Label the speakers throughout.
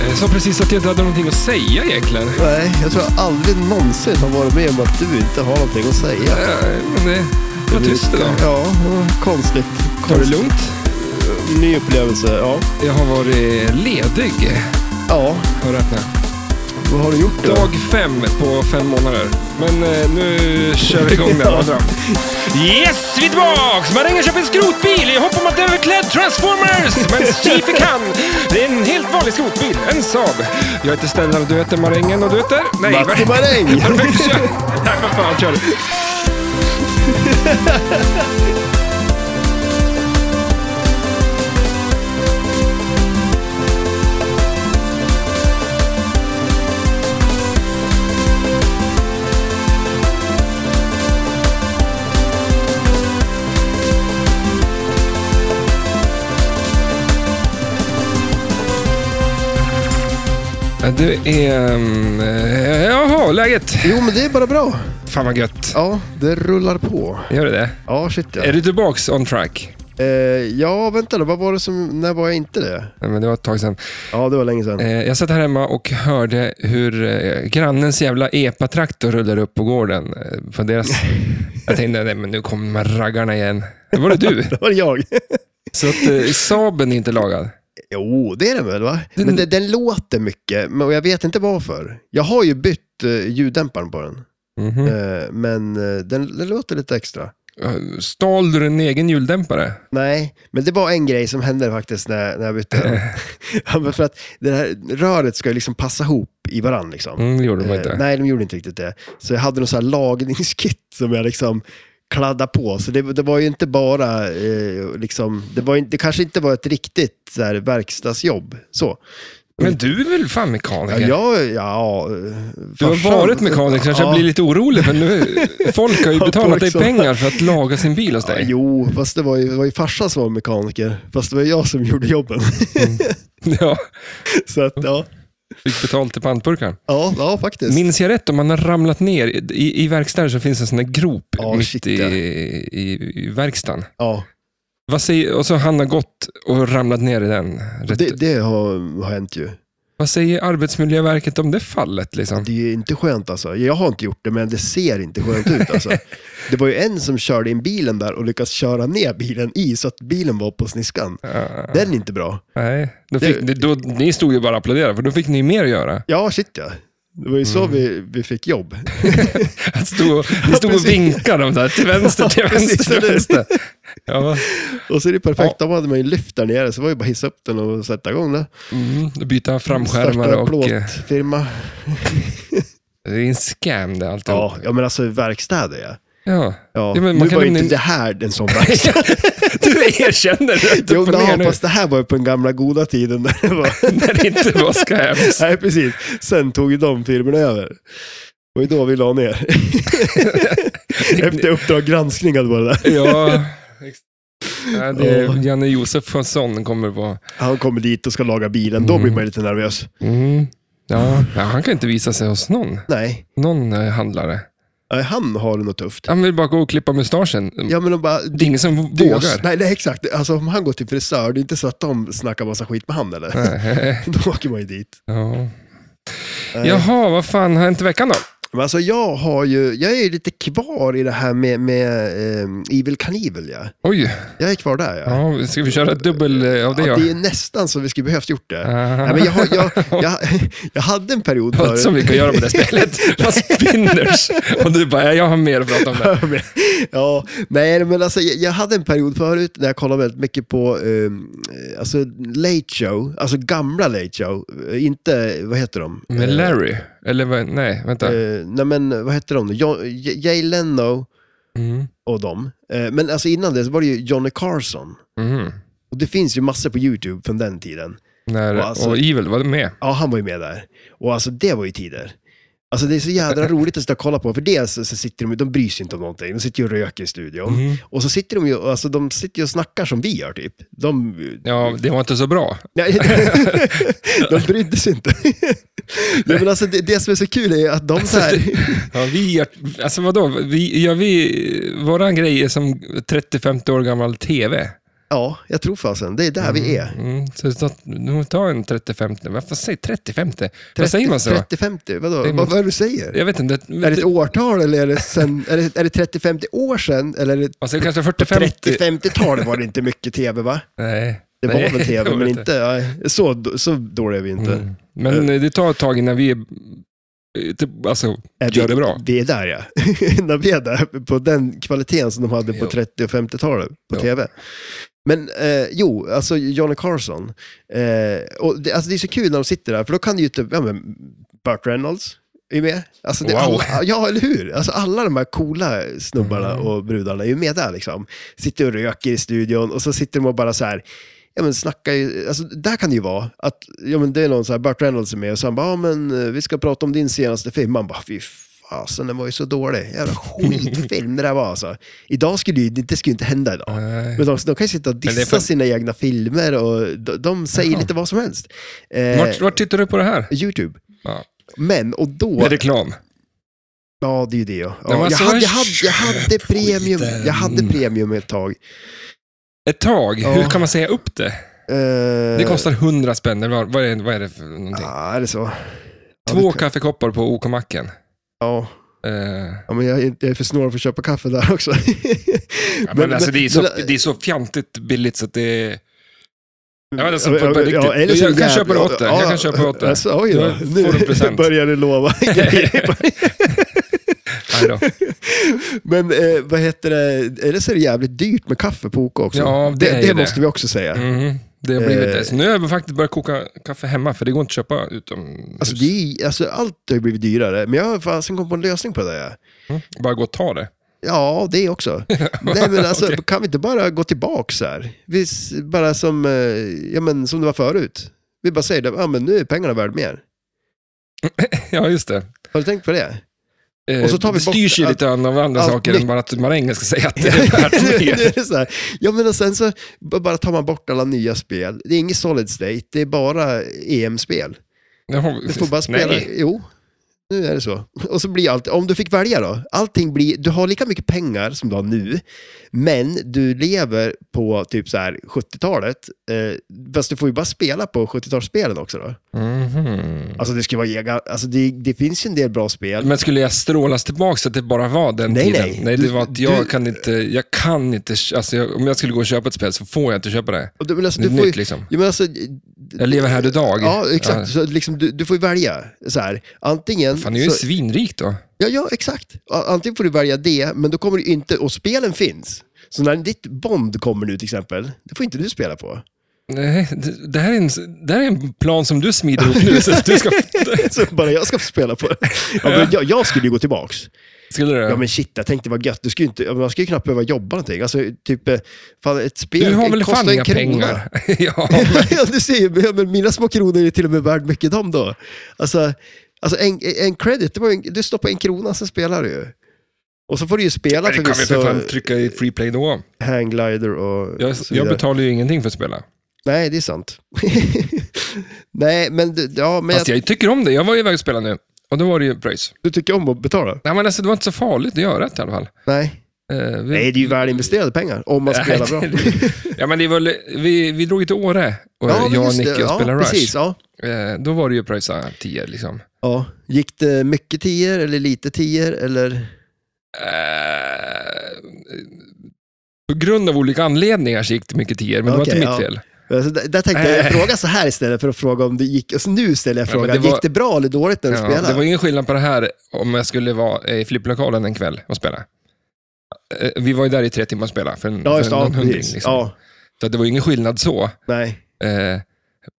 Speaker 1: Jag Eh, sa precis att jag inte hade någonting att säga egentligen.
Speaker 2: Nej, jag tror jag aldrig någonsin har varit med om att du inte har någonting att säga.
Speaker 1: Äh, Men det det var tyst idag.
Speaker 2: Ja, och konstigt.
Speaker 1: Ta det lugnt.
Speaker 2: Ny upplevelse, ja.
Speaker 1: Jag har varit ledig.
Speaker 2: Ja,
Speaker 1: Hör och häpna.
Speaker 2: vad har du gjort då?
Speaker 1: Dag fem på fem månader. Men eh, nu kör vi igång där. Vadå? Yes, vi är tillbaks! Man ringer och köper en skrotbil i hopp om att den är överklädd Transformers. Men Steve kan. Det är en helt vanlig skrotbil. En Saab. Jag heter Stellan och du heter Marängen och du heter? Nej,
Speaker 2: Matti
Speaker 1: vad-
Speaker 2: Maräng!
Speaker 1: Perfekt, kör! Nej, för fan, kör! Ja, Du är... ehm, eh, Jaha, läget?
Speaker 2: Jo, men det är bara bra.
Speaker 1: Fan vad gött.
Speaker 2: Ja, det rullar på.
Speaker 1: Gör det det?
Speaker 2: Ja, shit ja.
Speaker 1: Är du tillbaks on track?
Speaker 2: Eh, ja, vänta då. Vad var det som... När var jag inte det?
Speaker 1: Nej, Men det var ett tag sedan.
Speaker 2: Ja, det var länge sedan.
Speaker 1: Eh, Jag satt här hemma och hörde hur eh, grannens jävla epatraktor rullar upp på gården. eh, På deras... Jag tänkte, nej men nu kommer de här raggarna igen. Det var det du.
Speaker 2: Det var jag.
Speaker 1: Så att eh, Saaben är inte lagad.
Speaker 2: Jo, det är den väl va?
Speaker 1: Den-
Speaker 2: Men den, den låter mycket, men och jag vet inte varför. Jag har ju bytt eh, ljuddämparen på den,
Speaker 1: Mhm.
Speaker 2: eh, men eh, den, den låter lite extra.
Speaker 1: Eh, Stal du din egen juldämpare?
Speaker 2: Nej, men det var en grej som hände faktiskt när, när jag bytte den. ja, men för att det här röret ska ju liksom passa ihop i varann. Liksom.
Speaker 1: Mm, det gjorde de
Speaker 2: Eh,
Speaker 1: inte.
Speaker 2: nej, de gjorde inte riktigt det. Så jag hade någon sån här lagningskit som jag liksom kladdade på. Så det, det var ju inte bara, eh, liksom, det, var, ju- det kanske inte var ett riktigt så här, verkstadsjobb. Så.
Speaker 1: Men du är väl fan
Speaker 2: Ja,
Speaker 1: mekaniker?
Speaker 2: jag, ja,
Speaker 1: Du har varit mekaniker, kanske jag blir lite orolig för nu, folk har ju
Speaker 2: Ja,
Speaker 1: betalat
Speaker 2: folk
Speaker 1: dig
Speaker 2: som-
Speaker 1: pengar för att laga sin bil hos
Speaker 2: ja,
Speaker 1: dig.
Speaker 2: Jo, fast det var ju, det var ju farsan som var mekaniker. Fast det var jag som gjorde jobben.
Speaker 1: Ja,
Speaker 2: Så att, ja.
Speaker 1: fick betalt till pantburkar.
Speaker 2: Ja, ja, faktiskt.
Speaker 1: Minns jag rätt om man har ramlat ner? I, i verkstaden så finns en sån där grop
Speaker 2: Ja,
Speaker 1: mitt
Speaker 2: shit,
Speaker 1: i,
Speaker 2: ja.
Speaker 1: i, i verkstaden.
Speaker 2: Ja,
Speaker 1: Vad säger, och så han har gått och ramlat ner i den. Rätt.
Speaker 2: det, det har, har hänt ju.
Speaker 1: Vad säger Arbetsmiljöverket om det fallet? Liksom?
Speaker 2: Det är ju inte skönt alltså. Jag har inte gjort det, men det ser inte skönt ut alltså. Det var ju en som körde in bilen där och lyckades köra ner bilen i så att bilen var på sniskan.
Speaker 1: Ja,
Speaker 2: Den är inte bra.
Speaker 1: nej. Då fick,
Speaker 2: Det-
Speaker 1: då, ni stod ju bara och applåderade, för då fick ni mer att göra.
Speaker 2: Ja, shit ja. Det var ju
Speaker 1: Mm.
Speaker 2: så vi, vi fick jobb.
Speaker 1: Att stå, ni stod och
Speaker 2: precis.
Speaker 1: vinkade dem där, till vänster, till
Speaker 2: Ja,
Speaker 1: vänster,
Speaker 2: precis,
Speaker 1: till
Speaker 2: eller hur?
Speaker 1: vänster. Ja,
Speaker 2: Och så är det perfekt, då hade man ju lyft där nere, så var det bara att hissa upp den och sätta igång det.
Speaker 1: mm, byta framskärmar
Speaker 2: Starta
Speaker 1: och... eh,
Speaker 2: plåtfirma.
Speaker 1: Det är en scam det alltihop.
Speaker 2: Ja, ja, men alltså verkstäder ja.
Speaker 1: Ja.
Speaker 2: ja.
Speaker 1: Ja, men man
Speaker 2: nu
Speaker 1: kan
Speaker 2: var ju
Speaker 1: nämligen-
Speaker 2: inte det här en sån verkstad.
Speaker 1: Du erkänner rätt
Speaker 2: jo,
Speaker 1: upp och ner
Speaker 2: ja,
Speaker 1: nu.
Speaker 2: fast det här var ju på den gamla goda tiden. Där det var...
Speaker 1: när det inte var scams.
Speaker 2: Nej, precis. Sen tog ju de firmorna över. Och då vi la ner. Efter Uppdrag granskning hade varit där.
Speaker 1: ja. Ja, det är
Speaker 2: Ja.
Speaker 1: Janne Josefsson kommer vara...
Speaker 2: Han kommer dit och ska laga bilen, då blir man ju lite nervös.
Speaker 1: Mm. Ja, ja, han kan inte visa sig hos någon,
Speaker 2: Nej,
Speaker 1: någon eh, handlare.
Speaker 2: Nej, han har det nog tufft.
Speaker 1: Han vill bara gå och klippa mustaschen.
Speaker 2: Ja, men de bara...
Speaker 1: Det är ingen som vågar.
Speaker 2: Nej, nej, exakt. Alltså om han går till frisör, det är inte så att de snackar massa skit med han eller?
Speaker 1: Nej.
Speaker 2: Då åker man ju dit.
Speaker 1: Ja.
Speaker 2: Nej.
Speaker 1: Jaha, vad fan har hänt i veckan då?
Speaker 2: Men alltså jag har ju, jag är ju lite kvar i det här med, med ehm, Evil Knievel ja.
Speaker 1: Oj,
Speaker 2: Jag är kvar där ja.
Speaker 1: ja, ska vi köra dubbel eh, av det?
Speaker 2: Ja,
Speaker 1: Ja,
Speaker 2: det är nästan som vi skulle behövt gjort det.
Speaker 1: Aha.
Speaker 2: Nej, men jag, har- jag, jag, jag hade en period
Speaker 1: Allt som vi kan göra på det spelet. Vad spinners. Och du bara, jag har mer att prata om det.
Speaker 2: ja, nej, men alltså, jag, jag hade en period förut när jag kollade väldigt mycket på eh, alltså, Late Show, alltså gamla Late Show. Eh, Inte, vad heter de?
Speaker 1: Med Larry? Eller vad- nej, vänta.
Speaker 2: Eh, nej, men vad heter de? då? Jo- J- Jay Leno
Speaker 1: Mm.
Speaker 2: och dem. Eh, men alltså, innan det så var det ju Johnny Carson.
Speaker 1: Mm.
Speaker 2: Och det finns ju massor på YouTube från den tiden.
Speaker 1: När,
Speaker 2: Och alltså-
Speaker 1: och Evil var med.
Speaker 2: Ja, han var ju med där. Och alltså det var ju tider. Alltså det är så jädra roligt att sitta och kolla på. För dels så sitter de de bryr sig inte om någonting. De sitter ju och röker i studion.
Speaker 1: Mm.
Speaker 2: Och så sitter de ju alltså de sitter ju och snackar som vi gör typ. De,
Speaker 1: Ja, det var inte så bra.
Speaker 2: nej, de brydde sig inte. ja, men alltså det, det som är så kul är ju att de så
Speaker 1: Alltså,
Speaker 2: här...
Speaker 1: Ja, vi gör, alltså vadå, vi, gör vi, våran grej är som 30-50 år gammal TV.
Speaker 2: Ja, jag tror fasen. Det är där vi är.
Speaker 1: Mm, så ta, nu ta en 30-50. Varför säger 30-50? Vad säger man så?
Speaker 2: 30-50, vadå?
Speaker 1: Säger man-
Speaker 2: Vad, vad är det du säger?
Speaker 1: Jag vet inte.
Speaker 2: Är det ett årtal eller är det, sen, är det, är det 30-50 år sedan? Eller är det
Speaker 1: Alltså kanske
Speaker 2: på
Speaker 1: 40-50.
Speaker 2: 30-50-talet var det inte mycket tv va?
Speaker 1: Nej.
Speaker 2: Det var
Speaker 1: Nej,
Speaker 2: väl
Speaker 1: det
Speaker 2: tv,
Speaker 1: var
Speaker 2: men
Speaker 1: inte.
Speaker 2: inte, ja, så, d- så dåliga är vi inte.
Speaker 1: Mm. Men eh, det tar ett tag innan vi är, eh, typ, alltså,
Speaker 2: Är
Speaker 1: gör
Speaker 2: vi,
Speaker 1: det bra.
Speaker 2: Vi är där ja. När vi är där, på den kvaliteten som de hade på
Speaker 1: Jo.
Speaker 2: 30 och 50-talet på
Speaker 1: Jo.
Speaker 2: tv. Men eh, jo, alltså Johnny Carson. Eh, och det, alltså, det är så kul när de sitter där, för då kan ju typ, ja men Burt Reynolds är med. Alltså, det,
Speaker 1: Wow.
Speaker 2: alla, ja, eller hur? Alltså, alla de här coola snubbarna
Speaker 1: Mm.
Speaker 2: och brudarna är ju med där liksom. Sitter och röker i studion och så sitter de och bara så här, ja men snackar ju, alltså där kan det ju vara att, ja men det är någon så här, Burt Reynolds är med och så han bara, ja men eh, vi ska prata om din senaste film. Man bara, fy fasen den var ju så dålig. Jävla skitfilm det där var alltså. Idag skulle ju, det skulle ju inte hända idag.
Speaker 1: Nej.
Speaker 2: Men de, de kan ju sitta och
Speaker 1: det är
Speaker 2: dissa
Speaker 1: för-
Speaker 2: sina egna filmer och de, de säger
Speaker 1: Jaha.
Speaker 2: lite vad som helst. Eh,
Speaker 1: Vart, vart tittar du på det här?
Speaker 2: Youtube.
Speaker 1: Ja.
Speaker 2: Men, och då...
Speaker 1: Med reklam.
Speaker 2: Ja, det är ju det. Ja.
Speaker 1: men
Speaker 2: Ja, jag,
Speaker 1: alltså,
Speaker 2: hade, jag, hade, jag hade
Speaker 1: köp
Speaker 2: premium
Speaker 1: skiten.
Speaker 2: Jag hade premium ett tag.
Speaker 1: Ett tag,
Speaker 2: Ja.
Speaker 1: hur kan man säga upp det?
Speaker 2: Eh,
Speaker 1: Det kostar 100 spänn, eller vad, vad, är, vad är det för någonting?
Speaker 2: Ja, är det så? Ja,
Speaker 1: Två
Speaker 2: det-
Speaker 1: kaffekoppar på OK-macken.
Speaker 2: Ja,
Speaker 1: Eh,
Speaker 2: ja men jag, är- jag är för snål för att köpa kaffe där också.
Speaker 1: ja, men,
Speaker 2: Men-
Speaker 1: alltså, det, är så,
Speaker 2: men-
Speaker 1: det är så fjantigt billigt så att det är... Ja, men alltså, på-
Speaker 2: Ja,
Speaker 1: på riktigt.
Speaker 2: eller så
Speaker 1: Jag kan
Speaker 2: jävla-
Speaker 1: köpa det åt dig. Jag kan köpa det åt dig.
Speaker 2: Alltså, oj
Speaker 1: Då
Speaker 2: då.
Speaker 1: får du en
Speaker 2: Nu
Speaker 1: present.
Speaker 2: börjar du lova grejer.
Speaker 1: Nej då.
Speaker 2: Men eh, vad heter det, eller så är det jävligt dyrt med kaffe på OK också.
Speaker 1: Ja, det är
Speaker 2: det,
Speaker 1: ju det.
Speaker 2: måste vi också säga.
Speaker 1: Mhm, det har blivit
Speaker 2: Eh.
Speaker 1: det. Så nu har jag faktiskt börjat koka kaffe hemma, för det går inte att köpa utom
Speaker 2: Alltså, det är, alltså, allt har ju blivit dyrare, men jag har fasen kommit på en lösning på det där.
Speaker 1: Mm. Bara gå och ta det.
Speaker 2: Ja, det också. Nej, men alltså, Kan vi inte bara gå tillbaka så här? Vi, s- bara som, eh, ja, men, som det var förut. Vi bara säger, det, ja, men nu är pengarna värd mer.
Speaker 1: Ja, just det.
Speaker 2: Har du tänkt på det?
Speaker 1: Eh,
Speaker 2: Och så tar vi
Speaker 1: det
Speaker 2: bort
Speaker 1: styrs ju
Speaker 2: allt-
Speaker 1: lite av andra
Speaker 2: allt
Speaker 1: saker
Speaker 2: nytt.
Speaker 1: än bara att marängen ska säga att det är värt
Speaker 2: nu, nu
Speaker 1: mer.
Speaker 2: är det så här. Ja, men och sen så b- bara tar man bort alla nya spel. Det är inget solid state, det är bara E EM-spel.
Speaker 1: Jaha,
Speaker 2: Du får bara spela.
Speaker 1: Nej.
Speaker 2: Jo, nu är det så. Och så blir allt, om du fick välja då, allting blir, du har lika mycket pengar som du har nu, men du lever på typ så här 70-talet, eh, fast du får ju bara spela på 70-talsspelen också då.
Speaker 1: Mhm.
Speaker 2: Alltså det skulle vara, ega- alltså det, det finns ju en del bra spel.
Speaker 1: Men skulle jag strålas tillbaka så att det bara var den
Speaker 2: Nej,
Speaker 1: tiden?
Speaker 2: nej.
Speaker 1: det
Speaker 2: Du-
Speaker 1: var att jag
Speaker 2: du-
Speaker 1: kan inte, jag kan inte, alltså jag, om jag skulle gå och köpa ett spel så får jag inte köpa det.
Speaker 2: Och du, men alltså,
Speaker 1: Det är
Speaker 2: du får
Speaker 1: nytt
Speaker 2: ju,
Speaker 1: liksom.
Speaker 2: ja, men alltså,
Speaker 1: Jag lever här idag.
Speaker 2: Ja, exakt.
Speaker 1: Ja.
Speaker 2: Så liksom, du, du får ju välja. Så här. Antingen...
Speaker 1: Fan, jag är ju
Speaker 2: så,
Speaker 1: svinrik då.
Speaker 2: Ja, ja, exakt. A- Antingen får du välja det, men då kommer du inte... Och spelen finns. Så när ditt Bond kommer nu till exempel, det får inte du spela på.
Speaker 1: Nej, det, det, här är en, det här är en plan som du smider ihop nu. Så att du ska,
Speaker 2: Så bara jag ska få spela på det. Ja, men jag, jag skulle ju gå tillbaks.
Speaker 1: skulle du?
Speaker 2: Ja men shit, jag tänkte vad gött. Du skulle ju inte, ja, men man skulle ju knappt behöva jobba någonting. Alltså typ, eh, fan, ett spel
Speaker 1: du har väl
Speaker 2: kostar
Speaker 1: fan
Speaker 2: en
Speaker 1: inga
Speaker 2: krona.
Speaker 1: pengar? ja,
Speaker 2: ja, du ser ju, ja, men mina små kronor är till och med värd mycket dem då. Alltså, alltså en, en credit, det var ju en, du stoppar en krona, sen spelar du ju. Och så får du ju spela
Speaker 1: men det kan vi för fan
Speaker 2: förvisso
Speaker 1: trycka i freeplay då.
Speaker 2: hangglider och
Speaker 1: Jag, jag
Speaker 2: så vidare.
Speaker 1: betalar ju ingenting för att spela.
Speaker 2: Nej, det är sant. Nej, men, du- ja, men
Speaker 1: Fast jag tycker om det. Jag var ju iväg och spelade nu. Och då var det ju pröjs.
Speaker 2: du tycker om att betala?
Speaker 1: Nej, men alltså, det var inte så farligt att göra det i alla fall.
Speaker 2: Nej.
Speaker 1: Eh, vi-
Speaker 2: Nej, det är ju väl investerade pengar om man
Speaker 1: Nej,
Speaker 2: spelar bra.
Speaker 1: det- Ja, men det var, vi, vi drog ju till Åre, och
Speaker 2: men
Speaker 1: jag och
Speaker 2: just det.
Speaker 1: Nicke, och spelade
Speaker 2: ja,
Speaker 1: Rush.
Speaker 2: precis, ja.
Speaker 1: Eh, då var det ju pröjsa 10 liksom.
Speaker 2: ja. Gick det mycket tior eller lite tior? Eller?
Speaker 1: Eh, på grund av olika anledningar så gick det mycket 10 men
Speaker 2: Okej,
Speaker 1: det var
Speaker 2: ja.
Speaker 1: inte mitt fel.
Speaker 2: Alltså, där, där tänkte jag,
Speaker 1: Äh.
Speaker 2: jag fråga så här istället för att fråga om det gick... Alltså, nu ställer jag
Speaker 1: Ja, men
Speaker 2: frågan,
Speaker 1: det var-
Speaker 2: gick det bra eller dåligt när du
Speaker 1: Ja,
Speaker 2: spelade?
Speaker 1: det var ingen skillnad på det här om jag skulle vara eh, i flipplokalen en kväll och spela. Eh, vi var ju där i tre timmar och spelade för en,
Speaker 2: ja, just
Speaker 1: för
Speaker 2: det.
Speaker 1: en
Speaker 2: Ja,
Speaker 1: hundring.
Speaker 2: precis.
Speaker 1: Liksom.
Speaker 2: Ja,
Speaker 1: Så att det var ju ingen skillnad så.
Speaker 2: nej.
Speaker 1: Eh,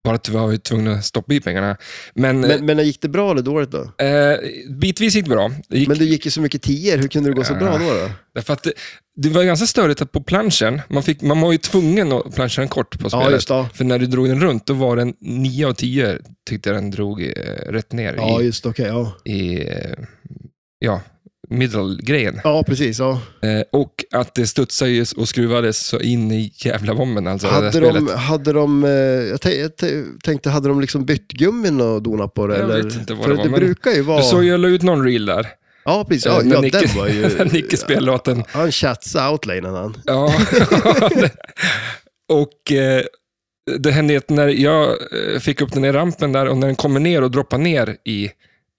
Speaker 1: bara att vi var ju tvungna att stoppa i pengarna. Men,
Speaker 2: Men, men gick det bra eller dåligt då?
Speaker 1: eh, bitvis gick det bra. Det gick
Speaker 2: Men du gick ju så mycket tior, hur kunde det gå så
Speaker 1: Ja.
Speaker 2: bra då? då?
Speaker 1: Därför att det, det var ganska störigt att på planschen, man, fick, man var ju tvungen att planscha den kort på spelet.
Speaker 2: Ja, just det.
Speaker 1: För när du drog den runt, då var den 9 av 10 tyckte jag den drog eh, rätt ner
Speaker 2: Ja,
Speaker 1: i,
Speaker 2: just det, okej. ja.
Speaker 1: i eh, ja, middle-grejen.
Speaker 2: ja, precis. Ja.
Speaker 1: Eh, och att det studsade ju och skruvades så in i jävla bomben alltså. det
Speaker 2: Hade
Speaker 1: där spelet.
Speaker 2: de, hade de, eh, jag, tän- jag tän- tänkte, hade de liksom bytt gummin och donat på det?
Speaker 1: Jag
Speaker 2: eller?
Speaker 1: vet inte vad
Speaker 2: För
Speaker 1: det var, men
Speaker 2: brukar ju vara...
Speaker 1: Du såg ju jag la ut någon reel där.
Speaker 2: Ja, precis.
Speaker 1: eh,
Speaker 2: Ja,
Speaker 1: när
Speaker 2: ja,
Speaker 1: Nicke-
Speaker 2: den var ju...
Speaker 1: Nicke spelade låten.
Speaker 2: Han chatsade outlanen han.
Speaker 1: Ja. Och eh, det hände att när jag eh, fick upp den i rampen där och när den kommer ner och droppar ner i,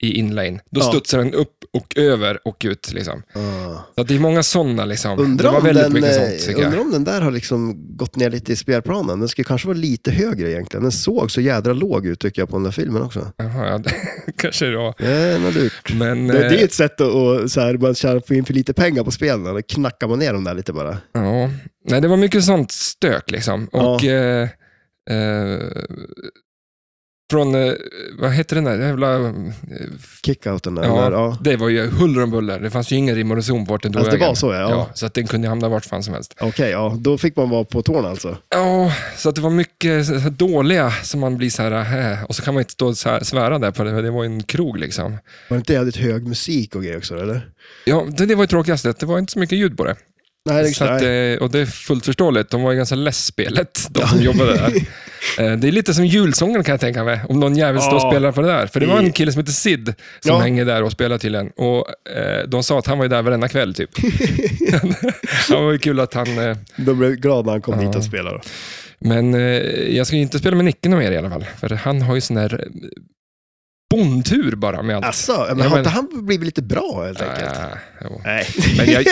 Speaker 1: i inlane, då
Speaker 2: Ja.
Speaker 1: studsar den upp och över och ut. Liksom.
Speaker 2: Ah.
Speaker 1: Så att det är många sådana. Liksom. det
Speaker 2: Undrar
Speaker 1: var
Speaker 2: om,
Speaker 1: väldigt
Speaker 2: den,
Speaker 1: mycket
Speaker 2: eh,
Speaker 1: sånt tycker
Speaker 2: undrar
Speaker 1: jag.
Speaker 2: om den där har liksom gått ner lite i spelplanen. Den skulle kanske vara lite högre egentligen. Den såg så jädra låg ut tycker jag på den där filmen också.
Speaker 1: Jaha, ja, kanske det var.
Speaker 2: Eh, något lurt.
Speaker 1: Men,
Speaker 2: Det, det är
Speaker 1: eh,
Speaker 2: ett sätt att och, så här, man tjänar, får in för lite pengar på spelen. Då knackar man ner dem där lite bara.
Speaker 1: Ja, nej det var mycket sånt stök liksom.
Speaker 2: Ja.
Speaker 1: Och eh, eh, från, eh, vad heter den där jävla... Eh,
Speaker 2: Kickouten där.
Speaker 1: Ja.
Speaker 2: Eller, ja.
Speaker 1: det var ju huller om buller. Det fanns ju ingen rim och reson på vart den tog
Speaker 2: Alltså, det
Speaker 1: vägen.
Speaker 2: var så ja.
Speaker 1: ja.
Speaker 2: ja.
Speaker 1: Så att den kunde hamna vart fan som helst.
Speaker 2: Okej, ja. Då fick man vara på tårna alltså.
Speaker 1: Ja, så att det var mycket så här dåliga som man blir så här, äh, och så kan man inte stå och så här, svära där på det, det var ju en krog liksom.
Speaker 2: Var det inte jävligt hög musik och grejer också eller?
Speaker 1: Ja, det, det var ju tråkigast, att det var inte så mycket ljud på det.
Speaker 2: Nej, det,
Speaker 1: Så att,
Speaker 2: nej.
Speaker 1: eh, och det är fullt förståeligt. De var ju ganska less spelet, de som jobbade där. Eh, Det är lite som julsången kan jag tänka mig, om någon jävel står och
Speaker 2: Ja.
Speaker 1: spelar på det där. För det var en
Speaker 2: I-
Speaker 1: kille som heter Sid som
Speaker 2: Ja.
Speaker 1: hänger där och spelar tydligen. Och, eh, de sa att han var ju där varenda kväll typ. det var ju kul att han... Eh,
Speaker 2: De blev glada när han kom dit
Speaker 1: Ja.
Speaker 2: och spelade.
Speaker 1: men eh, jag ska ju inte spela med Nicke någon mer i alla fall. För han har ju sån där eh, bondtur bara med allt.
Speaker 2: Alltså, men,
Speaker 1: Ja,
Speaker 2: har
Speaker 1: men-
Speaker 2: inte han blivit lite bra helt enkelt?
Speaker 1: Ah, jo.
Speaker 2: Nej.
Speaker 1: Men, jag,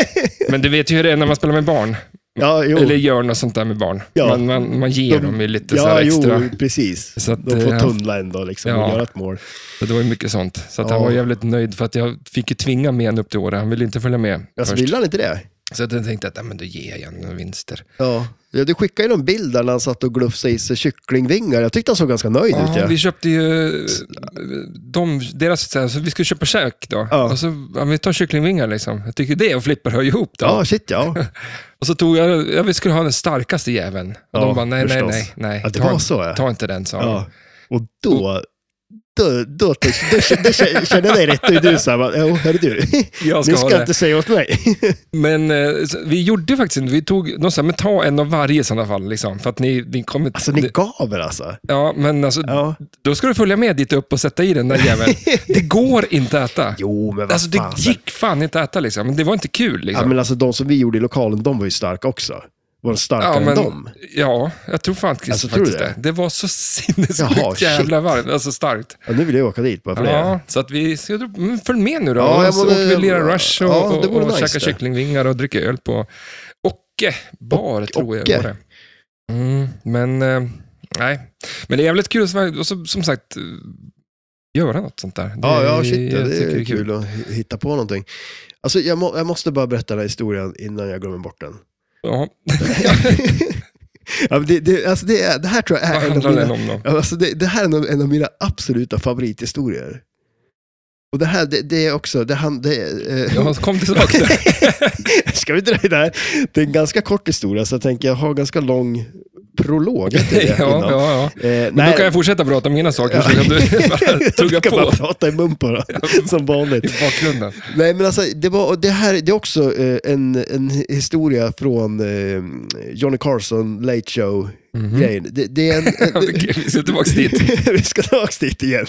Speaker 1: men du vet ju hur det är när man spelar med barn.
Speaker 2: Ja, jo.
Speaker 1: Eller gör något sånt där med barn.
Speaker 2: Ja.
Speaker 1: Man, man, man ger
Speaker 2: De-
Speaker 1: dem ju lite så
Speaker 2: ja,
Speaker 1: här extra.
Speaker 2: jo, precis.
Speaker 1: Så att,
Speaker 2: De får
Speaker 1: eh,
Speaker 2: tunnla ändå liksom
Speaker 1: ja.
Speaker 2: och göra ett mål.
Speaker 1: Så det var ju mycket sånt. Så att han
Speaker 2: Ja.
Speaker 1: var jävligt nöjd för att jag fick ju tvinga med honom upp till Åre. Han ville inte följa med
Speaker 2: Alltså,
Speaker 1: först.
Speaker 2: vill han inte det?
Speaker 1: Så att jag tänkte att "Nej, men då ger jag igen några vinster.
Speaker 2: Ja. ja. Du skickade ju någon bild där när han satt och glufsade i sig kycklingvingar. Jag tyckte han såg ganska nöjd ut.
Speaker 1: Ja,
Speaker 2: Ja.
Speaker 1: vi köpte ju eh, de, deras, så här, så vi skulle köpa käk då.
Speaker 2: Ja.
Speaker 1: Och så, ja, vi tar kycklingvingar liksom. Jag tycker det och flipper hör ju ihop då.
Speaker 2: ja, shit ja.
Speaker 1: Och så tog jag, ja, vi skulle ha den starkaste jäveln. Och
Speaker 2: Ja,
Speaker 1: de bara, nej, nej,
Speaker 2: förstås.
Speaker 1: nej, nej.
Speaker 2: Att det
Speaker 1: ta,
Speaker 2: var så ja.
Speaker 1: ta inte den, sa de.
Speaker 2: ja. Och då... Då, då, då, då, då kände jag dig rätt. Då är du såhär, jo, hörru du.
Speaker 1: Jag
Speaker 2: Nu
Speaker 1: ha
Speaker 2: ska
Speaker 1: det.
Speaker 2: inte säga åt mig.
Speaker 1: Men eh, så, vi gjorde faktiskt inte, vi tog, de sa, men ta en av varje i sådana fall. Liksom, för att ni, ni kommer...
Speaker 2: Alltså ni gav er alltså.
Speaker 1: Ja, men alltså,
Speaker 2: Ja.
Speaker 1: Då ska du följa med dit upp och sätta i den där jäveln. Det går inte att äta.
Speaker 2: Jo, men vad
Speaker 1: Alltså det
Speaker 2: fasen.
Speaker 1: gick fan inte att äta liksom. Men det var inte kul
Speaker 2: Ja,
Speaker 1: liksom.
Speaker 2: men alltså de som vi gjorde i lokalen, de var ju starka också. Var de starkare än dem?
Speaker 1: ja, jag tror fan
Speaker 2: Alltså, tror du
Speaker 1: faktiskt det.
Speaker 2: det?
Speaker 1: Det var så sinnessjukt
Speaker 2: Jaha, shit.
Speaker 1: jävla varmt. Alltså starkt.
Speaker 2: Ja, nu vill jag åka dit bara för det.
Speaker 1: Ja, så att vi ska dra- men följ med nu då.
Speaker 2: Ja,
Speaker 1: Ja,
Speaker 2: jag
Speaker 1: så
Speaker 2: borde-
Speaker 1: åker vi och lirar Rush och,
Speaker 2: Ja, det
Speaker 1: och,
Speaker 2: vore
Speaker 1: och
Speaker 2: nice
Speaker 1: käkar
Speaker 2: det.
Speaker 1: kycklingvingar och dricker öl på Ocke bar,
Speaker 2: Ocke,
Speaker 1: tror jag
Speaker 2: Ocke.
Speaker 1: var det. Mm, men, eh, nej. Men det är jävligt kul att svär- och så, som sagt eh, göra något sånt där. Det
Speaker 2: Ja, ja,
Speaker 1: är-
Speaker 2: shit, ja,
Speaker 1: jag
Speaker 2: det
Speaker 1: tycker
Speaker 2: är kul att hi- hitta på någonting. Alltså, jag, må, jag måste bara berätta den här historien innan jag glömmer bort den.
Speaker 1: Ja,
Speaker 2: ja, men det, det, alltså, det, är- det här tror jag
Speaker 1: vad
Speaker 2: är en
Speaker 1: handlar
Speaker 2: av
Speaker 1: den
Speaker 2: mina,
Speaker 1: om då?
Speaker 2: Ja, alltså, det, det här är en av, en av mina absoluta favorithistorier. Och det här, det, det är också, det, han, det, eh,
Speaker 1: Ja, kom tillbaka där.
Speaker 2: Ska vi dra det här? Det är en ganska kort historia, så jag tänker jag har ganska lång prolog till det
Speaker 1: ja,
Speaker 2: innan.
Speaker 1: ja, ja.
Speaker 2: Eh,
Speaker 1: Men då kan jag fortsätta prata om mina saker så kan du bara tugga
Speaker 2: kan bara
Speaker 1: på
Speaker 2: prata i mun på det, som
Speaker 1: i
Speaker 2: vanligt.
Speaker 1: bakgrunden.
Speaker 2: Nej, men alltså, det, var, och det här det är också eh, en, en historia från eh, Johnny Carson, Late Show-grejen.
Speaker 1: Mhm.
Speaker 2: Det, det är en, eh, en,
Speaker 1: Vi ska tillbaka dit.
Speaker 2: vi ska tillbaka dit igen.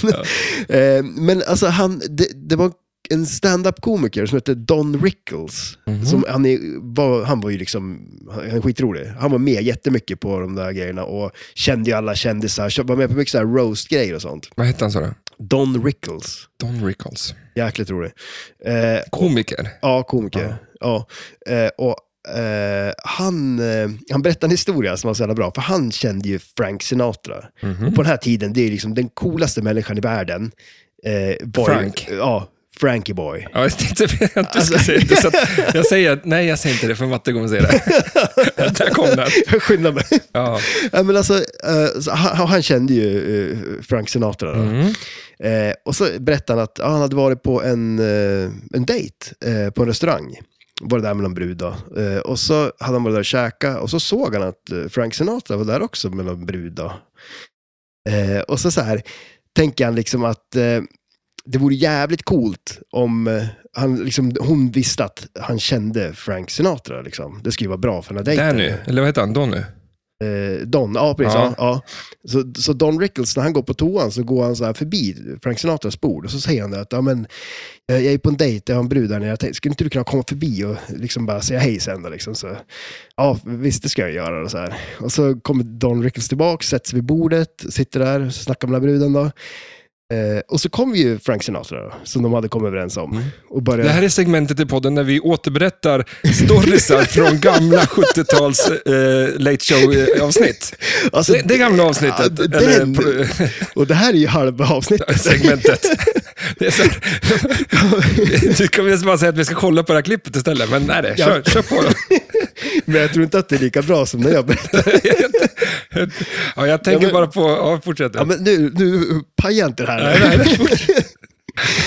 Speaker 2: Eh, men alltså, han, det, det var en stand-up-komiker som hette Don Rickles. Som, han, är, var, han var ju liksom, han är skitrolig. Han var med jättemycket på de där grejerna och kände ju alla kändisar. Var med på mycket så här roast-grejer och sånt.
Speaker 1: Vad hette han sa du?
Speaker 2: Don Rickles.
Speaker 1: Don Rickles.
Speaker 2: Jäkligt rolig. Eh,
Speaker 1: Komiker.
Speaker 2: Ja, komiker. Ja. Eh, och, eh, han, eh, han berättade en historia som var så jävla bra, för han kände ju Frank Sinatra. Och på den här tiden, det är liksom den coolaste människan i världen. Eh, var ju-
Speaker 1: Frank.
Speaker 2: Ja, Frankie Boy.
Speaker 1: Ja, jag tänkte att du skulle säga det. Så att jag säger att, nej, jag säger inte det, för Matte kommer säga det. Där kom den.
Speaker 2: Skynda mig.
Speaker 1: Ja.
Speaker 2: Ja, men alltså, eh, så han, han kände ju eh, Frank Sinatra. Då.
Speaker 1: Mm.
Speaker 2: Eh, och så berättade han att ja, han hade varit på en, eh, en dejt eh, på en restaurang. Var det där med någon brud då. Eh, och så hade han varit där och käkat och så såg han att eh, Frank Sinatra var där också med någon brud då. Eh, och så, så här, tänker han liksom att eh, det vore jävligt coolt om eh, han, liksom, hon visste att han kände Frank Sinatra. Liksom. Det skulle ju vara bra för den här dejten.
Speaker 1: Danny, eller vad heter han? Donny?
Speaker 2: Eh, Don, ja precis.
Speaker 1: Ja.
Speaker 2: Ja. Ja, Så, så Don Rickles, när han går på toan så går han så här förbi Frank Sinatras bord och så säger han det att ja, men, eh, jag är på en dejt, jag har en brud där nere, jag tänkte, skulle inte du kunna komma förbi och liksom bara säga hej sen då? Liksom, så, ja, visst det ska jag göra. Och så, här. och så kommer Don Rickles tillbaka, sätter sig vid bordet, sitter där, snackar med den här bruden. Då. Eh, och så kommer ju Frank Sinatra, då, som de hade kommit överens om. Och börjar...
Speaker 1: Mm. Det här är segmentet i podden där vi återberättar storiesar från gamla 70-tals eh, late show-avsnitt.
Speaker 2: alltså,
Speaker 1: Det, det gamla avsnittet,
Speaker 2: Ja, det-
Speaker 1: eller
Speaker 2: det-
Speaker 1: pro-
Speaker 2: Och det här är ju halva avsnittet.
Speaker 1: segmentet. Det är så här, du kommer bara säga att vi ska kolla på det här klippet istället, men nej, det,
Speaker 2: Ja.
Speaker 1: kör, kör på. Då.
Speaker 2: Men jag tror inte att det är lika bra som när jag berättade.
Speaker 1: Ja, jag tänker
Speaker 2: Ja, men-
Speaker 1: bara på, ja, fortsätt.
Speaker 2: Ja, men nu, nu pajar inte det
Speaker 1: Nej, nej,
Speaker 2: här.
Speaker 1: det fortsätt.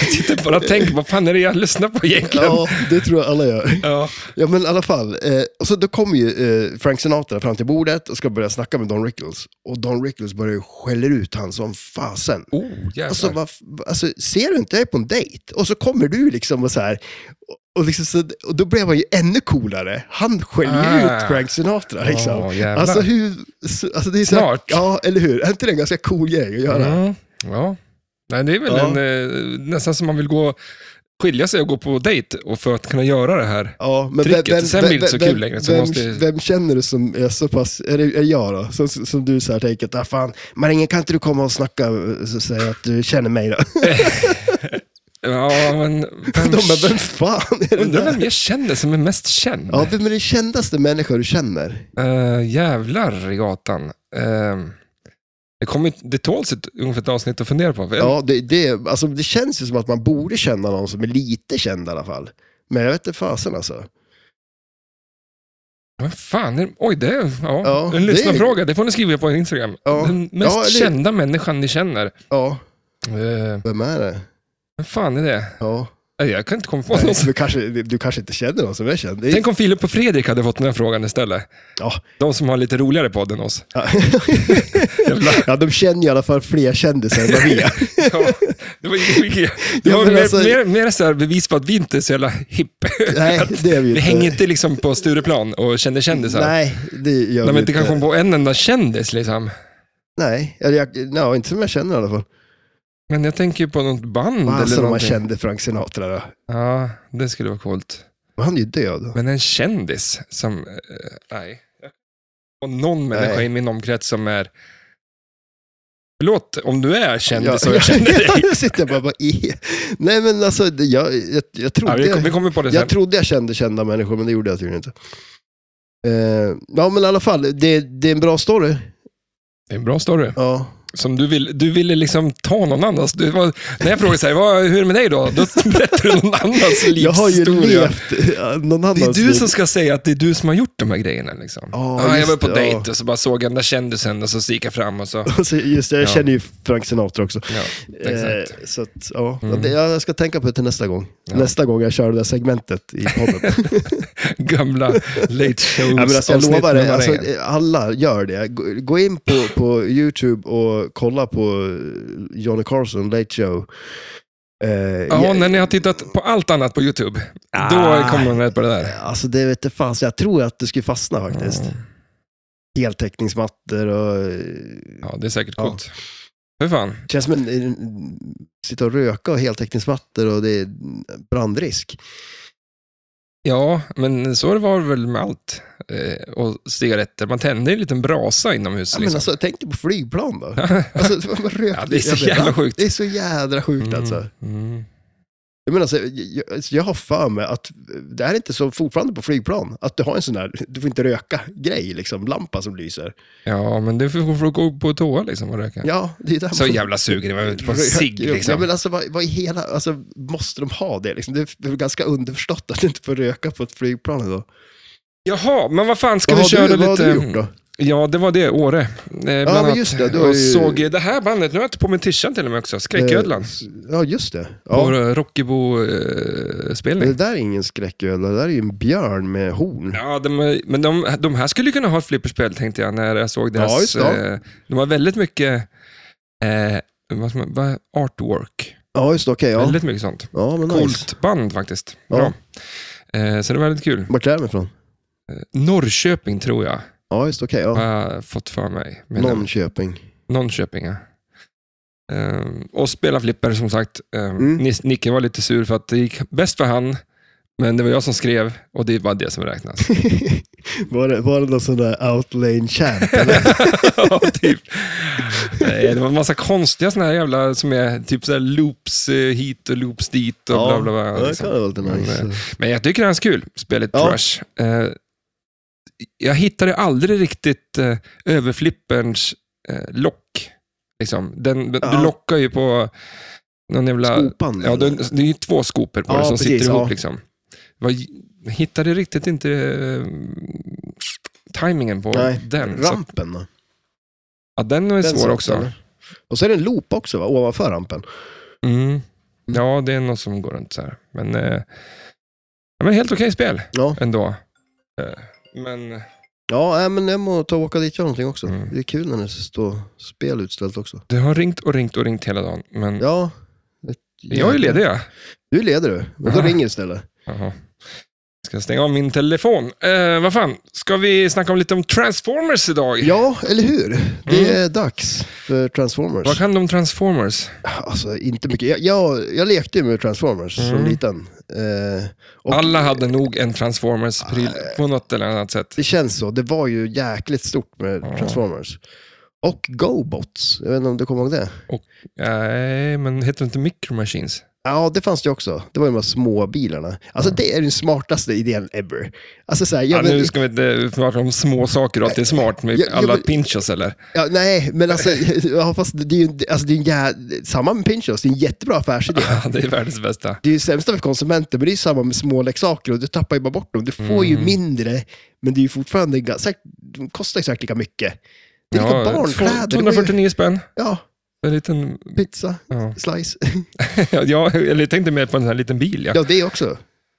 Speaker 1: Jag sitter bara och tänker, vad fan är det jag lyssnar på egentligen?
Speaker 2: Ja, det tror jag alla gör.
Speaker 1: Ja.
Speaker 2: Ja, men i alla fall. Eh, och så då kommer ju eh, Frank Sinatra fram till bordet och ska börja snacka med Don Rickles. Och Don Rickles börjar ju skälla ut han som fasen.
Speaker 1: Oh, jävlar.
Speaker 2: Alltså, vad, alltså, ser du inte jag är på en dejt? Och så kommer du liksom och så här. Och, och, liksom, så, och då blev han ju ännu coolare. Han skäller
Speaker 1: Ah.
Speaker 2: ut Frank Sinatra. Liksom.
Speaker 1: Åh, jävlar.
Speaker 2: alltså, hur, så, alltså, det är så
Speaker 1: Smart.
Speaker 2: ja, eller hur? Är inte det en ganska cool grej att göra?
Speaker 1: Mm, ja. Nej, det är väl
Speaker 2: Ja.
Speaker 1: en, eh, nästan som man vill gå, skilja sig och gå på dejt och för att kunna göra det här.
Speaker 2: Ja, men
Speaker 1: Tricket. Sen blir det inte så kul längre, så
Speaker 2: vem,
Speaker 1: måste-
Speaker 2: vem känner du som är så pass, är det är det jag då? Som, som du så här tänker, att, ah, fan, Maringen kan inte du komma och snacka och säga att du känner mig då?
Speaker 1: Ja, men vem,
Speaker 2: De bara, vem fan är det
Speaker 1: undrar
Speaker 2: där?
Speaker 1: vem jag känner som är mest känd?
Speaker 2: Ja, vem är den kändaste människa du känner?
Speaker 1: Eh, jävlar i gatan. Eh, det, kommer, det tåls ett, ungefär ett avsnitt att fundera på.
Speaker 2: Ja, det, det, alltså, det känns ju som att man borde känna någon som är lite känd i alla fall. Men jag vet inte fasen alltså.
Speaker 1: Vad fan, är, oj, det är ja,
Speaker 2: Ja,
Speaker 1: en
Speaker 2: det är-
Speaker 1: lyssnarfråga. Det får ni skriva på Instagram.
Speaker 2: Ja.
Speaker 1: Den mest
Speaker 2: Ja, eller-
Speaker 1: kända människan ni känner.
Speaker 2: Ja,
Speaker 1: Eh,
Speaker 2: vem är det?
Speaker 1: vem fan är det?
Speaker 2: Ja.
Speaker 1: Nej, Jag kan inte komma på någon.
Speaker 2: Nej,
Speaker 1: som-
Speaker 2: du, kanske, du kanske inte känner någon som är känd. Det är-
Speaker 1: Tänk om Filip och Fredrik hade fått den här frågan istället.
Speaker 2: Ja.
Speaker 1: De som har lite roligare podd än oss.
Speaker 2: Ja.
Speaker 1: Jävla,
Speaker 2: ja, de känner ju i alla fall fler kändisar än vad vi är.
Speaker 1: ja, det var, ju- det
Speaker 2: Ja,
Speaker 1: var
Speaker 2: men
Speaker 1: mer,
Speaker 2: alltså-
Speaker 1: mer, mer så här bevis på att vi inte är så jävla hipp.
Speaker 2: Nej, det är vi
Speaker 1: Vi
Speaker 2: inte.
Speaker 1: hänger inte liksom på Stureplan och känner kändisar. Nej,
Speaker 2: Nej, det gör
Speaker 1: När
Speaker 2: vi
Speaker 1: man inte kan komma på en enda kändis. Liksom.
Speaker 2: Nej, eller jag, no, inte som jag känner i alla fall.
Speaker 1: Men jag tänker ju på något band
Speaker 2: Fan,
Speaker 1: Mm, eller
Speaker 2: som man
Speaker 1: någonting.
Speaker 2: kände Frank Sinatra då.
Speaker 1: Ja, det skulle vara coolt.
Speaker 2: Men han är ju död.
Speaker 1: Men en kändis som... eh, nej. Och någon människa
Speaker 2: Nej.
Speaker 1: i min omkrets som är... Förlåt om du är kändis och
Speaker 2: jag,
Speaker 1: jag känner dig.
Speaker 2: jag, sitter bara, bara i. Nej men alltså, det- jag, jag, jag
Speaker 1: Ja,
Speaker 2: trodde
Speaker 1: vi, kom- vi
Speaker 2: jag,
Speaker 1: kommer på det sen.
Speaker 2: jag trodde jag kände kända människor, men det gjorde jag tydligen inte. Eh, ja men i alla fall, det, det är en bra story.
Speaker 1: Det är en bra story.
Speaker 2: Ja.
Speaker 1: Som du, vill, du ville liksom ta någon annans. Du var, när jag frågade så här, vad, hur är det med dig då? Då berättar du någon annans livshistoria.
Speaker 2: Jag har ju levt eh, någon
Speaker 1: Det är
Speaker 2: annans
Speaker 1: du
Speaker 2: liv.
Speaker 1: som ska säga att det är du som har gjort de här grejerna. Liksom.
Speaker 2: Ja,
Speaker 1: ah, jag
Speaker 2: just
Speaker 1: var på
Speaker 2: det,
Speaker 1: dejt
Speaker 2: ja.
Speaker 1: och så bara såg jag den där kändisen och så, så gick jag fram och så...
Speaker 2: Alltså, Just det, jag
Speaker 1: Ja.
Speaker 2: känner ju Frank Sinatra också.
Speaker 1: Ja, exakt.
Speaker 2: Eh, så att, ja.
Speaker 1: Mm.
Speaker 2: Det- Jag ska tänka på det till nästa gång.
Speaker 1: Ja.
Speaker 2: Nästa gång jag kör det där segmentet i podden.
Speaker 1: Gamla late shows
Speaker 2: Ja, men alltså, jag
Speaker 1: avsnitt
Speaker 2: lovar det,
Speaker 1: nummer
Speaker 2: alltså,
Speaker 1: ett.
Speaker 2: eh, alla gör det. Gå- Gå in på, på YouTube och kolla på eh, Johnny Carson Late Show. Eh,
Speaker 1: Ja,
Speaker 2: jag-
Speaker 1: när ni har tittat på allt annat på YouTube, då
Speaker 2: Ah.
Speaker 1: kommer man rätt på det där.
Speaker 2: Alltså det vet jag fan, så jag tror att du skulle fastna faktiskt.
Speaker 1: Mm.
Speaker 2: Heltäckningsmattor och... eh,
Speaker 1: Ja, det är säkert
Speaker 2: Ja.
Speaker 1: coolt. För fan.
Speaker 2: känns som en, en, sitta och röka och heltäckningsmattor och det är brandrisk.
Speaker 1: Ja, men så var det väl med allt. Eh, och cigaretter. Man tände en liten brasa inomhus.
Speaker 2: Ja,
Speaker 1: liksom.
Speaker 2: men alltså, tänk dig på flygplan då. Alltså, man röker,
Speaker 1: Ja, det är så jävla sjukt.
Speaker 2: Det är så jädra sjukt
Speaker 1: Mm,
Speaker 2: alltså.
Speaker 1: mm.
Speaker 2: Jag, menar, alltså, jag, jag- alltså, jag har för mig att det här är inte så fortfarande på flygplan, att du har en sån där, du får inte röka-grej, liksom, lampa som lyser.
Speaker 1: Ja, men det får får gå på toa liksom och röka.
Speaker 2: Ja, det är där
Speaker 1: Så
Speaker 2: man-
Speaker 1: jävla suger man ut på en
Speaker 2: Rök-
Speaker 1: cigg
Speaker 2: Ja, men
Speaker 1: liksom.
Speaker 2: alltså, vad, vad i hela, alltså, måste de ha det? Liksom? Det är väl ganska underförstått att du inte får röka på ett flygplan idag.
Speaker 1: Jaha, men vad fan, ska
Speaker 2: Vad
Speaker 1: vi
Speaker 2: har,
Speaker 1: köra
Speaker 2: du,
Speaker 1: lite... mm,
Speaker 2: vad har du gjort då?
Speaker 1: Ja, det var det, Åre. Eh, bland
Speaker 2: men
Speaker 1: annat.
Speaker 2: just det, du har
Speaker 1: Och
Speaker 2: ju-
Speaker 1: såg det här bandet, nu har jag inte på mig tishan till och med också, Skräcködlan.
Speaker 2: Eh, Ja, just det.
Speaker 1: På
Speaker 2: Ja.
Speaker 1: Rockebo-spelning.
Speaker 2: Det där är ingen skräcködla, det där är ju en björn med horn.
Speaker 1: Ja, de, men de, de här skulle kunna ha ett flipperspel tänkte jag när jag såg
Speaker 2: Ja,
Speaker 1: deras...
Speaker 2: just det.
Speaker 1: eh, de har väldigt mycket eh, vad ska man, vad, artwork.
Speaker 2: Ja, just det, okej. ja.
Speaker 1: Väldigt mycket sånt.
Speaker 2: ja, men nice.
Speaker 1: Coolt band faktiskt.
Speaker 2: Ja.
Speaker 1: Bra. Eh, så det var väldigt kul.
Speaker 2: Vart är de ifrån?
Speaker 1: Norrköping tror jag.
Speaker 2: Ja, just okej. ja.
Speaker 1: har jag fått för mig. Men-
Speaker 2: Norrköping.
Speaker 1: Norrköping, ja. Ehm, och spela flipper som sagt. Ehm,
Speaker 2: Mm.
Speaker 1: Nis- Nicke var lite sur för att det gick bäst för han, men det var jag som skrev och det var det som räknas.
Speaker 2: Var det, var det någon sån där outlane champ? eller?
Speaker 1: Ja, typ. Nej, det var en massa konstiga såna här jävla, som är typ så här loops eh, hit och loops dit och bla bla
Speaker 2: ja,
Speaker 1: bla.
Speaker 2: det
Speaker 1: liksom.
Speaker 2: kan vara lite nice.
Speaker 1: Men, Men jag tycker det är ganska kul, spelet
Speaker 2: Ja.
Speaker 1: Trash. Eh, jag hittade aldrig riktigt eh, överflipperns eh, lock. Liksom. Den, den-
Speaker 2: Ja.
Speaker 1: Du lockar ju på någon jävla...
Speaker 2: Skopan?
Speaker 1: Ja, det,
Speaker 2: eller?
Speaker 1: det är ju två skopor på
Speaker 2: Ja,
Speaker 1: det som
Speaker 2: precis,
Speaker 1: sitter ihop.
Speaker 2: ja.
Speaker 1: Liksom. Vad- Jag hittade riktigt inte eh, timingen på
Speaker 2: Nej.
Speaker 1: den. Så, att-
Speaker 2: Rampen då?
Speaker 1: ja, den är
Speaker 2: Den
Speaker 1: svår
Speaker 2: sorten,
Speaker 1: också.
Speaker 2: eller? Och så är det en loop också, va? ovanför rampen.
Speaker 1: Mm. Ja, det är något som går runt så här. Men, eh, ja, men helt okej spel
Speaker 2: Ja,
Speaker 1: ändå. Eh, men...
Speaker 2: ja äh, men jag må ta och åka dit och göra någonting också.
Speaker 1: Mm.
Speaker 2: Det är kul när det står spel utställt också.
Speaker 1: Det har ringt och ringt och ringt hela dagen, men
Speaker 2: Ja. ett
Speaker 1: jag är
Speaker 2: jäkla-
Speaker 1: ledig. Ja.
Speaker 2: Du är ledig du, men då
Speaker 1: Ah.
Speaker 2: ringer istället.
Speaker 1: Jaha. Ska jag stänga av min telefon. Eh, vad fan, ska vi snacka om lite om Transformers idag?
Speaker 2: Ja, eller hur? Det är dags för Transformers.
Speaker 1: Mm. Vad kan de Transformers?
Speaker 2: Alltså, inte mycket. Jag, jag, jag lekte ju med Transformers som
Speaker 1: Mm.
Speaker 2: liten. Eh, och Ah,
Speaker 1: Alla hade nog en Transformers-pryl på något eller annat sätt.
Speaker 2: Det känns så. Det var ju jäkligt stort med
Speaker 1: Ja.
Speaker 2: Transformers. Och GoBots, jag vet inte om du kommer ihåg det?
Speaker 1: Nej, men heter det inte Micro Machines?
Speaker 2: Ja, det fanns det också. Det var ju de här små bilarna. Alltså det är den smartaste idén ever. Alltså så här, jag
Speaker 1: Ja,
Speaker 2: vet-
Speaker 1: nu ska vi inte prata om små saker och att det är smart med
Speaker 2: Ja, ja,
Speaker 1: alla
Speaker 2: men-
Speaker 1: pinchos eller?
Speaker 2: Ja, nej, men alltså, ja, fast det är ju en- alltså, det är en jä... samma med Pinchos, det är en jättebra affärsidé.
Speaker 1: Ja, det är världens bästa.
Speaker 2: Det är ju sämsta för konsumenter, men det är ju samma med småleksaker och du tappar ju bara bort dem. Du får ju
Speaker 1: Mm.
Speaker 2: mindre, men det är ju fortfarande, ga- säkert, de kostar ju säkert lika mycket. Det är lika barnkläder. det går ju-
Speaker 1: 249 spänn.
Speaker 2: Ja,
Speaker 1: En liten...
Speaker 2: pizza,
Speaker 1: Ja.
Speaker 2: slice.
Speaker 1: ja, jag tänkte mer på en sån här liten bil. Ja.
Speaker 2: Ja, det också.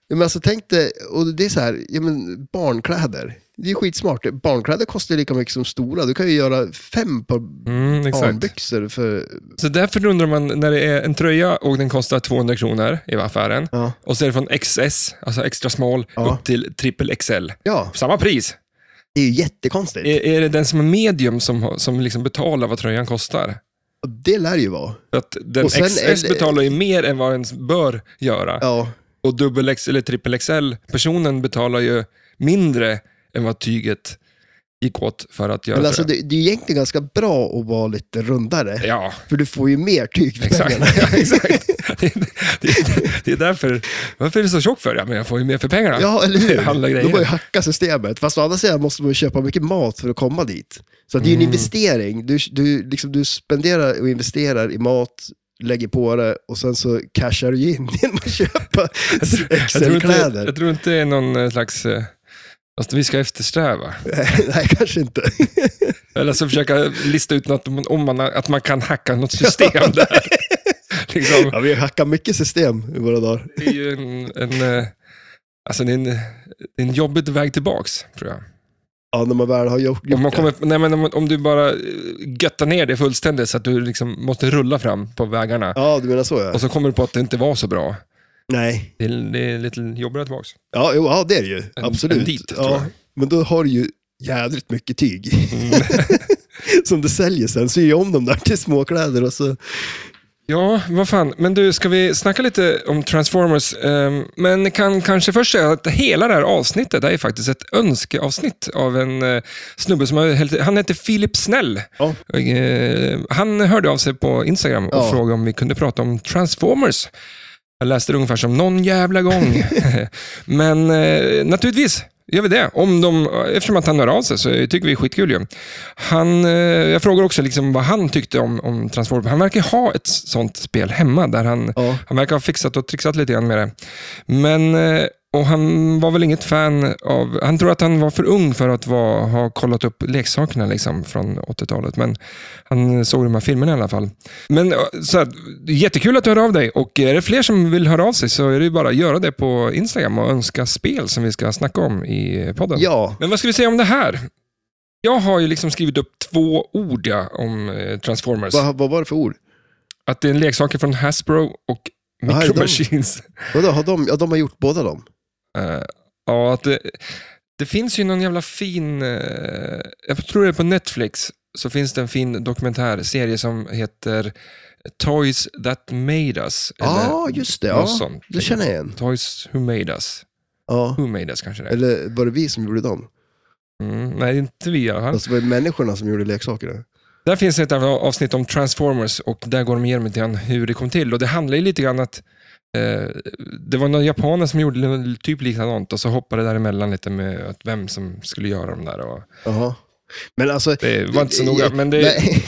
Speaker 2: Ja, Men alltså tänk dig, och det är så här, ja, men barnkläder. Det är ju skitsmart. Barnkläder kostar ju lika mycket som stora. Du kan ju göra fem par
Speaker 1: Mm, exakt.
Speaker 2: barnbyxor för...
Speaker 1: Så därför undrar man när det är en tröja och den kostar 200 kronor i affären.
Speaker 2: Ja.
Speaker 1: Och så är det från XS, alltså extra smal,
Speaker 2: Ja.
Speaker 1: upp till triple XL.
Speaker 2: ja,
Speaker 1: Samma pris.
Speaker 2: det är ju jättekonstigt.
Speaker 1: Är, är det den som är medium som, har- som liksom betalar vad tröjan kostar?
Speaker 2: Och Det lär ju vara.
Speaker 1: För att den
Speaker 2: Och sen
Speaker 1: XS
Speaker 2: är det-
Speaker 1: betalar ju mer än vad den bör göra.
Speaker 2: Ja,
Speaker 1: Och dubbel X eller triple XL-personen betalar ju mindre än vad tyget gick åt för att göra
Speaker 2: men alltså
Speaker 1: tröjan.
Speaker 2: det, det är ju egentligen ganska bra att vara lite rundare.
Speaker 1: Ja,
Speaker 2: För du får ju mer tyg för
Speaker 1: Exakt.
Speaker 2: pengarna.
Speaker 1: Ja, exakt. Det, det, det är därför. Varför är du så tjock för? Ja, men jag får ju mer för pengarna.
Speaker 2: Ja, eller hur?
Speaker 1: Det handlar grejer.
Speaker 2: De har ju hackat systemet. Fast å andra sidan måste man ju köpa mycket mat för att komma dit. Så att det är ju en
Speaker 1: Mm.
Speaker 2: investering. Du, du, liksom, du spenderar och investerar i mat, lägger på det och sen så cashar du in genom att köpa
Speaker 1: jag, tror inte,
Speaker 2: XL-kläder.
Speaker 1: jag tror inte det är någon eh, slags... eh, Alltså, vi ska eftersträva.
Speaker 2: Nej, kanske inte.
Speaker 1: Eller så försöka lista ut något om- om man, att man kan hacka något system där. liksom,
Speaker 2: Ja, vi har hackat mycket system i våra dagar.
Speaker 1: det är ju en, en, eh, alltså, det är en, det är en jobbig väg tillbaks, tror jag.
Speaker 2: Ja, när man väl har gjort,
Speaker 1: Om, man
Speaker 2: gjort det.
Speaker 1: kommer, nej, men om, om du bara eh, göttar ner det fullständigt så att du liksom måste rulla fram på vägarna.
Speaker 2: Ja, du menar så ja.
Speaker 1: Och så kommer du på att det inte var så bra.
Speaker 2: Nej.
Speaker 1: Det är, det är lite jobbigare tillbaka.
Speaker 2: Ja, jo, ja, det är det ju.
Speaker 1: En-
Speaker 2: Absolut.
Speaker 1: en dit, tror
Speaker 2: ja,
Speaker 1: jag. Mm.
Speaker 2: men då har du ju jädrigt mycket tyg. som du säljer sen. Syr ju om dem där till småkläder och så.
Speaker 1: Ja, vad fan. Men du, ska vi snacka lite om Transformers? Ehm, Men kan kanske först säga att hela det här avsnittet är faktiskt ett önskeavsnitt av en eh, snubbe som har, helt- han heter Filip Snäll.
Speaker 2: Ja.
Speaker 1: Eh, Han hörde av sig på Instagram och
Speaker 2: Ja.
Speaker 1: frågade om vi kunde prata om Transformers. Jag läste det ungefär som någon jävla gång. Men eh, naturligtvis gör vi det. Om de, eftersom att han hör av sig så tycker vi det är skitkul ju. Han, eh, jag frågar också liksom vad han tyckte om, om Transformers. Han verkar ha ett sånt spel hemma där han,
Speaker 2: Ja.
Speaker 1: han verkar ha fixat och trixat lite grann med det. Men, eh, och han var väl inget fan av... Han tror att han var för ung för att vara, ha kollat upp leksakerna liksom från 80-talet. Men han såg de här filmerna i alla fall. Men eh, så här, det är jättekul att du hör av dig. Och är det fler som vill höra av sig så är det ju bara att göra det på Instagram och önska spel som vi ska snacka om i podden.
Speaker 2: ja.
Speaker 1: Men vad ska vi säga om det här? Jag har ju liksom skrivit upp två ord ja, om eh, Transformers.
Speaker 2: Vad, vad var det för ord?
Speaker 1: Att det är en leksaker från Hasbro och
Speaker 2: Ja, är
Speaker 1: Micro
Speaker 2: de-
Speaker 1: Machines.
Speaker 2: Vadå, har de, ja, de har gjort båda dem.
Speaker 1: Eh, ja, att det, Det finns ju någon jävla fin, eh, jag tror det är på Netflix, så finns det en fin dokumentärserie som heter Toys That Made Us.
Speaker 2: Ja,
Speaker 1: eller
Speaker 2: Ah,
Speaker 1: Alltså.
Speaker 2: just det.
Speaker 1: något
Speaker 2: Ja,
Speaker 1: sånt.
Speaker 2: det känner jag igen.
Speaker 1: Toys Who Made Us.
Speaker 2: Ja.
Speaker 1: Who Made Us kanske det är.
Speaker 2: Eller var det vi som gjorde dem?
Speaker 1: Mm, nej, inte vi i alla fall.
Speaker 2: Alltså var det människorna som gjorde leksakerna?
Speaker 1: Där finns ett av- avsnitt om Transformers och där går de igenom lite grann hur det kom till. Och det handlar ju lite grann att eh, det var några japaner som gjorde typ likadant och så hoppade det däremellan lite med att vem som skulle göra de där. Och
Speaker 2: Jaha. Men alltså...
Speaker 1: det var inte så noga, men det...
Speaker 2: Nej.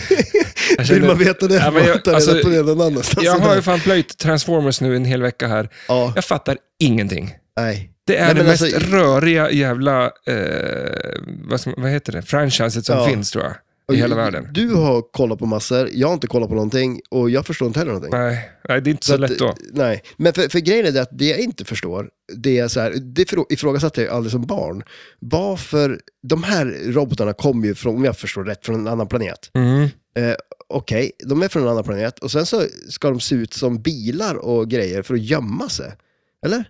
Speaker 1: Jag
Speaker 2: Vill
Speaker 1: känner-
Speaker 2: man veta det
Speaker 1: Ja,
Speaker 2: får
Speaker 1: men
Speaker 2: man
Speaker 1: jag-
Speaker 2: ta reda
Speaker 1: alltså,
Speaker 2: på det någon annanstans.
Speaker 1: Jag har ju fan plöjt Transformers nu en hel vecka här.
Speaker 2: Ja,
Speaker 1: Jag fattar ingenting.
Speaker 2: nej.
Speaker 1: Det är
Speaker 2: Nej,
Speaker 1: det
Speaker 2: men
Speaker 1: mest
Speaker 2: alltså-
Speaker 1: röriga jävla, eh, vad, som, vad heter det, franchiset som
Speaker 2: Ja.
Speaker 1: finns tror jag. I hela världen.
Speaker 2: Du har kollat på massor, jag har inte kollat på någonting och jag förstår inte heller någonting.
Speaker 1: Nej, nej, det är inte så,
Speaker 2: Så att-
Speaker 1: lätt då.
Speaker 2: Nej, men för, för grejen är det att det jag inte förstår, det är så här, det ifrå- ifrågasatte jag ju aldrig som barn. Varför, de här robotarna kommer ju från, om jag förstår rätt, från en annan planet.
Speaker 1: Mm.
Speaker 2: Okej, de är från en annan planet och sen så ska de se ut som bilar och grejer för att gömma sig. Eller?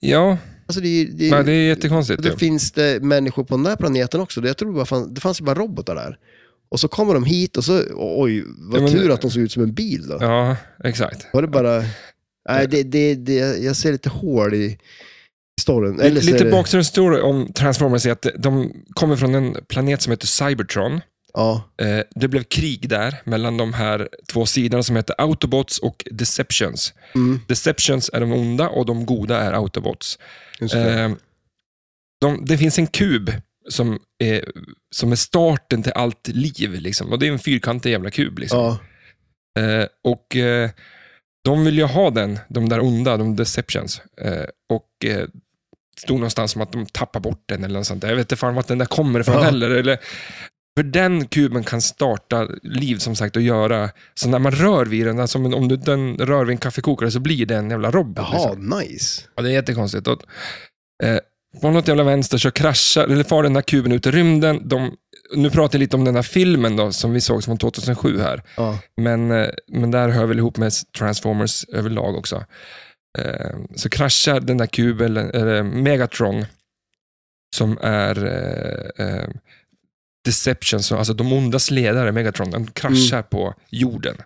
Speaker 1: Ja,
Speaker 2: Alltså det, är- det, är-
Speaker 1: nej, det är jättekonstigt.
Speaker 2: det
Speaker 1: ju.
Speaker 2: finns det människor på den här planeten också. Det- Jag tror bara fan, det fanns ju bara robotar där. Och så kommer de hit och så, oj, vad
Speaker 1: Ja, men-
Speaker 2: tur att de såg ut som en bil då.
Speaker 1: Ja, exakt.
Speaker 2: Var det bara... Nej, det, det, det, jag ser lite hål i storyn.
Speaker 1: Eller
Speaker 2: så är
Speaker 1: lite
Speaker 2: det-
Speaker 1: bakgrundsstory om Transformers är att de kommer från en planet som heter Cybertron.
Speaker 2: Ja,
Speaker 1: Eh, Det blev krig där mellan de här två sidorna som heter Autobots och Deceptions.
Speaker 2: mm,
Speaker 1: Deceptions är de onda och de goda är Autobots.
Speaker 2: just det.
Speaker 1: Eh, de, det finns en kub som är, som är starten till allt liv. Liksom. Och Det är en fyrkantig jävla kub. Liksom.
Speaker 2: ja,
Speaker 1: Eh, och eh, De vill ju ha den, de där onda, de deceptions. Eh, och eh, det stod någonstans som att de tappar bort den eller något sånt. där. Jag vet inte fan vart den där kommer ifrån
Speaker 2: Ja.
Speaker 1: heller. Eller, för den kuben kan starta liv som sagt och göra, så när man rör vid den, alltså, om du den rör vid en kaffekokare så blir det en jävla robot. liksom.
Speaker 2: jaha, nice.
Speaker 1: Ja, det är jättekonstigt. Och, eh, på något jävla vänster så kraschar, eller far den här kuben ut i rymden. De, nu pratar jag lite om den här filmen då, som vi såg från 2007 här.
Speaker 2: Ja,
Speaker 1: Men, eh, men där hör väl ihop med Transformers överlag också. Eh, Så kraschar den där kuben, eller Megatron, som är eh, eh, Deception, så- alltså de ondas ledare, Megatron, den kraschar på jorden.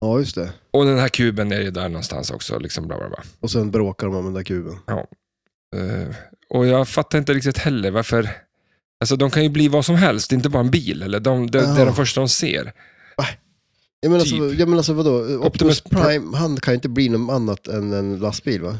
Speaker 2: ja, just det.
Speaker 1: Och den här kuben är ju där någonstans också. Liksom bla bla bla.
Speaker 2: Och sen bråkar de om den där kuben.
Speaker 1: Eh, och jag fattar inte riktigt heller varför... Alltså de kan ju bli vad som helst, inte bara en bil. Eller de, det, det är
Speaker 2: Ja.
Speaker 1: de första de ser.
Speaker 2: Jag menar, alltså,
Speaker 1: Typ.
Speaker 2: jag menar alltså vadå? Optimus,
Speaker 1: Optimus
Speaker 2: Prime, han kan ju inte bli något annat än en lastbil va?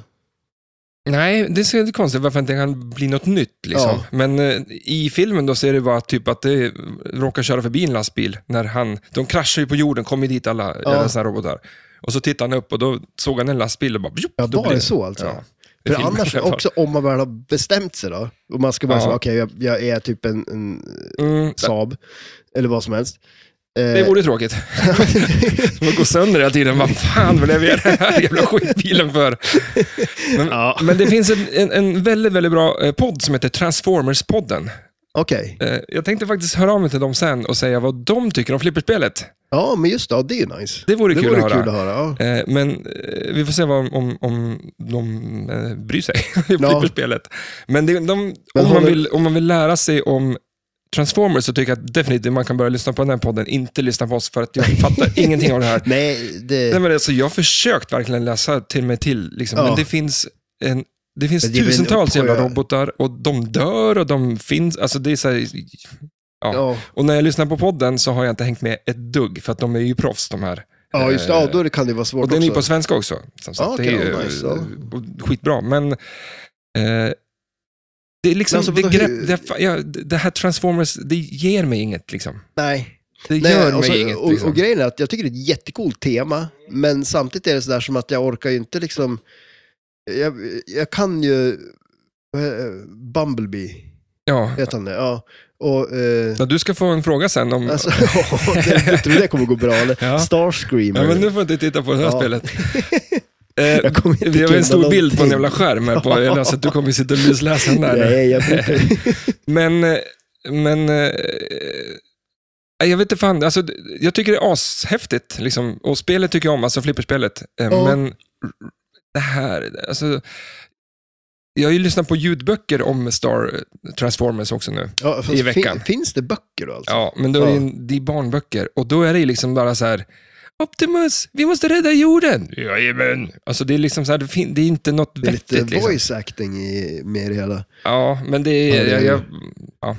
Speaker 1: Nej, det är lite konstigt varför inte det kan bli något nytt. Liksom.
Speaker 2: Ja.
Speaker 1: Men eh, i filmen då ser det bara typ att det råkar köra förbi en lastbil. När han, de kraschar ju på jorden, kommer dit alla
Speaker 2: Ja.
Speaker 1: ja. såna här robotar. Och så tittar han upp och då såg han en lastbil och bara... Bjup,
Speaker 2: Ja,
Speaker 1: då
Speaker 2: var
Speaker 1: blir-
Speaker 2: det så alltså?
Speaker 1: Ja. I
Speaker 2: För
Speaker 1: filmen
Speaker 2: annars,
Speaker 1: i alla fall.
Speaker 2: också om man väl har bestämt sig då, och man ska bara
Speaker 1: Ja.
Speaker 2: säga okej, jag, jag är typ en, en
Speaker 1: Mm,
Speaker 2: Saab, eller vad som helst. Eh,
Speaker 1: det vore tråkigt. De går sönder hela tiden. Vad fan blev jag den här jävla skitbilen för? Men,
Speaker 2: Ja.
Speaker 1: men det finns en, en, en väldigt, väldigt bra eh, podd som heter Transformers-podden.
Speaker 2: Okej,
Speaker 1: Eh, Jag tänkte faktiskt höra av mig till dem sen och säga vad de tycker om flipperspelet.
Speaker 2: ja men just det, ja, det är ju nice.
Speaker 1: Det vore,
Speaker 2: Det
Speaker 1: kul,
Speaker 2: vore
Speaker 1: att
Speaker 2: kul att
Speaker 1: höra.
Speaker 2: höra. Ja.
Speaker 1: Eh, Men eh, vi får se vad, om, om de eh, bryr sig i
Speaker 2: Ja.
Speaker 1: flipperspelet. Men, det, de,
Speaker 2: Men
Speaker 1: om, man
Speaker 2: håller-
Speaker 1: vill, om man vill lära sig om Transformers så tycker jag att definitivt man kan börja lyssna på den här podden, inte lyssna på oss för att jag fattar ingenting av det här.
Speaker 2: Nej, det...
Speaker 1: Nej, men alltså, jag har försökt verkligen läsa till mig till, liksom,
Speaker 2: Ja.
Speaker 1: men det finns, en, det finns
Speaker 2: Men det är väl en
Speaker 1: tusentals jävla
Speaker 2: uppsjö.
Speaker 1: robotar och de dör och de finns. Alltså, det är så här,
Speaker 2: ja.
Speaker 1: och när jag lyssnar på podden så har jag inte hängt med ett dugg, för att de är ju proffs de här. Eh,
Speaker 2: ja, just det. Ja, då kan det vara svårt
Speaker 1: Och den är ju på
Speaker 2: också.
Speaker 1: svenska också. Som sagt,
Speaker 2: Ja,
Speaker 1: det är
Speaker 2: okej,
Speaker 1: ju
Speaker 2: ja, nice, ja.
Speaker 1: och skitbra, men eh, det är liksom,
Speaker 2: Men alltså,
Speaker 1: det,
Speaker 2: vadå,
Speaker 1: grepp,
Speaker 2: hur-
Speaker 1: det, ja, det här Transformers, det ger mig inget liksom.
Speaker 2: Nej.
Speaker 1: Det
Speaker 2: Nej,
Speaker 1: gör mig
Speaker 2: och, så-
Speaker 1: inget.
Speaker 2: och,
Speaker 1: liksom.
Speaker 2: och grejen är att jag tycker det är ett jättekult tema, men samtidigt är det sådär som att jag orkar ju inte liksom... Jag, jag kan ju... eh, Bumblebee,
Speaker 1: ja.
Speaker 2: heter han det? Ja. Och... eh,
Speaker 1: Ja, du ska få en fråga sen om...
Speaker 2: alltså, det, du tror det kommer gå bra eller?
Speaker 1: Mm. Ja.
Speaker 2: Starscreamer.
Speaker 1: ja, men nu får du inte titta på det här
Speaker 2: Ja.
Speaker 1: spelet. Eh,
Speaker 2: jag kommer inte
Speaker 1: vi har
Speaker 2: kunna
Speaker 1: en stor bild på en
Speaker 2: någonting.
Speaker 1: jävla skärm här, på, eller, så att du kommer sitta och lusläsa den där.
Speaker 2: Nej, jag brukar...
Speaker 1: Men, eh, men eh, eh, jag vet inte fan, alltså, d- jag tycker det är ashäftigt. Liksom. Och spelet tycker jag om, alltså flipperspelet. Eh,
Speaker 2: Ja.
Speaker 1: Men det här, alltså, Jag har ju lyssnat på ljudböcker om Star Transformers också nu.
Speaker 2: Ja, fast
Speaker 1: I veckan.
Speaker 2: Fin, finns det böcker då alltså?
Speaker 1: Ja, men då är det, ju- det är barnböcker och då är det ju liksom bara så här Optimus, vi måste rädda jorden! Jajamän! Alltså det är liksom så här, det, fin- det är inte något
Speaker 2: det är
Speaker 1: vettigt.
Speaker 2: lite
Speaker 1: liksom.
Speaker 2: voice acting i, med det hela.
Speaker 1: Ja, men det är...
Speaker 2: Ja, det är-
Speaker 1: Jag, jag, ja.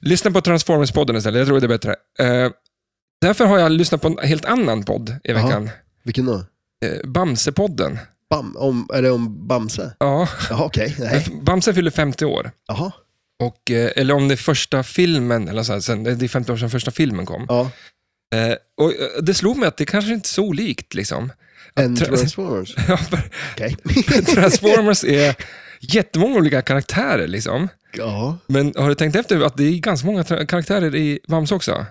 Speaker 1: Lyssna på Transformers-podden istället, jag tror det är bättre. Eh, därför har jag lyssnat på en helt annan podd i
Speaker 2: Jaha.
Speaker 1: veckan.
Speaker 2: Vilken då?
Speaker 1: Uh, Bamse-podden.
Speaker 2: Bam, om, är det om Bamse?
Speaker 1: Ja,
Speaker 2: Jaha, okej. Nej.
Speaker 1: Bamse fyller 50 år.
Speaker 2: Jaha.
Speaker 1: Och, eh, eller om det är första filmen, eller så här, sen, det är 50 år sedan första filmen kom.
Speaker 2: Ja.
Speaker 1: Eh, och eh, det slog mig att det kanske inte är så olikt. Liksom.
Speaker 2: En
Speaker 1: tra-
Speaker 2: Transformers.
Speaker 1: Ja, för
Speaker 2: Okej.
Speaker 1: Transformers är jättemånga olika karaktärer. Liksom.
Speaker 2: ja.
Speaker 1: Men har du tänkt efter att det är ganska många tra- karaktärer i Bamse också?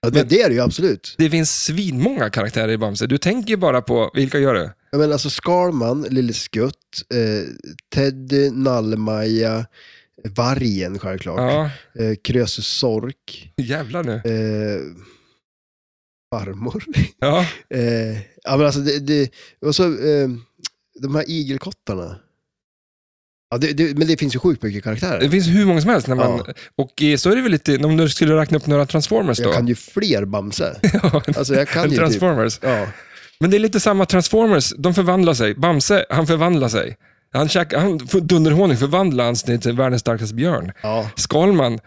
Speaker 2: ja, det, det är det ju absolut.
Speaker 1: Det finns svinmånga karaktärer i Bamse. Du tänker ju bara på, vilka gör du?
Speaker 2: Jag menar alltså Skalman, Lille Skutt, eh, Teddy, Nallemaja, Vargen självklart,
Speaker 1: Ja,
Speaker 2: eh, Krösus Sork,
Speaker 1: jävlar nu.
Speaker 2: eh, Farmor.
Speaker 1: Ja,
Speaker 2: eh, ja, men alltså det, det, och så eh, de här igelkottarna. Ja, det, det, men det finns ju sjukt mycket
Speaker 1: det
Speaker 2: karaktärer.
Speaker 1: finns hur många som helst. När man, Och eh, så är det väl lite, om du skulle räkna upp några Transformers då.
Speaker 2: Jag kan ju fler Bamse.
Speaker 1: Ja,
Speaker 2: Alltså jag kan ju typ,
Speaker 1: Transformers.
Speaker 2: ja.
Speaker 1: Men det är lite samma Transformers, de förvandlar sig. Bamse, han förvandlar sig. Han, käk, han får dunderhonung förvandlar han sig till världens starkaste björn.
Speaker 2: ja.
Speaker 1: Skalman, det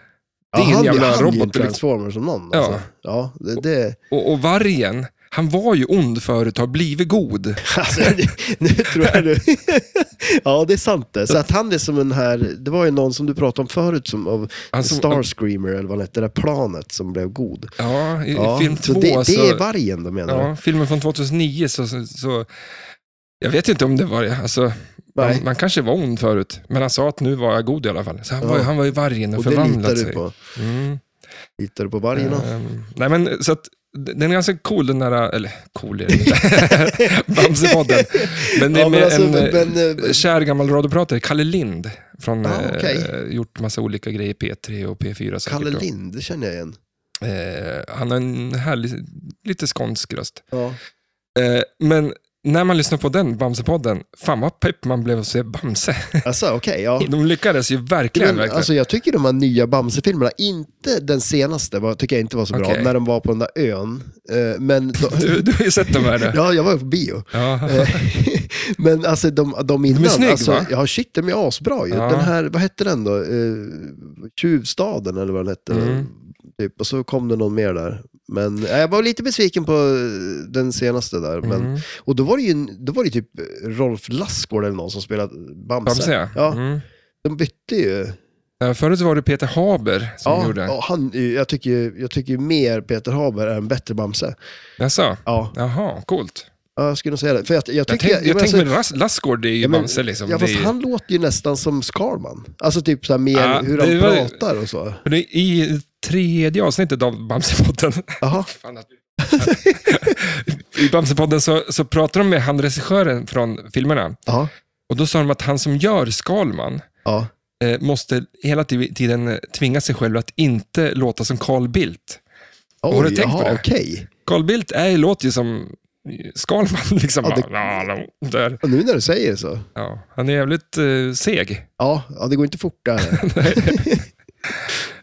Speaker 2: Ja,
Speaker 1: är en
Speaker 2: han,
Speaker 1: jävla
Speaker 2: han är ju en
Speaker 1: robot. liksom.
Speaker 2: transformer som någon.
Speaker 1: Ja.
Speaker 2: Alltså. Ja, det, det,
Speaker 1: Och, och vargen, han var ju ond förut, har blivit god.
Speaker 2: alltså, det, nu tror jag du... ja, det är sant det. Så att han är som den här, det var ju någon som du pratade om förut, som av
Speaker 1: Han som-
Speaker 2: Starscreamer eller vad han hette, det där planet som blev god.
Speaker 1: Ja, i
Speaker 2: Ja,
Speaker 1: i film
Speaker 2: så
Speaker 1: två
Speaker 2: det,
Speaker 1: så...
Speaker 2: det är vargen då menar du?
Speaker 1: ja, filmen från 2009 så, så, så... Jag vet inte om det var det. Alltså,
Speaker 2: Nej.
Speaker 1: man, man kanske var ond förut, men han sa att nu var jag god i alla fall. Så han,
Speaker 2: Ja.
Speaker 1: var, ju- han var ju vargen och,
Speaker 2: Och det litar
Speaker 1: förvandlade sig.
Speaker 2: du på?
Speaker 1: Mm.
Speaker 2: Litar du på vargen? då?
Speaker 1: Ehm, nej men så att, den är ganska cool den där, eller cool är den inte. Bamsepodden. Men det är
Speaker 2: Ja,
Speaker 1: med
Speaker 2: men alltså,
Speaker 1: en eh,
Speaker 2: men, eh,
Speaker 1: kär gammal radiopratare, Kalle Lind, från,
Speaker 2: Ah,
Speaker 1: eh,
Speaker 2: okej.
Speaker 1: gjort massa olika grejer, P3 och P4 säkert.
Speaker 2: Kalle
Speaker 1: då.
Speaker 2: Lind, det känner jag igen.
Speaker 1: Eh, han har en härlig, lite skånsk röst.
Speaker 2: Ja.
Speaker 1: Eh, men när man lyssnar på den, Bamsepodden, fan vad pepp man blev att se Bamse.
Speaker 2: Alltså okej, ja.
Speaker 1: De lyckades ju verkligen.
Speaker 2: Men,
Speaker 1: verkligen.
Speaker 2: alltså, jag tycker de här nya Bamse-filmerna, inte den senaste, var, tycker jag inte var så bra,
Speaker 1: Okej.
Speaker 2: när de var på den där ön. Eh, Men de,
Speaker 1: du, du har ju sett de här. nu.
Speaker 2: ja, jag var ju på bio.
Speaker 1: Ja.
Speaker 2: Eh, men alltså de, de innan,
Speaker 1: är snygg,
Speaker 2: alltså,
Speaker 1: va?
Speaker 2: ja shit, de är asbra ju.
Speaker 1: Ja.
Speaker 2: Den här, vad hette den då? Eh, Tjuvstaden eller vad den hette.
Speaker 1: Mm.
Speaker 2: Typ. Och så kom det någon mer där. Men eh, jag var lite besviken på eh, den senaste där. Men,
Speaker 1: Mm.
Speaker 2: och då var det ju en- då var det typ Rolf Lassgård eller någon som spelade Bamse.
Speaker 1: Bamse, ja.
Speaker 2: Ja,
Speaker 1: Mm.
Speaker 2: De bytte ju.
Speaker 1: Eh, Förut så var det Peter Haber som
Speaker 2: Ja,
Speaker 1: gjorde.
Speaker 2: ja, han, jag, tycker, ju- jag tycker ju mer Peter Haber är en bättre Bamse.
Speaker 1: Jaså?
Speaker 2: Ja,
Speaker 1: Jaha, coolt.
Speaker 2: ja, jag skulle nog säga det. För jag, jag
Speaker 1: Jag,
Speaker 2: tycker...
Speaker 1: tänk, jag,
Speaker 2: men alltså-
Speaker 1: tänkte med Ras- Lassgård, det är ju
Speaker 2: Ja, men-
Speaker 1: Bamse liksom.
Speaker 2: Ja,
Speaker 1: det
Speaker 2: fast
Speaker 1: är, ju-
Speaker 2: han låter ju nästan som Skarman. Alltså typ så här mer
Speaker 1: Ja,
Speaker 2: hur
Speaker 1: det
Speaker 2: han
Speaker 1: var-
Speaker 2: pratar och så.
Speaker 1: För det är I tredje avsnittet av Bamsepodden,
Speaker 2: Jaha,
Speaker 1: Fan, att- i Bamsepodden så, så pratar de med han regissören från filmerna.
Speaker 2: ja,
Speaker 1: Och då sa de att han som gör Skalman
Speaker 2: ja.
Speaker 1: eh, måste hela ti- tiden eh, tvinga sig själv att inte låta som Carl Bildt.
Speaker 2: Oj,
Speaker 1: Har du tänkt på
Speaker 2: jaha,
Speaker 1: det?
Speaker 2: okej.
Speaker 1: Carl Bildt är, låter ju som Skalman. Liksom.
Speaker 2: Ja,
Speaker 1: Ja,
Speaker 2: det-
Speaker 1: där.
Speaker 2: Ja, nu när du säger det så.
Speaker 1: Ja, han är jävligt eh, seg.
Speaker 2: Ja, ja, det går inte fortare.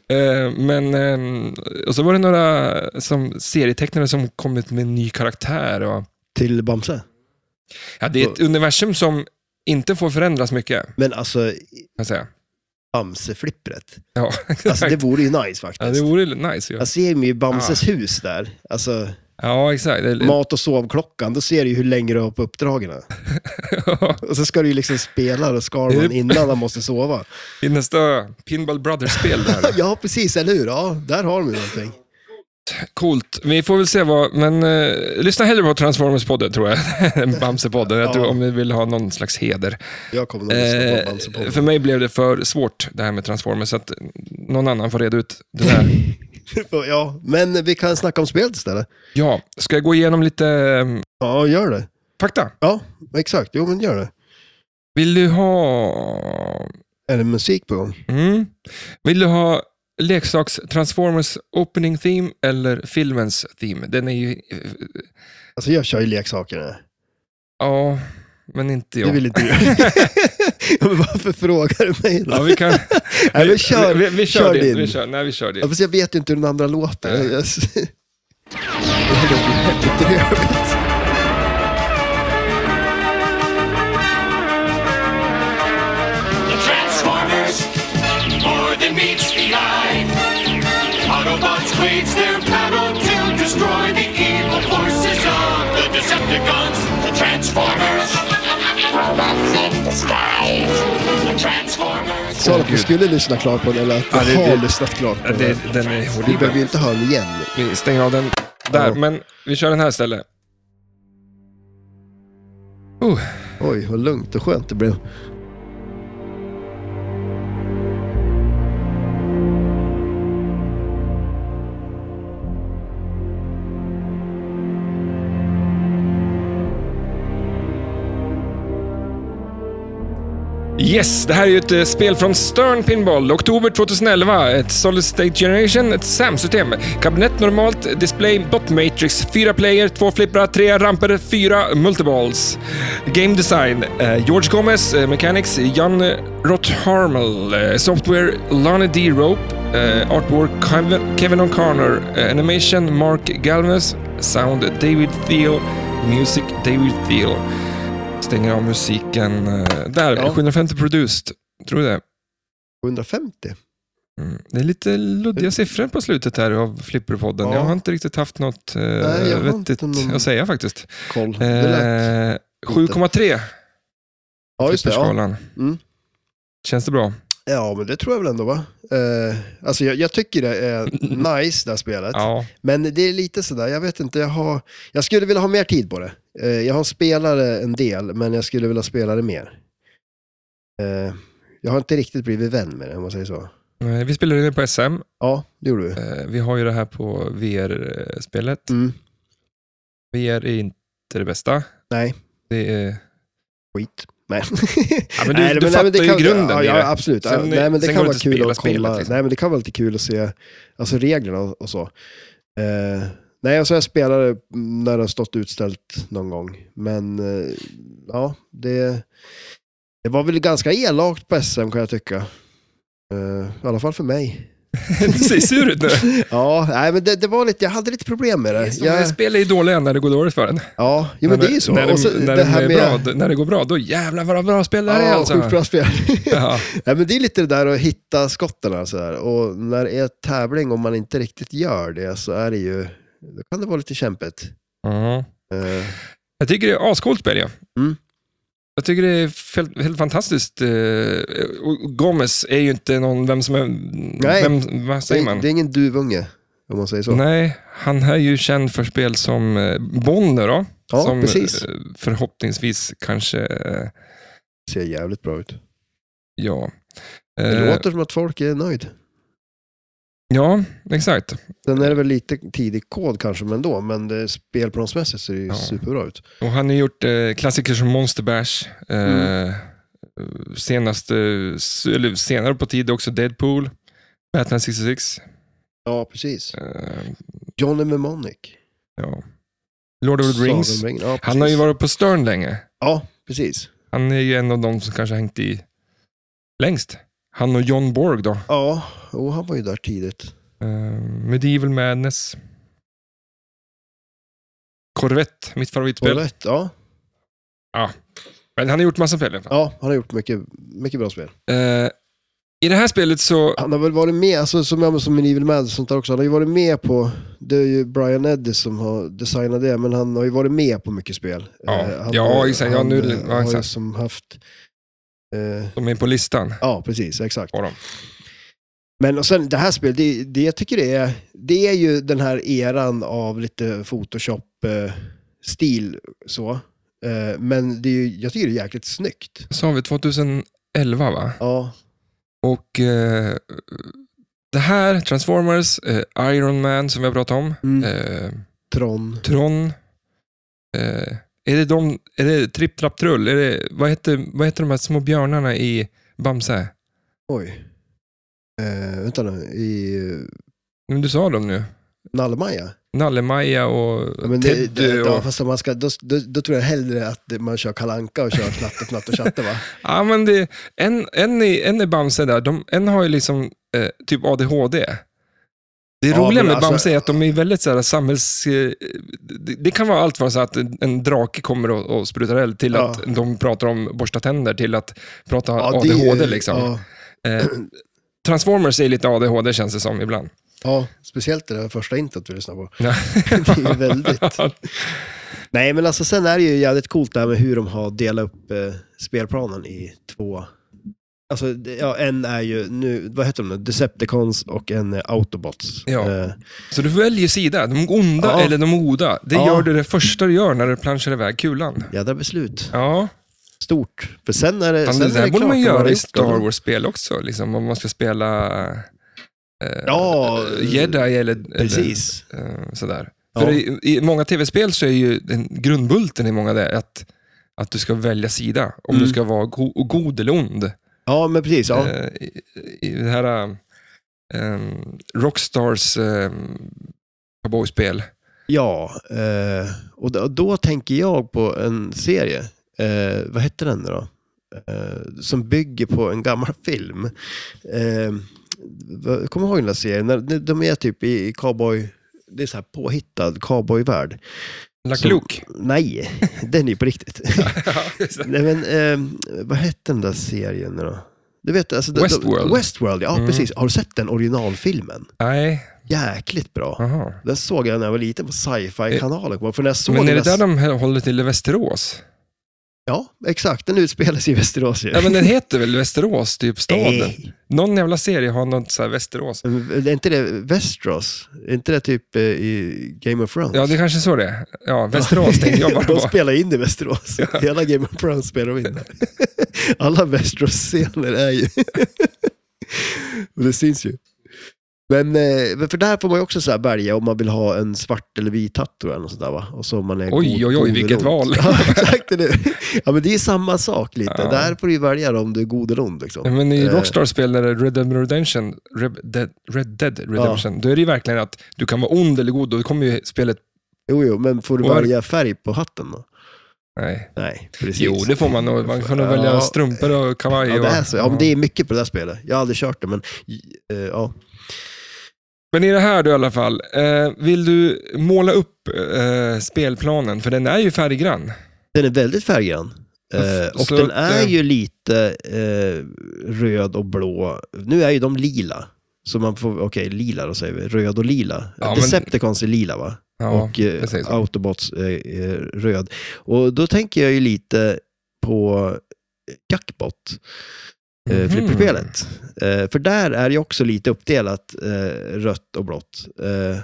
Speaker 1: Eh, men, ehm, och så var det några som serietecknare som kommit med en ny karaktär. Och,
Speaker 2: Till Bamse.
Speaker 1: ja, det är ett universum som inte får förändras mycket, kan
Speaker 2: Men alltså,
Speaker 1: jag säga.
Speaker 2: Bamse-flippret.
Speaker 1: Ja,
Speaker 2: Alltså
Speaker 1: exakt.
Speaker 2: det Alltså, vore ju nice
Speaker 1: ja, det
Speaker 2: faktiskt.
Speaker 1: vore nice ju.
Speaker 2: Jag ser ju i Bamses hus där. Alltså,
Speaker 1: Ja, exakt. Eller-
Speaker 2: mat och sovklockan, då ser du ju hur länge du har på uppdragen. Och så ska du ju liksom spela då Skarman
Speaker 1: Är det-
Speaker 2: innan han måste sova.
Speaker 1: I nästa Pinball Brothers-spel. Där.
Speaker 2: Ja, precis, eller hur? Ja, där har de ju någonting.
Speaker 1: Coolt. Vi får väl se vad... Men eh, lyssna hellre på Transformers-podden, tror jag, än Bamse-podden. Jag
Speaker 2: Ja.
Speaker 1: tror, om ni vill ha någon slags heder.
Speaker 2: Jag kommer nog lyssna på
Speaker 1: Eh,
Speaker 2: Bamse på.
Speaker 1: för mig blev det för svårt, det här med Transformers, så att någon annan får reda ut det där.
Speaker 2: Ja, men vi kan snacka om spelet istället.
Speaker 1: Ja, ska jag gå igenom lite ehm,
Speaker 2: Ja, gör det.
Speaker 1: fakta?
Speaker 2: Ja, exakt. Jo, men gör det.
Speaker 1: Vill du ha...
Speaker 2: Är det musik på gång?
Speaker 1: Mm. Vill du ha leksaks Transformers opening theme eller filmens theme? Den är ju... eh,
Speaker 2: Alltså, jag kör ju leksakerna.
Speaker 1: Ja, men inte
Speaker 2: Det
Speaker 1: jag.
Speaker 2: vill inte du. Ja, men varför frågar du mig då?
Speaker 1: Ja, vi kan...
Speaker 2: Nej, men kör,
Speaker 1: vi, vi, vi kör,
Speaker 2: kör
Speaker 1: din.
Speaker 2: din.
Speaker 1: Vi kör, nej, vi kör
Speaker 2: Ja,
Speaker 1: din.
Speaker 2: fast jag vet ju inte hur den andra låter.
Speaker 1: Nej.
Speaker 2: Jag- jag- Det låter ju jättetrevligt.
Speaker 3: The Transformers, more than meets the eye. Autobots wage their battle to destroy the evil forces of the Decepticons. The Transformers, robots in disguise. The Transformers.
Speaker 2: Sa du att du skulle lyssna klart på den eller att du
Speaker 1: Ja, det-
Speaker 2: har
Speaker 1: det-
Speaker 2: lyssnat klart på
Speaker 1: Ja,
Speaker 2: den?
Speaker 1: det, den är
Speaker 2: Vi behöver ju
Speaker 1: horribel.
Speaker 2: inte höra den igen.
Speaker 1: Vi stänger av den där,
Speaker 2: Ja.
Speaker 1: men vi kör den här istället. Oh,
Speaker 2: Oj, vad lugnt och skönt det blev.
Speaker 1: Yes, det här är ju ett eh, spel från Stern Pinball, oktober 2011. Ett Solid State Generation, ett SAM-system. Kabinett normalt, display, bot matrix, fyra player, två flipprar, tre ramper, fyra multiballs. Game design, eh, George Gomez, eh, mechanics, Jan eh, Rotharmel, eh, software, Lonnie D. Rope, eh, artwork, Kev- Kevin O'Connor, eh, animation, Mark Galvez, sound, David Thiel, music, David Thiel. Stänger av musiken. eh, Där,
Speaker 2: Ja.
Speaker 1: 750 produced. Tror du det?
Speaker 2: 150?
Speaker 1: Mm. Det är lite luddiga siffror på slutet här av Flipperpodden.
Speaker 2: Eh. Ja.
Speaker 1: Jag har inte riktigt haft något eh,
Speaker 2: jag har inte
Speaker 1: vettigt
Speaker 2: någon-
Speaker 1: att säga faktiskt.
Speaker 2: Koll.
Speaker 1: Eh,
Speaker 2: Det lät.
Speaker 1: 7,3
Speaker 2: Ja, just det. Ja.
Speaker 1: flipperskalan.
Speaker 2: Mm.
Speaker 1: Känns det bra?
Speaker 2: ja, men det tror jag väl ändå va? Eh, alltså jag, jag tycker det är nice det här spelet.
Speaker 1: Ja.
Speaker 2: Men det är lite sådär, jag vet inte, jag, har, jag skulle vilja ha mer tid på det. Eh, jag har spelat det en del, men jag skulle vilja spela det mer. Eh, jag har inte riktigt blivit vän med det, om man säger så.
Speaker 1: Eh, Vi spelade in det på SM.
Speaker 2: Ja, det gjorde du.
Speaker 1: Eh, Vi har ju det här på VR-spelet.
Speaker 2: Mm,
Speaker 1: VR är inte det bästa.
Speaker 2: nej,
Speaker 1: Det är...
Speaker 2: skit. Nej.
Speaker 1: Ja, men du, du fattar ju
Speaker 2: kan,
Speaker 1: grunden
Speaker 2: ja,
Speaker 1: i det.
Speaker 2: ja, absolut. Ja,
Speaker 1: Sen-
Speaker 2: nej, men det
Speaker 1: sen
Speaker 2: kan
Speaker 1: går
Speaker 2: vara
Speaker 1: det inte att
Speaker 2: kul
Speaker 1: spela
Speaker 2: att kolla.
Speaker 1: spelet, liksom.
Speaker 2: Nej, men det kan vara lite kul att se alltså, reglerna och, och så. Eh, nej, alltså jag spelade när det har stått utställt någon gång. Men eh, ja, det, det var väl ganska elakt på SM kan jag tycka. Eh, I alla fall för mig.
Speaker 1: Du ser sur ut nu.
Speaker 2: Ja, nej, men det, det var lite, jag hade lite problem med det.
Speaker 1: Jag...
Speaker 2: Jag,
Speaker 1: Spel är ju dåliga när det går dåligt för en.
Speaker 2: ja, jo, men det är ju så.
Speaker 1: När,
Speaker 2: Och så
Speaker 1: när,
Speaker 2: det
Speaker 1: det
Speaker 2: här
Speaker 1: är
Speaker 2: med-
Speaker 1: bra, när det går bra, då jävlar vad bra spel det här är
Speaker 2: Ja,
Speaker 1: alltså.
Speaker 2: sjukt bra spel.
Speaker 1: Ja.
Speaker 2: Nej, men det är lite det där att hitta skotten. här, så här. Och när det är tävling och man inte riktigt gör det så är det ju, då kan det vara lite kämpigt.
Speaker 1: Mhm.
Speaker 2: Eh,
Speaker 1: Jag tycker det är ascoolt spel. Ja.
Speaker 2: Mm.
Speaker 1: Jag tycker det är fel- helt fantastiskt. eh, och Gomez är ju inte någon, vem som är,
Speaker 2: Nej.
Speaker 1: vem, vad säger
Speaker 2: det,
Speaker 1: man?
Speaker 2: det är ingen duvunge, om man säger så.
Speaker 1: Nej, han är ju känd för spel som eh, Bonner då.
Speaker 2: Ja,
Speaker 1: som
Speaker 2: precis.
Speaker 1: eh, förhoppningsvis kanske, eh,
Speaker 2: ser jävligt bra ut.
Speaker 1: ja.
Speaker 2: Det
Speaker 1: Eh,
Speaker 2: låter som att folk är nöjd.
Speaker 1: Ja, exakt.
Speaker 2: Sen är det väl lite tidig kod kanske, men då. Men det, spelplansmässigt ser det ju
Speaker 1: Ja.
Speaker 2: superbra ut.
Speaker 1: Och han har gjort eh, klassiker som Monster Bash. Eh,
Speaker 2: Mm.
Speaker 1: senast, eh, s- eller senare på tid också Deadpool, Batman 66.
Speaker 2: Ja, precis.
Speaker 1: Eh,
Speaker 2: Johnny Mnemonic.
Speaker 1: ja. Lord of the
Speaker 2: Sagan om
Speaker 1: Rings.
Speaker 2: ringen. Ja,
Speaker 1: Han har ju
Speaker 2: precis.
Speaker 1: varit på Stern länge.
Speaker 2: Ja, precis.
Speaker 1: Han är ju en av de som kanske har hängt i längst. Han och John Borg då.
Speaker 2: Ja, och han var ju där tidigt.
Speaker 1: Eh, Medieval Madness. Corvette, mitt
Speaker 2: Och
Speaker 1: favoritspel.
Speaker 2: rätt, ja.
Speaker 1: Men han har gjort massa spel i alla fall.
Speaker 2: ja, han har gjort mycket, mycket bra spel.
Speaker 1: Eh, I det här spelet så...
Speaker 2: Han har väl varit med, alltså, som jag som Medieval Mad och sånt där också, han har ju varit med på, det är ju Brian Eddy som har designat det, men han har ju varit med på mycket spel.
Speaker 1: Ja.
Speaker 2: Eh, han,
Speaker 1: Ja, exakt. Ja,
Speaker 2: Han,
Speaker 1: nu-
Speaker 2: eh,
Speaker 1: ja,
Speaker 2: har ju
Speaker 1: exakt.
Speaker 2: som haft, eh,
Speaker 1: De är på listan
Speaker 2: ja precis, exakt.
Speaker 1: på dem.
Speaker 2: Men och sen det här spelet, det, det jag tycker det är, det är ju den här eran av lite Photoshop-stil så. Eh, men det är ju, jag tycker det är jäkligt snyggt.
Speaker 1: sa vi 2011 va?
Speaker 2: Ja,
Speaker 1: Och eh, det här, Transformers, eh, Iron Man som vi har pratat om,
Speaker 2: Mm.
Speaker 1: eh,
Speaker 2: Tron.
Speaker 1: Tron. Eh, är det de, är det Tripp Trapp Trull? Är det, vad, heter, vad heter de här små björnarna i Bamse?
Speaker 2: Oj. Eh, vänta nu, i...
Speaker 1: Men du sa dem nu.
Speaker 2: Nallemaja?
Speaker 1: Nalle-Maja och
Speaker 2: Ja, men det,
Speaker 1: Teddy
Speaker 2: det,
Speaker 1: och...
Speaker 2: ja, fast om man ska, då, då, då tror jag hellre att man kör kalanka och kör knatte, knatte och chatte va?
Speaker 1: Ja, men det, en, en, är, en är Bamse där, de, en har ju liksom eh, typ ADHD. Det
Speaker 2: Ja,
Speaker 1: roliga
Speaker 2: men
Speaker 1: med
Speaker 2: alltså-
Speaker 1: Bamse är att de är väldigt så här, samhälls... Eh, det, det kan vara allt från så att en, en drake kommer och, och sprutar eld till
Speaker 2: Ja.
Speaker 1: att de pratar om borsta tänder till att prata
Speaker 2: det-
Speaker 1: ADHD. liksom.
Speaker 2: Ja,
Speaker 1: Eh, Transformers är lite ADHD känns det som ibland.
Speaker 2: ja, speciellt det där första introt vi lyssnade på.
Speaker 1: Ja.
Speaker 2: Det är ju väldigt... Nej, men alltså sen är det ju jävligt coolt det här med hur de har delat upp eh, spelplanen i två... Alltså, det- ja, en är ju nu, vad heter de nu? Decepticons och en eh, Autobots.
Speaker 1: Ja.
Speaker 2: Eh,
Speaker 1: Så du väljer sida, de onda
Speaker 2: Ja.
Speaker 1: eller de goda. Det
Speaker 2: Ja.
Speaker 1: gör du det första du gör när du planschar iväg kulan.
Speaker 2: jädra beslut.
Speaker 1: Ja.
Speaker 2: Stort. För sen är det,
Speaker 1: Fan,
Speaker 2: sen
Speaker 1: det
Speaker 2: är
Speaker 1: där
Speaker 2: det
Speaker 1: borde
Speaker 2: klart
Speaker 1: man
Speaker 2: vad har
Speaker 1: göra i
Speaker 2: gjort då.
Speaker 1: Star Wars-spel också, liksom, om man ska spela eh,
Speaker 2: Ja, eh,
Speaker 1: Jedi eller,
Speaker 2: Precis.
Speaker 1: eller eh, sådär.
Speaker 2: Ja.
Speaker 1: För i, i många tv-spel så är ju den grundbulten i många det att, att du ska välja sida, om
Speaker 2: Mm.
Speaker 1: du ska vara go- god eller ond.
Speaker 2: Ja, men precis. Ja.
Speaker 1: Eh, i, I det här eh, Rockstars eh, cowboyspel.
Speaker 2: Ja, eh, och då, då tänker jag på en serie. Eh, vad hette den nu då? Eh, som bygger på en gammal film. Eh, vad- kommer du ihåg den där serien? När- de- De är typ i i cowboy... Det är så här påhittad cowboyvärld.
Speaker 1: Lucky
Speaker 2: Som-
Speaker 1: Luke.
Speaker 2: Nej, den är ju på riktigt. Nej, men eh, vad hette den där serien nu då? Du vet, alltså, de- de-
Speaker 1: Westworld.
Speaker 2: Westworld, ja
Speaker 1: Mm.
Speaker 2: precis. Har du sett den originalfilmen?
Speaker 1: Nej,
Speaker 2: Jäkligt bra.
Speaker 1: jaha.
Speaker 2: Den såg jag när jag var liten på sci-fi-kanalen. För när jag såg
Speaker 1: Eh, Men är det
Speaker 2: den
Speaker 1: där de håller till i Västerås?
Speaker 2: Ja, exakt. Den utspelas i Västerås ju.
Speaker 1: Ja, men den heter väl Västerås, typ staden?
Speaker 2: Nej,
Speaker 1: Någon jävla serie har något så här Västerås.
Speaker 2: är inte det Västerås? Är inte det typ eh, i Game of Thrones?
Speaker 1: Ja, det är kanske så det är. Ja, Västerås tänkte jag bara
Speaker 2: De
Speaker 1: på.
Speaker 2: spelar in i Västerås. Hela Game of Thrones spelar de in där. Alla Västerås-scener är ju... Och det syns ju. Men eh, men för där får man ju också så här välja om man vill ha en svart eller vit hatt tror jag. Och så där, va? Och så om man är
Speaker 1: Oj,
Speaker 2: god-
Speaker 1: oj,
Speaker 2: god
Speaker 1: oj,
Speaker 2: eller
Speaker 1: vilket
Speaker 2: ond.
Speaker 1: val.
Speaker 2: Ja, exakt. Eller? hur? Ja, men det är samma sak lite.
Speaker 1: Ja. Mm.
Speaker 2: Där får du ju välja om du är god eller ond. Liksom.
Speaker 1: Ja, Men i
Speaker 2: Eh.
Speaker 1: Rockstar spelade Red Dead Redemption, Red Dead, Red Dead Redemption, då är det ju verkligen att du kan vara ond eller god, då kommer ju spelet...
Speaker 2: Jo, jo, men får du
Speaker 1: Och-
Speaker 2: välja färg på hatten då?
Speaker 1: Nej.
Speaker 2: Nej, precis.
Speaker 1: Jo, det får man nog. Man kan nog välja
Speaker 2: Ja.
Speaker 1: strumpor och kavaj.
Speaker 2: Ja, det är
Speaker 1: och-
Speaker 2: så. Ja, men det är mycket på det där spelet. Jag har aldrig kört det, men eh, ja.
Speaker 1: Men i det här då i alla fall, eh, vill du måla upp eh, spelplanen? För den är ju färggrann.
Speaker 2: Den är väldigt färggrann. Eh, och
Speaker 1: Så
Speaker 2: den
Speaker 1: att,
Speaker 2: är
Speaker 1: eh,
Speaker 2: ju lite eh, röd och blå. Nu är ju de lila. Så man får, okej, lila då säger vi. Röd och lila.
Speaker 1: Ja, men-
Speaker 2: Decepticons är lila va?
Speaker 1: Ja,
Speaker 2: och
Speaker 1: jag säger
Speaker 2: eh,
Speaker 1: så.
Speaker 2: Autobots eh, är röd. Och då tänker jag ju lite på eh, Jackpot.
Speaker 1: Mhm.
Speaker 2: Mm. Flipperspelet. Eh, för där är ju också lite uppdelat eh, rött och blått. Eh,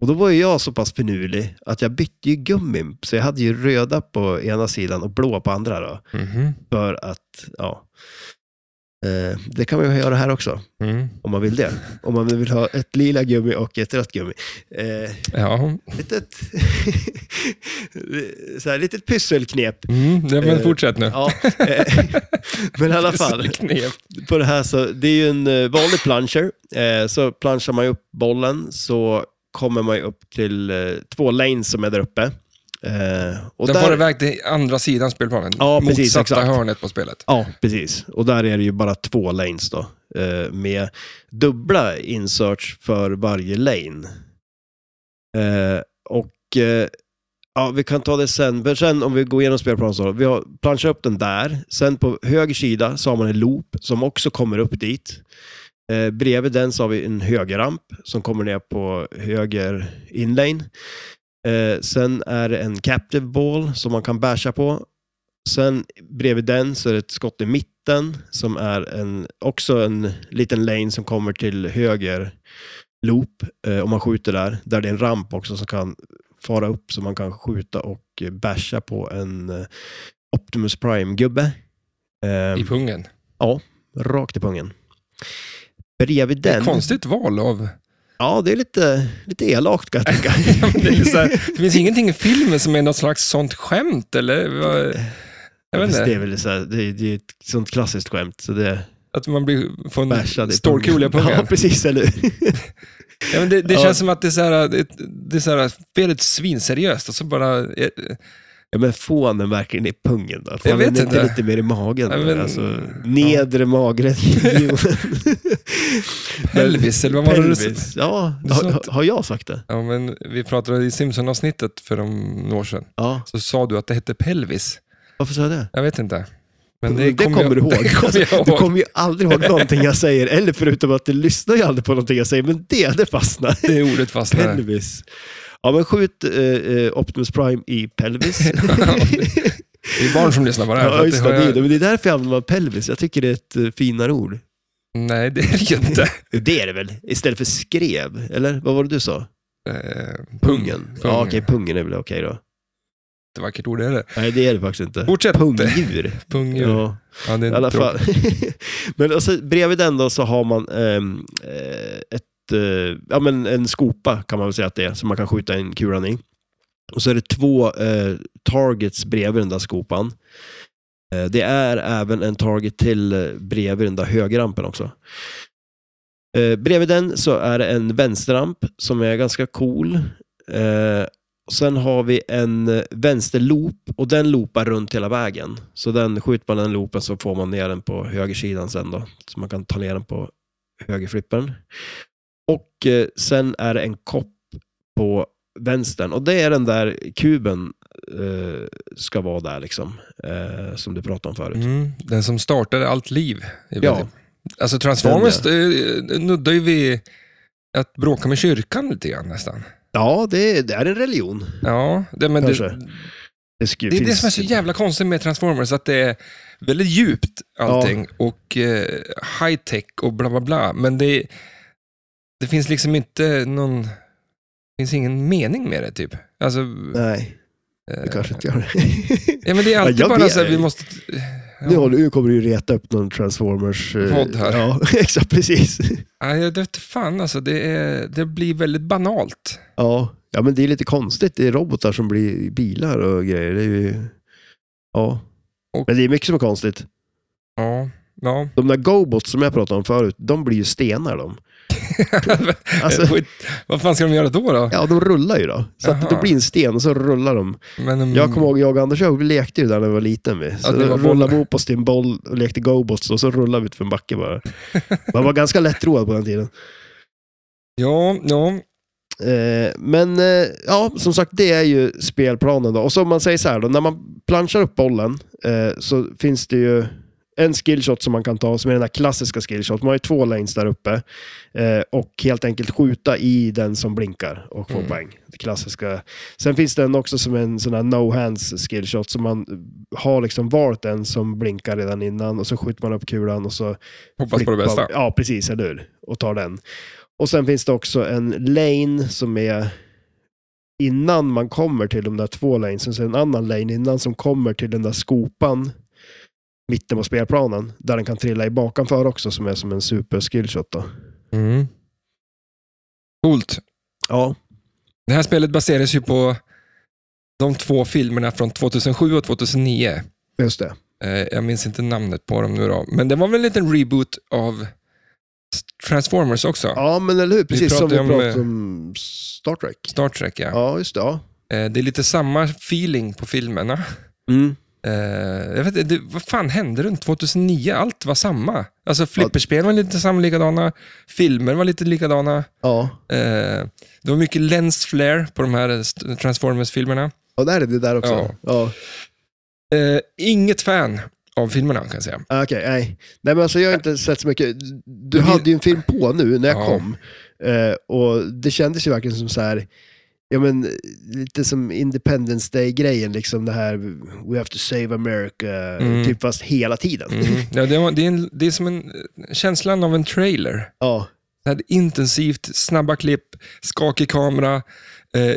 Speaker 2: och då var ju jag så pass finurlig att jag bytte ju gummin. Så jag hade ju röda på ena sidan och blå på andra då.
Speaker 1: Mhm.
Speaker 2: För att, ja. Eh, det kan man ju göra här också,
Speaker 1: Mm.
Speaker 2: om man vill det. Om man vill ha ett lila gummi och ett rött gummi. Eh,
Speaker 1: Ja.
Speaker 2: litet, så här, litet pysselknep.
Speaker 1: Mm. ja, men
Speaker 2: Eh,
Speaker 1: fortsätt nu.
Speaker 2: Ja, eh, men i alla fall.
Speaker 1: Knep.
Speaker 2: På det här så, det är ju en eh, vanlig plancher. Eh, så planchar man ju upp bollen så kommer man ju upp till eh, två lanes som är där uppe. Eh, och
Speaker 1: den
Speaker 2: där,
Speaker 1: far iväg till andra sidan spelplanen.
Speaker 2: Ja, precis,
Speaker 1: Motsatta
Speaker 2: exakt.
Speaker 1: hörnet på spelet.
Speaker 2: Ja, precis. Och där är det ju bara två lanes då. Eh, med dubbla inserts för varje lane. Eh, och eh, ja, vi kan ta det sen. Men sen om vi går igenom spelplanen så. Vi har planschat upp den där. Sen på höger sida så har man en loop som också kommer upp dit. Eh, bredvid den så har vi en högerramp som kommer ner på höger inlane. Eh, sen är det en captive ball som man kan basha på. Sen bredvid den så är det ett skott i mitten som är en, också en liten lane som kommer till höger loop eh, om man skjuter där. Där det är en ramp också som kan fara upp så man kan skjuta och eh, basha på en eh, Optimus Prime-gubbe. Eh,
Speaker 1: I pungen.
Speaker 2: rakt i pungen. Bredvid
Speaker 1: Det är
Speaker 2: den...
Speaker 1: ett konstigt val av...
Speaker 2: Ja, det är lite, lite elakt kan jag tycka.
Speaker 1: Ja, men det, är så här, det finns ingenting i filmen som är något slags sånt skämt, eller? vad- Jag vet
Speaker 2: Fast
Speaker 1: inte.
Speaker 2: det är väl så här, det, är- det är ett sånt klassiskt skämt. Så det,
Speaker 1: Att man blir, får
Speaker 2: Bärsad
Speaker 1: en
Speaker 2: i
Speaker 1: stålkula i
Speaker 2: pungen. Ja,
Speaker 1: pungen.
Speaker 2: precis, eller hur?
Speaker 1: Ja, men det det
Speaker 2: Ja.
Speaker 1: känns som att det är så här, det, det är så här, spelet är svinseriöst och så bara... eh,
Speaker 2: Ja, men få han den verkligen i pungen då? Får
Speaker 1: Jag
Speaker 2: han
Speaker 1: vet
Speaker 2: den
Speaker 1: inte.
Speaker 2: lite mer i magen?
Speaker 1: Ja,
Speaker 2: då?
Speaker 1: men-
Speaker 2: alltså, nedre magregionen.
Speaker 1: Pelvis, eller vad var det du sa?
Speaker 2: Pelvis. Ja,
Speaker 1: Du sa
Speaker 2: har,
Speaker 1: att-
Speaker 2: har jag sagt det?
Speaker 1: Ja, men vi pratade i Simpson-avsnittet för några år sedan.
Speaker 2: Ja.
Speaker 1: Så sa du att det hette pelvis.
Speaker 2: Varför sa jag det?
Speaker 1: Jag vet inte. Men
Speaker 2: Det, kommer
Speaker 1: jag,
Speaker 2: du ihåg.
Speaker 1: Det kommer jag
Speaker 2: Alltså,
Speaker 1: ihåg.
Speaker 2: du kommer ju aldrig ihåg någonting jag säger, eller förutom att du lyssnar ju aldrig på någonting jag säger, men det, det fastnar.
Speaker 1: Det ordet fastnade.
Speaker 2: Pelvis. Ja, men skjut eh, eh, Optimus Prime i pelvis.
Speaker 1: Det är barn som lyssnar på det här. så
Speaker 2: ja,
Speaker 1: att
Speaker 2: just
Speaker 1: har
Speaker 2: det. det, är
Speaker 1: jag-
Speaker 2: ju det. Men det är därför jag använder pelvis. Jag tycker det är ett eh, finare ord.
Speaker 1: Nej, det är det ju inte.
Speaker 2: Det är det väl? Istället för skrev, eller? Vad var det du sa?
Speaker 1: Eh, pung.
Speaker 2: Pungen?
Speaker 1: Pung.
Speaker 2: Ja, okej, pungen är väl okej då.
Speaker 1: Ett vackert ord är det.
Speaker 2: Nej, det är det faktiskt inte.
Speaker 1: Fortsätt.
Speaker 2: Pungdjur.
Speaker 1: Pung. Ja.
Speaker 2: Ja,
Speaker 1: det är
Speaker 2: i
Speaker 1: en
Speaker 2: alla
Speaker 1: tråkig-
Speaker 2: fall. men och så, bredvid den då så har man ehm, eh, ett, eh, ja, men en skopa kan man väl säga att det är, som man kan skjuta en kulan i. Och så är det två eh, targets bredvid den där skopan. Eh, det är även en target till eh, bredvid den där högerrampen också. Eh, bredvid den så är det en vänsterramp som är ganska cool. Eh, och sen har vi en eh, vänsterloop och den loopar runt hela vägen. Så den skjuter man den loopen så får man ner den på högersidan sen då. Så man kan ta ner den på högerflippen. Och eh, sen är det en kopp på vänstern och det är den där kuben eh, ska vara där liksom. Eh, som du pratade om förut.
Speaker 1: Mm, den som startade allt liv. i
Speaker 2: Ja.
Speaker 1: princip. Alltså Transformers eh, nuddar ju vid att bråka med kyrkan lite grann nästan.
Speaker 2: Ja, det, det är en religion.
Speaker 1: Ja, det, men det,
Speaker 2: Kanske.
Speaker 1: det
Speaker 2: Det, sku-
Speaker 1: är det
Speaker 2: finns-
Speaker 1: som är så jävla konstigt med Transformers, att det är väldigt djupt allting och eh, high tech och bla bla bla. Men det, det finns liksom inte någon, det finns ingen mening med det typ. Alltså,
Speaker 2: Nej, det
Speaker 1: eh,
Speaker 2: kanske inte gör det.
Speaker 1: ja, men det är alltid
Speaker 2: jag
Speaker 1: bara
Speaker 2: vet-
Speaker 1: så här, vi måste... Ja.
Speaker 2: Nu, håller, nu kommer du ju reta upp någon Transformers... eh,
Speaker 1: Podd här.
Speaker 2: Ja, exakt, precis.
Speaker 1: Ja, jag vet inte fan alltså, det, är, det blir väldigt banalt.
Speaker 2: Ja. ja, men det är lite konstigt. Det är robotar som blir bilar och grejer. Det är ju... Ja.
Speaker 1: Och-
Speaker 2: Men det är mycket som är konstigt.
Speaker 1: Ja, ja.
Speaker 2: De där GoBots som jag pratade om förut, de blir ju stenar de. Alltså,
Speaker 1: Eh, Skit. Vad fan ska de göra då? då?
Speaker 2: ja, de rullar ju då. Så att det
Speaker 1: Jaha.
Speaker 2: blir en sten och så rullar de.
Speaker 1: Men, mm,
Speaker 2: Jag kommer ihåg, jag och Anders jag lekte ju där när vi var liten. Vi. Så
Speaker 1: Att ni var
Speaker 2: rullade
Speaker 1: bollar.
Speaker 2: vi upp oss till en boll och lekte GoBots och så rullade vi ut för en backe bara. Man var ganska lättroad på den tiden.
Speaker 1: Ja, ja.
Speaker 2: Eh, men eh, ja, som sagt, det är ju spelplanen då. Och som man säger så här då, när man planchar upp bollen eh, så finns det ju en skillshot som man kan ta, som är den här klassiska skillshot. Man har ju två lanes där uppe eh, och helt enkelt skjuta i den som blinkar och få
Speaker 1: Mm.
Speaker 2: poäng. Det klassiska. Sen finns det en också som är en sån här no-hands skillshot, som man har liksom valt en som blinkar redan innan och så skjuter man upp kulan och så
Speaker 1: hoppas på det
Speaker 2: flippa-
Speaker 1: bästa.
Speaker 2: Ja, precis. Eller hur? Och tar den. Och sen finns det också en lane som är innan man kommer till de där två lanesen, så är det en annan lane innan som kommer till den där skopan mitten på spelplanen, där den kan trilla i bakanför också, som är som en super skillshot då.
Speaker 1: Mm. Coolt.
Speaker 2: Ja.
Speaker 1: Det här spelet baseras ju på de två filmerna från 2007 och 2009.
Speaker 2: Just det.
Speaker 1: Eh, jag minns inte namnet på dem nu då. Men det var väl en liten reboot av Transformers också?
Speaker 2: Ja, men eller hur? Precis som vi
Speaker 1: pratade om,
Speaker 2: pratade om Star Trek.
Speaker 1: Star Trek, ja.
Speaker 2: Ja, just det. Ja.
Speaker 1: Eh, det är lite samma feeling på filmerna. Eh, jag vet inte, det, vad fan hände runt 2009? Allt var samma. Alltså flipperspel var lite samma likadana, filmer var lite likadana.
Speaker 2: Ja.
Speaker 1: Eh, det var mycket lens flare på de här eh, st- Transformers-filmerna.
Speaker 2: ja, där är det där också.
Speaker 1: Ja.
Speaker 2: Ja.
Speaker 1: Eh, inget fan av filmerna kan jag säga.
Speaker 2: Ah, Okej, nej. Nej men alltså jag har inte sett så mycket. Du
Speaker 1: Men vi-
Speaker 2: hade ju en film på nu när jag
Speaker 1: Ja.
Speaker 2: kom. Eh, och det kändes ju verkligen som så här, ja men lite som Independence Day-grejen liksom det här We have to save America,
Speaker 1: Mm.
Speaker 2: typ fast hela tiden.
Speaker 1: Mm. Ja, det, var, det, är en, det är som en, eh, känslan av en trailer.
Speaker 2: Ja,
Speaker 1: Det här intensivt, snabba klipp, skakig kamera. Eh,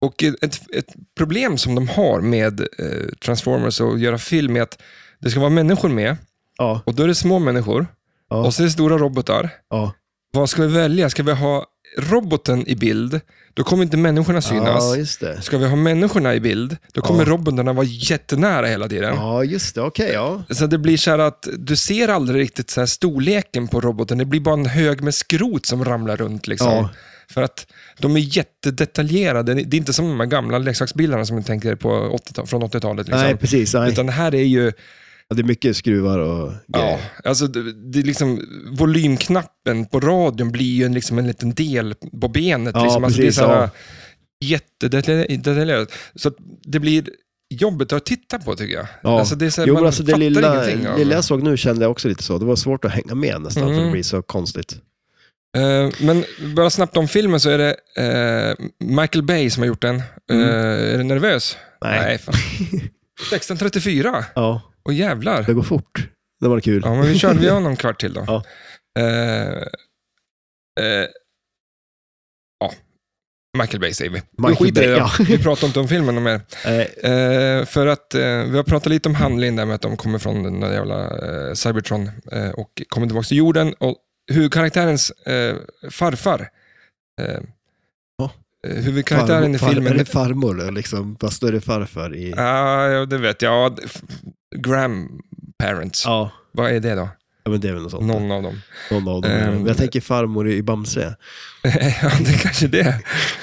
Speaker 1: och ett, ett problem som de har med eh, Transformers och att göra film är att det ska vara människor med
Speaker 2: ja,
Speaker 1: och då är det små människor
Speaker 2: Ja.
Speaker 1: och så är det stora robotar.
Speaker 2: ja.
Speaker 1: Vad ska vi välja? Ska vi ha roboten i bild, då kommer inte människorna synas.
Speaker 2: Ja, just det.
Speaker 1: Ska vi ha människorna i bild, då kommer
Speaker 2: Ja.
Speaker 1: robotarna vara jättenära hela tiden.
Speaker 2: Ja, just det. Okej, ja.
Speaker 1: Så det blir så här att du ser aldrig riktigt så här storleken på roboten. Det blir bara en hög med skrot som ramlar runt. Liksom.
Speaker 2: Ja.
Speaker 1: För att de är jättedetaljerade. Det är inte som de här gamla leksaksbilarna som man tänker på 80 från 80-talet. Liksom.
Speaker 2: Nej, precis. Nej.
Speaker 1: Utan det här är ju,
Speaker 2: Ja, Det är mycket skruvar och
Speaker 1: ja,
Speaker 2: grejer.
Speaker 1: alltså det, det är liksom, volymknappen på radion blir ju en, liksom en liten del på benet.
Speaker 2: Ja,
Speaker 1: liksom. alltså,
Speaker 2: precis,
Speaker 1: det är så här,
Speaker 2: ja.
Speaker 1: jättedetaljerat. Så att det blir jobbigt att titta på tycker jag.
Speaker 2: Ja.
Speaker 1: Alltså, det är så här,
Speaker 2: jo,
Speaker 1: man
Speaker 2: men alltså det
Speaker 1: fattar
Speaker 2: lilla,
Speaker 1: ingenting. av
Speaker 2: lilla
Speaker 1: det.
Speaker 2: jag såg nu kände jag också lite så. Det var svårt att hänga med nästan, för
Speaker 1: Mm.
Speaker 2: det blir så konstigt.
Speaker 1: Eh, men bara snabbt om filmen så är det eh, Michael Bay som har gjort den. Eh, är du nervös?
Speaker 2: Mm. Nej.
Speaker 1: fan. 16.34,
Speaker 2: Ja,
Speaker 1: och jävlar.
Speaker 2: det går fort. Det var kul.
Speaker 1: Ja, men vi kör vi har någon kvart till då.
Speaker 2: Ja.
Speaker 1: Eh, eh, ja. Michael Bay säger vi.
Speaker 2: Michael
Speaker 1: vi skiter i
Speaker 2: Bay,
Speaker 1: det.
Speaker 2: ja.
Speaker 1: Vi pratar inte om filmen mer.
Speaker 2: Eh,
Speaker 1: Eh, för att eh, vi har pratat lite om handlingen där med att de kommer från den där jävla eh, Cybertron eh, och kommer tillbaka till jorden. Och huvudkaraktärens eh, farfar, eh,
Speaker 2: Ja.
Speaker 1: eh, huvudkaraktären
Speaker 2: farmor-
Speaker 1: i
Speaker 2: far-
Speaker 1: filmen,
Speaker 2: Är det farmor då, liksom? Fast då är det farfar i...
Speaker 1: Ah, ja det vet jag, Ja, f- grandparents,
Speaker 2: Ja.
Speaker 1: vad är det då?
Speaker 2: ja, men det är väl något sånt.
Speaker 1: Någon av dem.
Speaker 2: Någon av dem. är det.
Speaker 1: Ehm.
Speaker 2: Men jag tänker farmor i Bamse.
Speaker 1: ja, det är kanske det.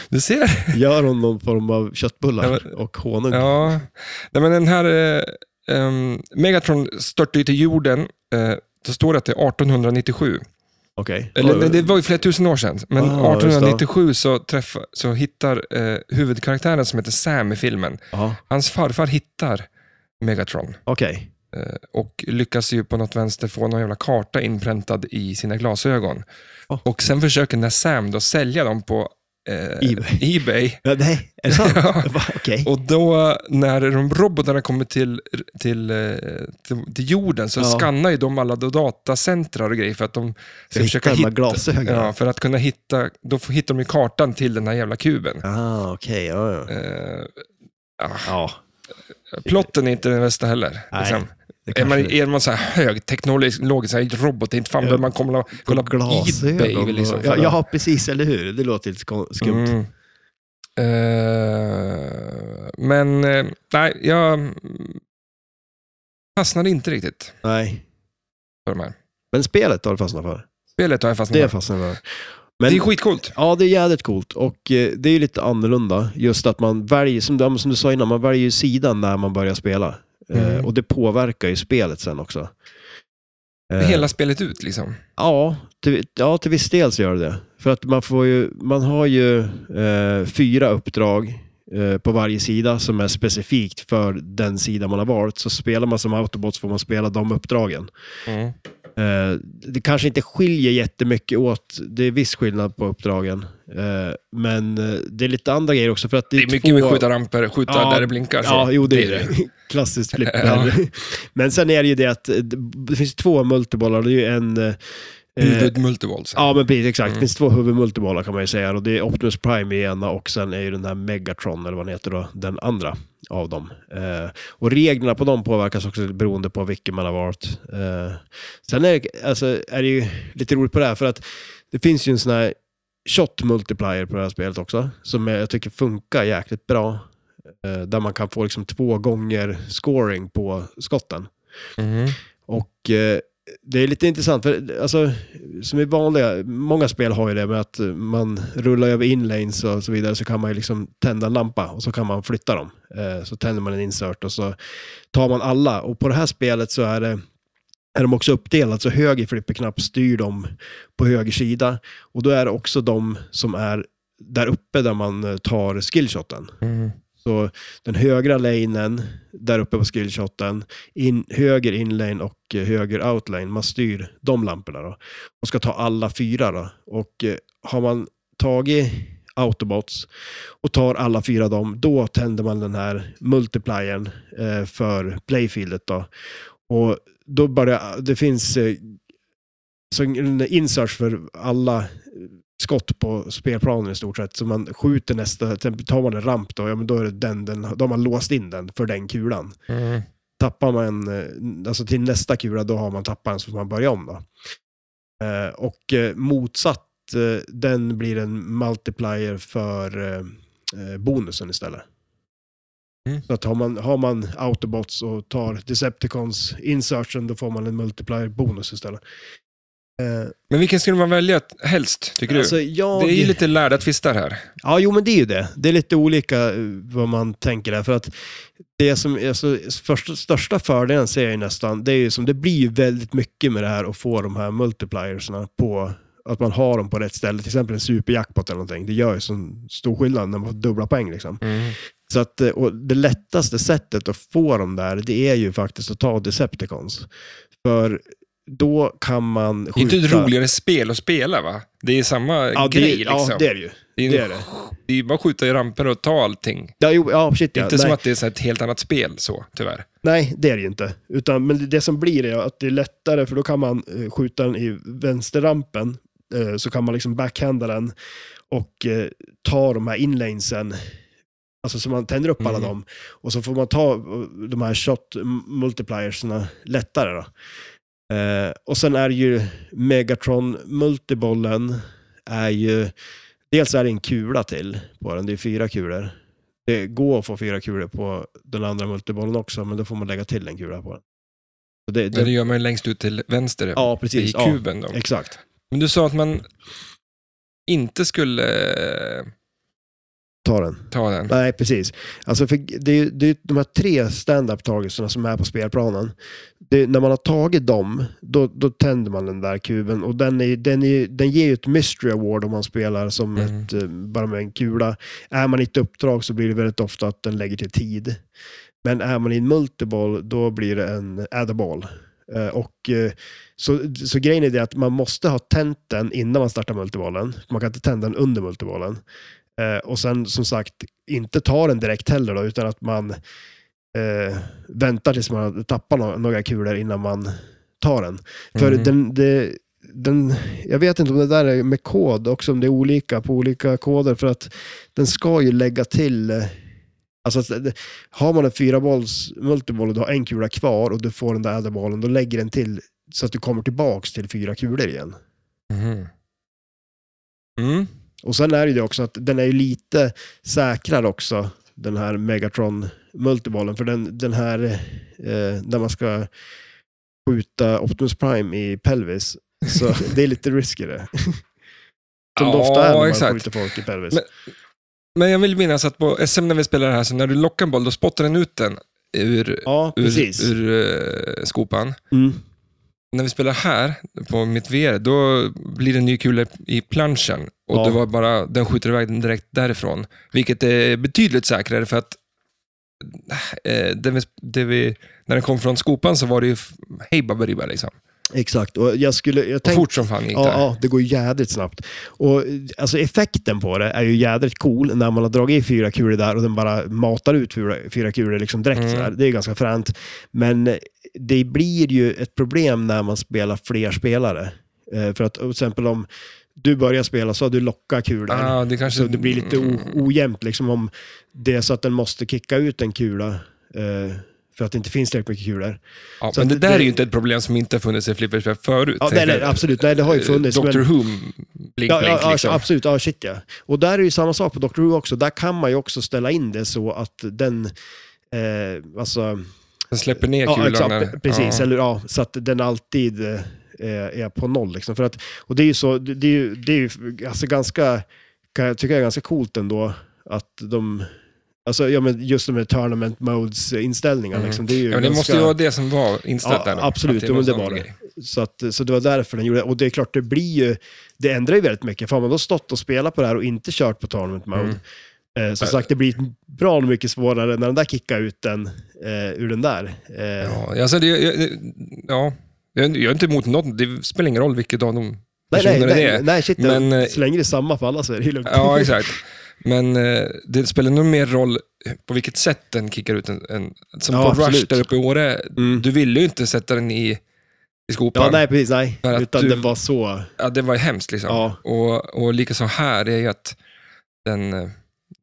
Speaker 1: Du ser.
Speaker 2: Gör hon någon form av
Speaker 1: Ja,
Speaker 2: köttbullar och honung?
Speaker 1: Ja, Nej, men den här eh, ehm, Megatron störtar ju till jorden, eh, då står det att det är 1897.
Speaker 2: Okej.
Speaker 1: Eller,
Speaker 2: Oj,
Speaker 1: nej, det var ju flera tusen år sedan, men
Speaker 2: Ah, just det.
Speaker 1: 1897 så, träffa, så hittar eh, huvudkaraktären som heter Sam i filmen,
Speaker 2: ja,
Speaker 1: hans farfar hittar Megatron
Speaker 2: Okej.
Speaker 1: eh, och lyckas ju på något vänster få någon jävla karta inpräntad i sina glasögon.
Speaker 2: Ah.
Speaker 1: Och sen försöker den här Sam då sälja dem på eh,
Speaker 2: Ebay.
Speaker 1: Ebay.
Speaker 2: Ja, nej, är det sant?
Speaker 1: Ja.
Speaker 2: Va, Okej.
Speaker 1: Och då när de robotarna kommer till, till, eh, till, till jorden så
Speaker 2: Ja.
Speaker 1: skannar ju de alla datacentrar och grejer för att de ska försöka
Speaker 2: de
Speaker 1: hitta,
Speaker 2: här glasögonen.
Speaker 1: Ja, för att kunna hitta, då får- hittar de ju kartan till den här jävla kuben.
Speaker 2: Ah, okej. Ja, ja.
Speaker 1: Eh,
Speaker 2: ja.
Speaker 1: plotten är inte den bästa heller.
Speaker 2: Nej,
Speaker 1: liksom.
Speaker 2: det
Speaker 1: Är man,
Speaker 2: kanske-
Speaker 1: är man så här högteknologisk, så här robot, inte fan
Speaker 2: Ja.
Speaker 1: behöver man kolla, kolla Ebay. Liksom,
Speaker 2: ja,
Speaker 1: för att-
Speaker 2: ja, precis, eller hur? Det låter lite kon- skumt.
Speaker 1: Mm. Eh, men eh, nej, jag mm, fastnade inte riktigt
Speaker 2: Nej.
Speaker 1: för de här.
Speaker 2: Men spelet har du fastnat för?
Speaker 1: Spelet har jag fastnat
Speaker 2: Det
Speaker 1: för.
Speaker 2: har jag fastnat för.
Speaker 1: Mm. Det är
Speaker 2: Men,
Speaker 1: skitcoolt.
Speaker 2: ja, det är jädrigt coolt och eh, det är ju lite annorlunda. Just att man väljer, som du, som du sa innan, man väljer ju sidan när man börjar spela. Eh,
Speaker 1: Mm.
Speaker 2: Och det påverkar ju spelet sen också. Eh,
Speaker 1: Hela spelet ut liksom.
Speaker 2: Ja, till, ja, till viss del så gör det det. För att man, får ju, man har ju eh, fyra uppdrag eh, på varje sida som är specifikt för den sida man har valt. Så spelar man som autobot så får man spela de uppdragen.
Speaker 1: Mm.
Speaker 2: Eh, det kanske inte skiljer jättemycket åt. Det är viss skillnad på uppdragen. Eh, men eh, det är lite andra grejer också. För att det,
Speaker 1: Det
Speaker 2: är
Speaker 1: är mycket med
Speaker 2: två-
Speaker 1: skjuta ramper, skjuta
Speaker 2: Ja,
Speaker 1: där det blinkar. Så.
Speaker 2: Ja, jo det är det. Klassiskt flipper.
Speaker 1: Ja.
Speaker 2: Men sen är det ju det att eh, det- det finns två multibollar. Det är ju en... eh,
Speaker 1: Huvud multivol. så.
Speaker 2: Ja, men precis. Exakt.
Speaker 1: Mm.
Speaker 2: Det finns två huvudmultibollar kan man ju säga. Och det är Optimus Prime i ena och sen är ju den här Megatron, eller vad den heter då, den andra av dem. Eh, och reglerna på dem påverkas också beroende på vilken man har valt. Eh, sen är, det- alltså, är det ju lite roligt på det här, för att det finns ju en sån här shot multiplier på det här spelet också, som jag tycker funkar jäkligt bra. Eh, där man kan få liksom två gånger scoring på skotten. Mm.
Speaker 1: Mhm.
Speaker 2: Och eh, det är lite intressant, för alltså, som i vanliga, många spel har ju det med att eh, man rullar över inlanes och så vidare, så kan man ju liksom tända en lampa och så kan man flytta dem. Eh, så tänder man en insert och så tar man alla. Och på det här spelet så är det är de också uppdelat, så höger flipperknapp styr dem på höger sida. Och då är det också de som är där uppe där man eh, tar skillshoten.
Speaker 1: Mhm.
Speaker 2: Så den högra lanen, där uppe på skillshoten, in, höger inlane och eh, höger outlane, man styr de lamporna då. Och ska ta alla fyra då. Och eh, har man tagit autobots och tar alla fyra dem, då tänder man den här multipliern eh, för playfieldet då. Och då börjar, det finns eh, så en insats för alla eh, skott på spelplanen i stort sett. Så man skjuter nästa, till exempel tar man en ramp då, ja men då är det den, den, då har man låst in den för den kulan.
Speaker 1: Mhm.
Speaker 2: Tappar man, eh, alltså till nästa kula, då har man tappat den så får man börja om då. Eh, Och eh, motsatt att eh, den blir en multiplier för eh, eh, bonusen istället.
Speaker 1: Mm.
Speaker 2: Så att har man, har man autobots och tar Decepticons insertion, då får man en multiplier bonus istället. Eh,
Speaker 1: Men vilken skulle man välja helst, tycker
Speaker 2: alltså,
Speaker 1: du?
Speaker 2: jag...
Speaker 1: Det är ju lite lärda tvistar här.
Speaker 2: Ja, jo men det är ju det. Det är lite olika eh, vad man tänker där. För att det som är så första, största fördelen ser jag ju nästan, det är ju som det blir ju väldigt mycket med det här att få de här multipliersna på att man har dem på rätt ställe, till exempel en superjackpot eller någonting. Det gör ju sån stor skillnad när man får dubbla poäng. Liksom. Så att, eh, och det lättaste sättet att få dem där, det är ju faktiskt att ta Decepticons. För då kan man skjuta...
Speaker 1: Det är inte ett roligare spel att spela, va? Det är samma
Speaker 2: ja, det,
Speaker 1: grej, liksom.
Speaker 2: Ja, det är det ju.
Speaker 1: Det är,
Speaker 2: Det är det.
Speaker 1: det är ju bara att skjuta i ramper och ta allting.
Speaker 2: Ja, jo, ja, shit,
Speaker 1: Det är
Speaker 2: ja,
Speaker 1: inte
Speaker 2: nej.
Speaker 1: som att det är så här ett helt annat spel, så, tyvärr.
Speaker 2: Nej, det är det ju inte. Utan, men det som blir är att det är lättare, för då kan man eh, skjuta den i vänsterrampen, eh, så kan man liksom backhanda den och eh, ta de här inlanesen, alltså så man tänder upp alla
Speaker 1: Mm.
Speaker 2: dem, och så får man ta eh, de här shot multipliersna lättare. Då. Eh, och sen är det ju Megatron multibollen är ju, dels är det en kula till på den, det är fyra kulor. Det går att få fyra kulor på den andra multibollen också, men då får man lägga till en kula på den. Så det,
Speaker 1: Men det
Speaker 2: det,
Speaker 1: gör man ju längst ut till vänster
Speaker 2: ja,
Speaker 1: i
Speaker 2: precis. Ja,
Speaker 1: kuben. Då.
Speaker 2: exakt.
Speaker 1: Men du sa att man inte skulle eh,
Speaker 2: Ta den.
Speaker 1: ta den.
Speaker 2: Nej, precis. Alltså för det, är, ju- det är ju de här tre stand-up-tagelserna som är på spelplanen. Det, när man har tagit dem, då, då tänder man den där kuben. Och den, är, den, är, den ger ju ett mystery award om man spelar som
Speaker 1: Mm.
Speaker 2: ett, eh, bara med en kula. Är man i ett uppdrag så blir det väldigt ofta att den lägger till tid. Men är man i en multiball, då blir det en add-a-ball. Eh, Och, eh, så, så grejen är det att man måste ha tänt den innan man startar multibollen. Man kan inte tända den under multibollen. Eh, och sen som sagt, inte ta den direkt heller då, utan att man eh, väntar tills man har tappat no- några kulor innan man tar den. För
Speaker 1: Mhm.
Speaker 2: den, det, den, jag vet inte om det där är med kod också, om det är olika på olika koder, för att den ska ju lägga till eh, Alltså, att det- har man en fyra bolls multiboll och du har en kula kvar och du får den där ädelbollen, då lägger den till så att du kommer tillbaks till fyra kulor igen. Mm-hmm.
Speaker 1: Mhm. Mm.
Speaker 2: Och sen är det ju det också att den är ju lite säkrare också, den här Megatron multibollen. För den, den här, eh, när man ska skjuta Optimus Prime i pelvis, så det är lite riskigare. Som det ofta är när man skjuter folk i pelvis.
Speaker 1: Men- Men jag vill minnas att på SM när vi spelar det här, så när du lockar en boll, då spottar den ut den ur,
Speaker 2: ja, precis.
Speaker 1: ur, ur eh, skopan.
Speaker 2: Mm.
Speaker 1: När vi spelar här, på mitt VR, då blir det en ny kula i planschen. Och
Speaker 2: Ja.
Speaker 1: det var bara, den skjuter iväg den direkt därifrån. Vilket är betydligt säkrare för att eh, det vi, det vi, när den kom från skopan så var det ju f- hej baberiba liksom.
Speaker 2: Exakt, och jag skulle... Jag
Speaker 1: Och
Speaker 2: tänkte-
Speaker 1: fort som fan gick
Speaker 2: Ja,
Speaker 1: där.
Speaker 2: ja, det går ju jädrigt snabbt. Och eh, alltså, effekten på det är ju jädrigt cool när man har dragit i fyra kulor där och den bara matar ut fyra, fyra kulor liksom direkt.
Speaker 1: Mm.
Speaker 2: Sådär. Det är ganska fränt. Men eh, det blir ju ett problem när man spelar fler spelare. Eh, för att till exempel om du börjar spela så har du lockat kulor.
Speaker 1: Ah, mm. det kanske...
Speaker 2: Så det blir lite o- ojämnt liksom om det är så att den måste kicka ut en kula eh, för att det inte finns tillräckligt mycket kulor.
Speaker 1: Ja,
Speaker 2: Så
Speaker 1: men det
Speaker 2: att
Speaker 1: där
Speaker 2: det-
Speaker 1: är ju inte ett problem som inte har funnits i flipperspel förut.
Speaker 2: Ja, nej, nej, absolut. Nej, det har ju funnits. men-
Speaker 1: Dr. Who, blink,
Speaker 2: Ja, ja,
Speaker 1: blink
Speaker 2: ja
Speaker 1: liksom.
Speaker 2: absolut. Ja, shit ja. Och där är ju samma sak på Dr. Who också. Där kan man ju också ställa in det så att den, eh, alltså,
Speaker 1: Den släpper ner
Speaker 2: ja,
Speaker 1: kulan.
Speaker 2: exakt,
Speaker 1: när-
Speaker 2: precis,
Speaker 1: ja.
Speaker 2: eller ja, så att den alltid eh, är är på noll liksom. För att, och det är ju så, det det är ju, det är ju alltså ganska, kan jag tycka är ganska coolt ändå att de, alltså ja men just de här tournament modes inställningar
Speaker 1: Mm.
Speaker 2: liksom. Det är ju
Speaker 1: Ja, men det
Speaker 2: ganska,
Speaker 1: måste ju vara det som var inställt
Speaker 2: Ja,
Speaker 1: där. då.
Speaker 2: absolut.
Speaker 1: Att
Speaker 2: Jo, men
Speaker 1: en
Speaker 2: det
Speaker 1: sån
Speaker 2: var det.
Speaker 1: grej.
Speaker 2: Så, att, så det var därför den gjorde det. Och det är klart, det blir ju, det ändrar ju väldigt mycket. För har man då stått och spelat på det här och inte kört på tournament mode,
Speaker 1: Mm.
Speaker 2: eh, som sagt, det blir bra mycket svårare när den där kickar ut den eh, ur den där. Eh,
Speaker 1: Ja, alltså det, jag, det- ja. Jag, jag är inte emot något. Det spelar ingen roll vilket av de
Speaker 2: nej, nej,
Speaker 1: personerna det
Speaker 2: nej,
Speaker 1: är.
Speaker 2: nej, shit,
Speaker 1: Men, eh,
Speaker 2: så länge det är samma för alla så är det ju lugnt.
Speaker 1: Ja, exakt. Men eh, det spelar nog mer roll på vilket sätt den kickar ut en... en som
Speaker 2: Ja,
Speaker 1: på Rush
Speaker 2: absolut.
Speaker 1: där uppe i Åre.
Speaker 2: Mm.
Speaker 1: Du ville ju inte sätta den i, i skopan.
Speaker 2: Ja, nej, precis, nej.
Speaker 1: För att
Speaker 2: Utan
Speaker 1: du-
Speaker 2: den var så,
Speaker 1: ja, det var ju hemskt liksom.
Speaker 2: Ja.
Speaker 1: Och, och likaså här är ju att den, eh,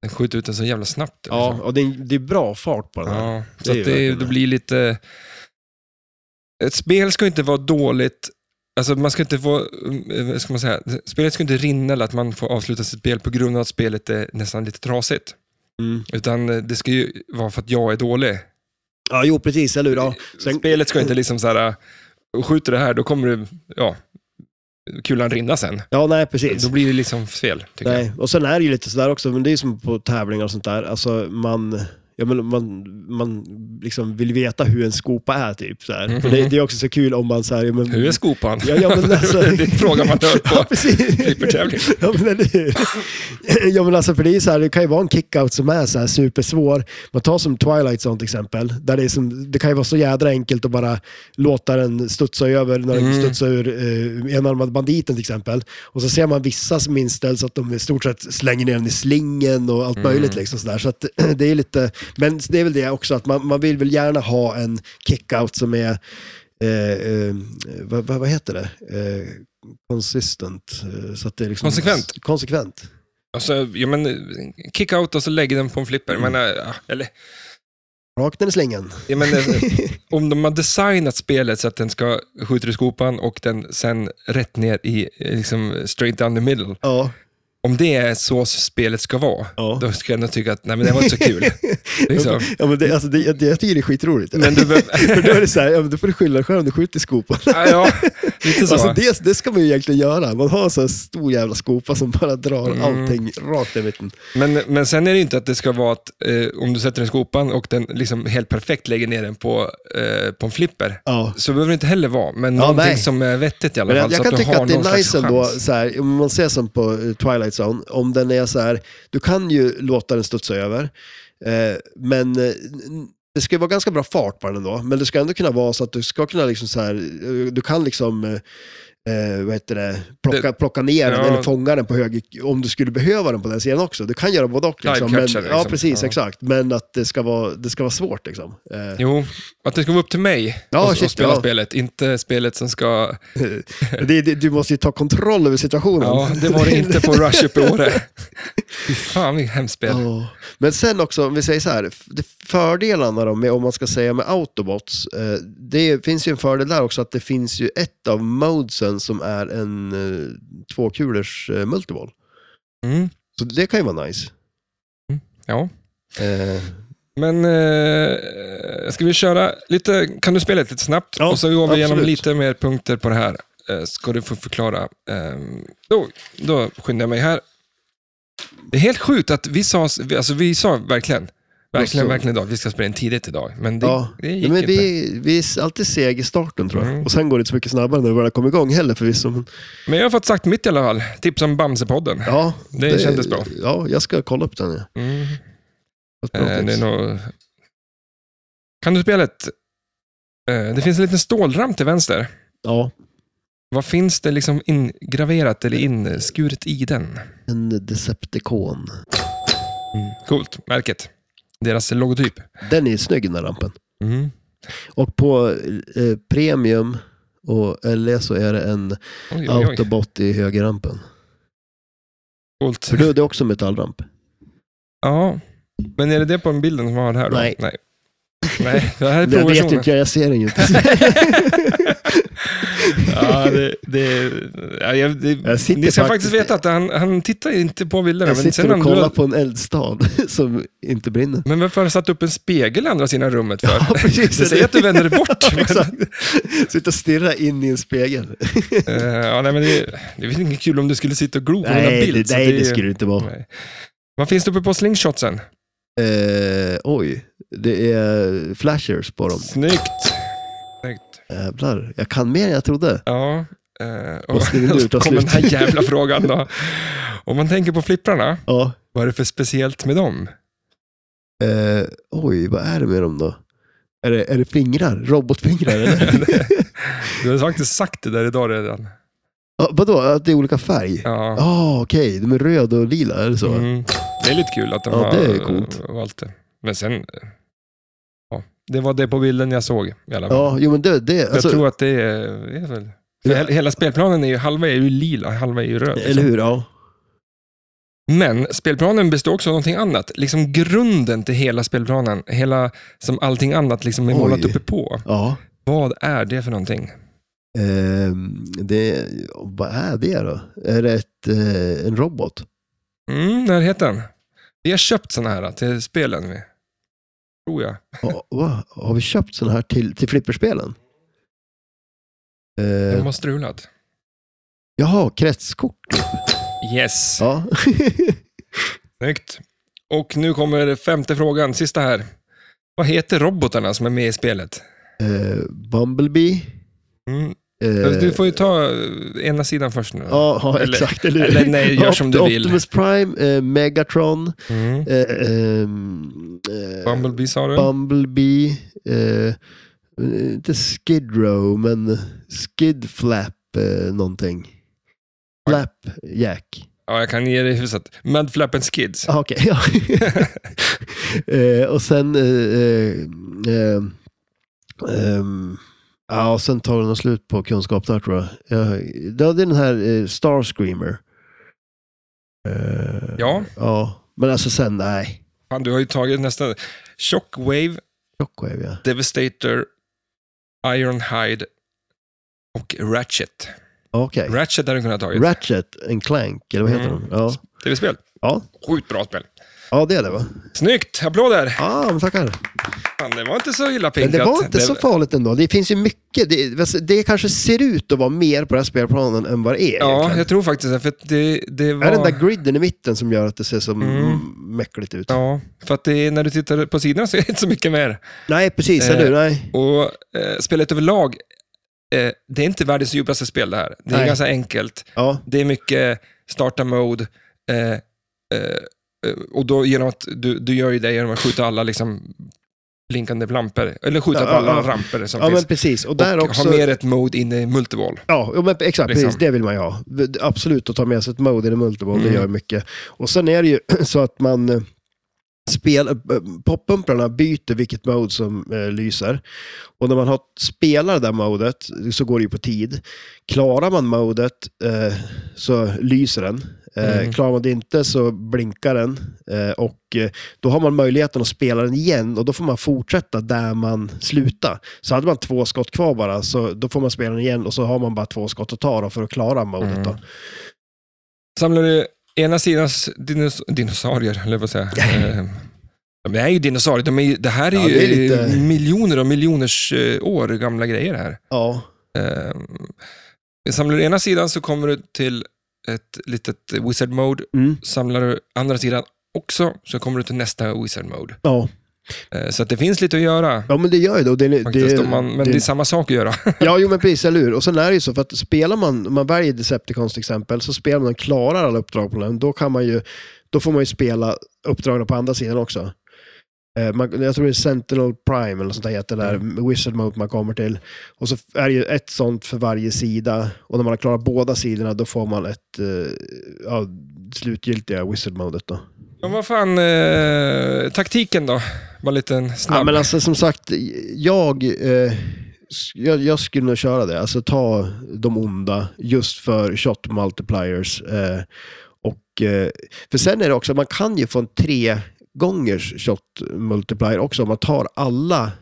Speaker 1: den skjuter ut den så jävla snabbt.
Speaker 2: ja,
Speaker 1: liksom.
Speaker 2: och det är, det är bra fart på den här.
Speaker 1: ja.
Speaker 2: det
Speaker 1: Så
Speaker 2: är ju
Speaker 1: att det,
Speaker 2: verkligen
Speaker 1: det
Speaker 2: det.
Speaker 1: blir lite... Ett spel ska ju inte vara dåligt Alltså man ska inte få, eh, vad ska man säga, spelet ska inte rinna eller att man får avsluta sitt spel på grund av att spelet är nästan lite trasigt.
Speaker 2: Mm.
Speaker 1: Utan eh, det ska ju vara för att jag är dålig.
Speaker 2: Ja, jo precis, eller hur? Ja. Sen,
Speaker 1: Spelet ska inte liksom så här, eh, skjuter det här då kommer du, ja, kulan rinna sen.
Speaker 2: ja, nej precis.
Speaker 1: Då blir det liksom fel, tycker
Speaker 2: Nej. Och sen är det ju lite sådär också, men det är ju som på tävlingar och sånt där. Alltså man, ja, men man, man liksom vill veta hur en skopa är typ. Så här. För det, det är också så kul om man så här, ja, men,
Speaker 1: jag. Hur är skopan?
Speaker 2: Ja, ja, men alltså-
Speaker 1: det är en fråga man hör på
Speaker 2: Ja, precis.
Speaker 1: flippertävling.
Speaker 2: Ja men, eller hur? ja men alltså för det är så här, det kan ju vara en kickout som är så här supersvår. Man tar som Twilight Zone till exempel, där det, är som, det kan ju vara så jädra enkelt att bara låta den studsa över när den
Speaker 1: Mm.
Speaker 2: studsar ur eh, enarmad banditen till exempel. Och så ser man vissa som inställs att de i stort sett slänger ner den i slingen och allt möjligt.
Speaker 1: Mm.
Speaker 2: Liksom så där. så att, det är lite, men det är väl det också, att man, man vill väl gärna ha en kickout som är Eh, eh, vad, vad, vad heter det? Eh, consistent. Eh, så att det är liksom
Speaker 1: Konsekvent.
Speaker 2: konsekvent.
Speaker 1: Alltså, ja, men, eh, kick out och så lägger den på en flipper. Men,
Speaker 2: Mm.
Speaker 1: eh, ja, eller,
Speaker 2: Rakt ner i slängen.
Speaker 1: ja, men, eh, om de har designat spelet så att den ska skjuta i skopan och den sen rätt ner i, eh, liksom, straight down the middle.
Speaker 2: Ja.
Speaker 1: Om det är så spelet ska vara,
Speaker 2: Ja.
Speaker 1: då ska jag nog tycka att nej, men det var inte så kul. liksom.
Speaker 2: ja men det, alltså, det, det, jag tycker det är skitroligt.
Speaker 1: Men du behöver-
Speaker 2: För då är det så här, ja, men du får du skylla dig själv om du skjuter i skopan.
Speaker 1: Ja, ja, lite så.
Speaker 2: Alltså det, det ska man ju egentligen göra. Man har en sån här stor jävla skopa som bara drar
Speaker 1: Mm.
Speaker 2: allting rakt i mitten.
Speaker 1: Men, men sen är det ju inte att det ska vara att eh, om du sätter den i skopan och den liksom helt perfekt lägger ner den på, eh, på en flipper,
Speaker 2: Ja.
Speaker 1: så behöver det inte heller vara. Men
Speaker 2: Ja,
Speaker 1: någonting
Speaker 2: nej.
Speaker 1: som är vettigt i alla
Speaker 2: Men
Speaker 1: fall,
Speaker 2: jag, jag
Speaker 1: så
Speaker 2: kan
Speaker 1: att du
Speaker 2: tycka
Speaker 1: har
Speaker 2: att det
Speaker 1: någon
Speaker 2: är
Speaker 1: slags
Speaker 2: nice ändå,
Speaker 1: chans.
Speaker 2: så här, om man ser som på eh, Twilight Zone, om den är så här, du kan ju låta den studsa över, eh, men eh, n- det ska ju vara ganska bra fart på den ändå, men det ska ändå kunna vara så att du ska kunna liksom så här, eh, du kan liksom eh, eh, vad heter det? Plocka,
Speaker 1: Det-
Speaker 2: plocka ner den
Speaker 1: ja.
Speaker 2: eller fånga den på höger, om du skulle behöva den på den sidan också. Du kan göra både och. Liksom, men,
Speaker 1: Live-catcher,
Speaker 2: Ja,
Speaker 1: liksom.
Speaker 2: precis,
Speaker 1: Ja.
Speaker 2: exakt. Men att det ska vara, det ska vara svårt liksom. Eh,
Speaker 1: Jo, att det ska vara upp till mig
Speaker 2: Ja,
Speaker 1: att,
Speaker 2: shit,
Speaker 1: att spela
Speaker 2: ja.
Speaker 1: spelet, inte spelet som ska...
Speaker 2: det, det, du måste ju ta kontroll över situationen.
Speaker 1: Ja, det var det inte på Rush upp i Åre. Fy fan, vilket hemskt spel.
Speaker 2: Ja. Men sen också, om vi säger så här, f- det- fördelarna då med, om man ska säga med Autobots, eh, det finns ju en fördel där också att det finns ju ett av modesen som är en eh, tvåkulers eh, multiball.
Speaker 1: Mm,
Speaker 2: Så det kan ju vara nice.
Speaker 1: ja.
Speaker 2: Eh,
Speaker 1: Men eh, ska vi köra lite, kan du spela lite snabbt?
Speaker 2: Ja,
Speaker 1: och så går vi igenom
Speaker 2: absolut.
Speaker 1: lite mer punkter på det här. Eh, ska du få förklara. Eh, då, då skyndar jag mig här. Det är helt sjukt att vi sa, vi- alltså vi sa verkligen, verkligen,
Speaker 2: så.
Speaker 1: verkligen idag, vi ska spela in tidigt idag. Men det,
Speaker 2: ja.
Speaker 1: det
Speaker 2: Ja,
Speaker 1: gick
Speaker 2: men
Speaker 1: inte.
Speaker 2: vi, vi är alltid seg i starten tror jag.
Speaker 1: Mm.
Speaker 2: Och sen går det inte så mycket snabbare när vi väl kommer igång heller förvisso. Men,
Speaker 1: Men jag har fått sagt mitt i alla fall. Tips om Bamsepodden.
Speaker 2: ja,
Speaker 1: Det kändes bra.
Speaker 2: Ja, jag ska kolla upp den. Ja.
Speaker 1: Mm.
Speaker 2: Ett bra
Speaker 1: Eh, det är
Speaker 2: tips.
Speaker 1: nog... Kan du spela ett... Eh, det finns en liten stålram till vänster.
Speaker 2: Ja,
Speaker 1: Vad finns det liksom ingraverat eller inskuret i den?
Speaker 2: en Decepticon.
Speaker 1: Coolt, märket. Deras logotyp.
Speaker 2: Den är ju snygg den där lampen. Och på eh, premium och LE så är det en
Speaker 1: Oj, oj, oj.
Speaker 2: autobot i högerrampen.
Speaker 1: Coolt.
Speaker 2: För då är det också metallramp.
Speaker 1: Ja. Men är det det på den bilden som vi har här? Då?
Speaker 2: Nej.
Speaker 1: Nej. Nej, det här är
Speaker 2: Det jag vet
Speaker 1: provversionen.
Speaker 2: inte, jag ser den ju inte.
Speaker 1: Ja, det, det, ja, jag, det,
Speaker 2: Jag sitter
Speaker 1: ni ska faktiskt
Speaker 2: faktiskt-
Speaker 1: veta att han, han tittar inte på bilderna.
Speaker 2: jag
Speaker 1: men, sen
Speaker 2: sitter och
Speaker 1: han,
Speaker 2: kollar på en eldstad som inte brinner.
Speaker 1: men varför har du satt upp en spegel i andra sidan rummet för?
Speaker 2: Ja, precis.
Speaker 1: det säger att du vänder dig bort. liksom. men-
Speaker 2: Exakt. Sitta och stirra in i en spegel.
Speaker 1: Eh, ja, nej, men det, det är väl inget kul om du skulle sitta och glo på mina
Speaker 2: nej,
Speaker 1: bild.
Speaker 2: det,
Speaker 1: så
Speaker 2: nej,
Speaker 1: är
Speaker 2: det
Speaker 1: ju-
Speaker 2: skulle det inte vara.
Speaker 1: Nej. Vad finns det uppe på slingshotsen?
Speaker 2: Eh, oj, det är flashers på dem.
Speaker 1: Snyggt! Snyggt.
Speaker 2: Jävlar, jag kan mer än jag trodde.
Speaker 1: Ja. eh, och
Speaker 2: Vad skriver du
Speaker 1: så
Speaker 2: utan
Speaker 1: kom den här
Speaker 2: slut?
Speaker 1: jävla frågan då. Om man tänker på flipprarna,
Speaker 2: Ja.
Speaker 1: vad är det för speciellt med dem?
Speaker 2: Eh, oj, vad är det med dem då? Är det, är det fingrar? Robotfingrar eller?
Speaker 1: Du har faktiskt sagt det där idag redan.
Speaker 2: ah, vadå, att det är olika färg? Ja,
Speaker 1: Ja.
Speaker 2: ah, okej. De är röd och lila, är det så?
Speaker 1: Mm. Det är lite kul att de
Speaker 2: Ja,
Speaker 1: har
Speaker 2: det är coolt.
Speaker 1: eh, valt det. Men sen, eh, ja, det var det på bilden jag såg i alla fall.
Speaker 2: Ja, jo men det, det alltså,
Speaker 1: jag tror att det är, är väl... För he- Hela spelplanen är ju, halva är ju lila, halva är ju röd. liksom.
Speaker 2: Eller hur? Ja.
Speaker 1: Men spelplanen består också av någonting annat. Liksom grunden till hela spelplanen, hela, som allting annat liksom är målat
Speaker 2: Oj.
Speaker 1: uppe på.
Speaker 2: ja.
Speaker 1: Vad är det för någonting?
Speaker 2: Ehm, det, vad är det då? Är det ett, eh, en robot?
Speaker 1: Mm, när heter den? Vi har köpt såna här till spelen. vi. Tror jag.
Speaker 2: Ha, va? Har vi köpt sådana här till, till flipperspelen?
Speaker 1: De
Speaker 2: Uh,
Speaker 1: har strulat.
Speaker 2: Jaha, kretskort.
Speaker 1: Yes.
Speaker 2: Ja.
Speaker 1: Snyggt. Och nu kommer femte frågan, sista här. Vad heter robotarna som är med i spelet?
Speaker 2: Eh, Bumblebee.
Speaker 1: Mm.
Speaker 2: eh,
Speaker 1: Du får ju ta eh, ena sidan först nu.
Speaker 2: Ja, ja
Speaker 1: Eller-
Speaker 2: exakt. Eller,
Speaker 1: eller nej, gör som du
Speaker 2: Opt-
Speaker 1: vill.
Speaker 2: Optimus Prime, eh, Megatron,
Speaker 1: Mm.
Speaker 2: eh, ehm, eh,
Speaker 1: Bumblebee sa du?
Speaker 2: Bumblebee, eh, eh, inte Skid Row, men Skid Flap eh, någonting. Flap Jack.
Speaker 1: Ja, jag kan ge dig huset. Mad Flap and Skids.
Speaker 2: Ah, Okej, ja. eh, och sen... Eh, eh, eh, ehm, ja, och sen tar den slut på kunskap där tror jag. jag ja, det är den här eh, Star Screamer. Eh,
Speaker 1: Ja,
Speaker 2: Ja, men alltså sen, nej.
Speaker 1: fan, du har ju tagit nästan... Shockwave,
Speaker 2: Shockwave, ja.
Speaker 1: Devastator, Ironhide och Ratchet.
Speaker 2: Okej.
Speaker 1: Ratchet hade du kunnat ha tagit.
Speaker 2: Ratchet and Clank, eller vad heter
Speaker 1: Mm.
Speaker 2: de? Ja.
Speaker 1: Tv-spel.
Speaker 2: Ja.
Speaker 1: Sjukt bra spel.
Speaker 2: ja, det är det va?
Speaker 1: Snyggt! Applåder!
Speaker 2: Ja, men tackar.
Speaker 1: Fan, det var inte så illa
Speaker 2: Men
Speaker 1: pinkat.
Speaker 2: det var inte så farligt ändå. Det finns ju mycket. Det, alltså, det kanske ser ut att vara mer på den här spelplanen än vad det är.
Speaker 1: Ja,
Speaker 2: egentligen.
Speaker 1: jag tror faktiskt det. För att det, det var...
Speaker 2: Är det den där griden i mitten som gör att det ser så
Speaker 1: Mm.
Speaker 2: mäckligt ut?
Speaker 1: Ja, för att det, är- när du tittar på sidorna så är det inte så mycket mer.
Speaker 2: Nej, precis.
Speaker 1: Eh,
Speaker 2: Eller hur? Nej.
Speaker 1: Och eh, spelet överlag, eh, det är inte världens djupaste spel det här. Det är
Speaker 2: Nej.
Speaker 1: ganska enkelt.
Speaker 2: Ja.
Speaker 1: Det är mycket starta mode. Eh, eh, eh, och då genom att du, du gör ju det genom att skjuta alla liksom blinkande lampor. Eller skjuta
Speaker 2: Ja,
Speaker 1: på alla
Speaker 2: ja, ja.
Speaker 1: ramper som
Speaker 2: ja, men
Speaker 1: finns.
Speaker 2: precis. Och där
Speaker 1: och
Speaker 2: också...
Speaker 1: ha med ett mode inne i multivall.
Speaker 2: Ja, jo, men exakt.
Speaker 1: Liksom.
Speaker 2: Precis, det vill man ju ha. Absolut, att ta med sig ett mode i en multiball,
Speaker 1: Mm.
Speaker 2: det gör mycket. Och sen är det ju så att man eh, spel, eh, poppumprarna byter vilket mode som eh, lyser. Och när man har, spelar det där modet så går det ju på tid. Klarar man modet eh, så lyser den. Eh,
Speaker 1: Mm.
Speaker 2: Klarar man det inte så blinkar den. Eh, och eh, då har man möjligheten att spela den igen och då får man fortsätta där man slutar. Så hade man två skott kvar bara, så då får man spela den igen och så har man bara två skott att ta då för att klara modet. Då.
Speaker 1: Mm. Samlar du ena sidans dinos dinosaurier, eller vad säger jag? Eh, Det är ju dinosaurier. De är, ju- det här är
Speaker 2: Ja,
Speaker 1: ju
Speaker 2: det är lite-
Speaker 1: eh, miljoner och miljoners eh, år gamla grejer här.
Speaker 2: Ja,
Speaker 1: Eh, samlar du ena sidan så kommer du till ett litet wizard mode.
Speaker 2: mm.
Speaker 1: Samlar du andra sidan också så kommer du till nästa wizard mode.
Speaker 2: ja.
Speaker 1: Eh, så att det finns lite att göra.
Speaker 2: ja men det gör ju det. Och det, är-
Speaker 1: Faktiskt,
Speaker 2: det,
Speaker 1: om man, men det,
Speaker 2: det-
Speaker 1: är samma sak att göra.
Speaker 2: Ja, jo men precis, eller hur? Och sen är det ju så, för att spelar man, om man väljer Decepticons till exempel, så spelar man klarar alla uppdrag på den, då kan man ju, då får man ju spela uppdragen på andra sidan också. Eh, Man, jag tror det är Sentinel Prime eller något sånt där heter det där, Wizard Mode man kommer till. Och så är det ju ett sånt för varje sida. Och när man har klarat båda sidorna då får man ett eh, ja, slutgiltiga Wizard Modet då.
Speaker 1: Men vad fan, eh, taktiken då? Bara en liten snabb.
Speaker 2: Ja, men alltså som sagt, jag, eh, s- jag, jag skulle nog köra det. Alltså ta de onda just för shot multipliers. Eh, och, eh, för sen är det också, man kan ju få en tre gångers shot multiplier också om man tar alla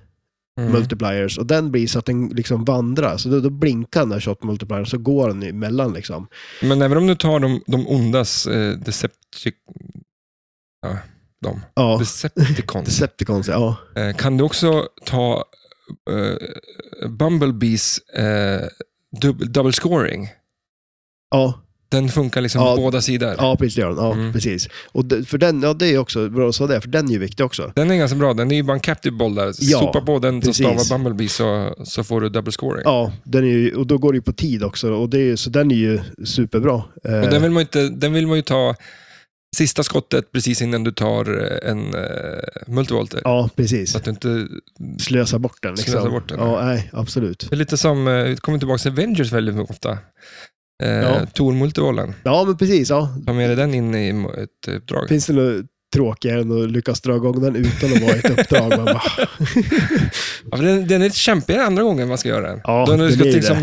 Speaker 1: Mm.
Speaker 2: multipliers och den blir så att den liksom vandrar. Så då, då blinkar den där shot multipliern så går den emellan liksom.
Speaker 1: Men även om du tar de, de ondas eh, Deceptic... Ja, de.
Speaker 2: Ja,
Speaker 1: Decepticons.
Speaker 2: Decepticons, ja.
Speaker 1: eh, kan du också ta eh, Bumblebees eh, dub, double scoring?
Speaker 2: Ja,
Speaker 1: Den funkar liksom
Speaker 2: Ja.
Speaker 1: på båda sidor.
Speaker 2: ja precis det gör den. Ja,
Speaker 1: Mm.
Speaker 2: precis. Och det, för den, ja det är ju också bra att säga det, för den är ju viktig också.
Speaker 1: Den är ganska bra. Den är ju bara en captive boll där.
Speaker 2: Ja,
Speaker 1: Sopa på den som
Speaker 2: precis.
Speaker 1: stavar Bumblebee så, så får du double scoring.
Speaker 2: Ja, den är ju, och då går det ju på tid också. Och det är, ju- så den är ju superbra. Eh,
Speaker 1: Och den vill, man ju inte, den vill man ju ta sista skottet precis innan du tar eh, en uh, multivolter.
Speaker 2: Ja, precis.
Speaker 1: Så att du inte...
Speaker 2: Slösa bort den. Liksom.
Speaker 1: Slösa bort den,
Speaker 2: Ja, nej, absolut.
Speaker 1: Det är lite som, eh, vi kommer tillbaka till Avengers väldigt ofta. Eh,
Speaker 2: Ja.
Speaker 1: Tor multivollen.
Speaker 2: Ja, men precis. Ja.
Speaker 1: Ta med dig den in i mo- ett uppdrag.
Speaker 2: Finns det något tråkigare än att lyckas dra igång den utan att vara i ett uppdrag? Man bara,
Speaker 1: Ja, för den, den är lite kämpigare andra gången man ska göra den.
Speaker 2: Ja,
Speaker 1: Då när du
Speaker 2: det
Speaker 1: ska
Speaker 2: blir det.
Speaker 1: liksom,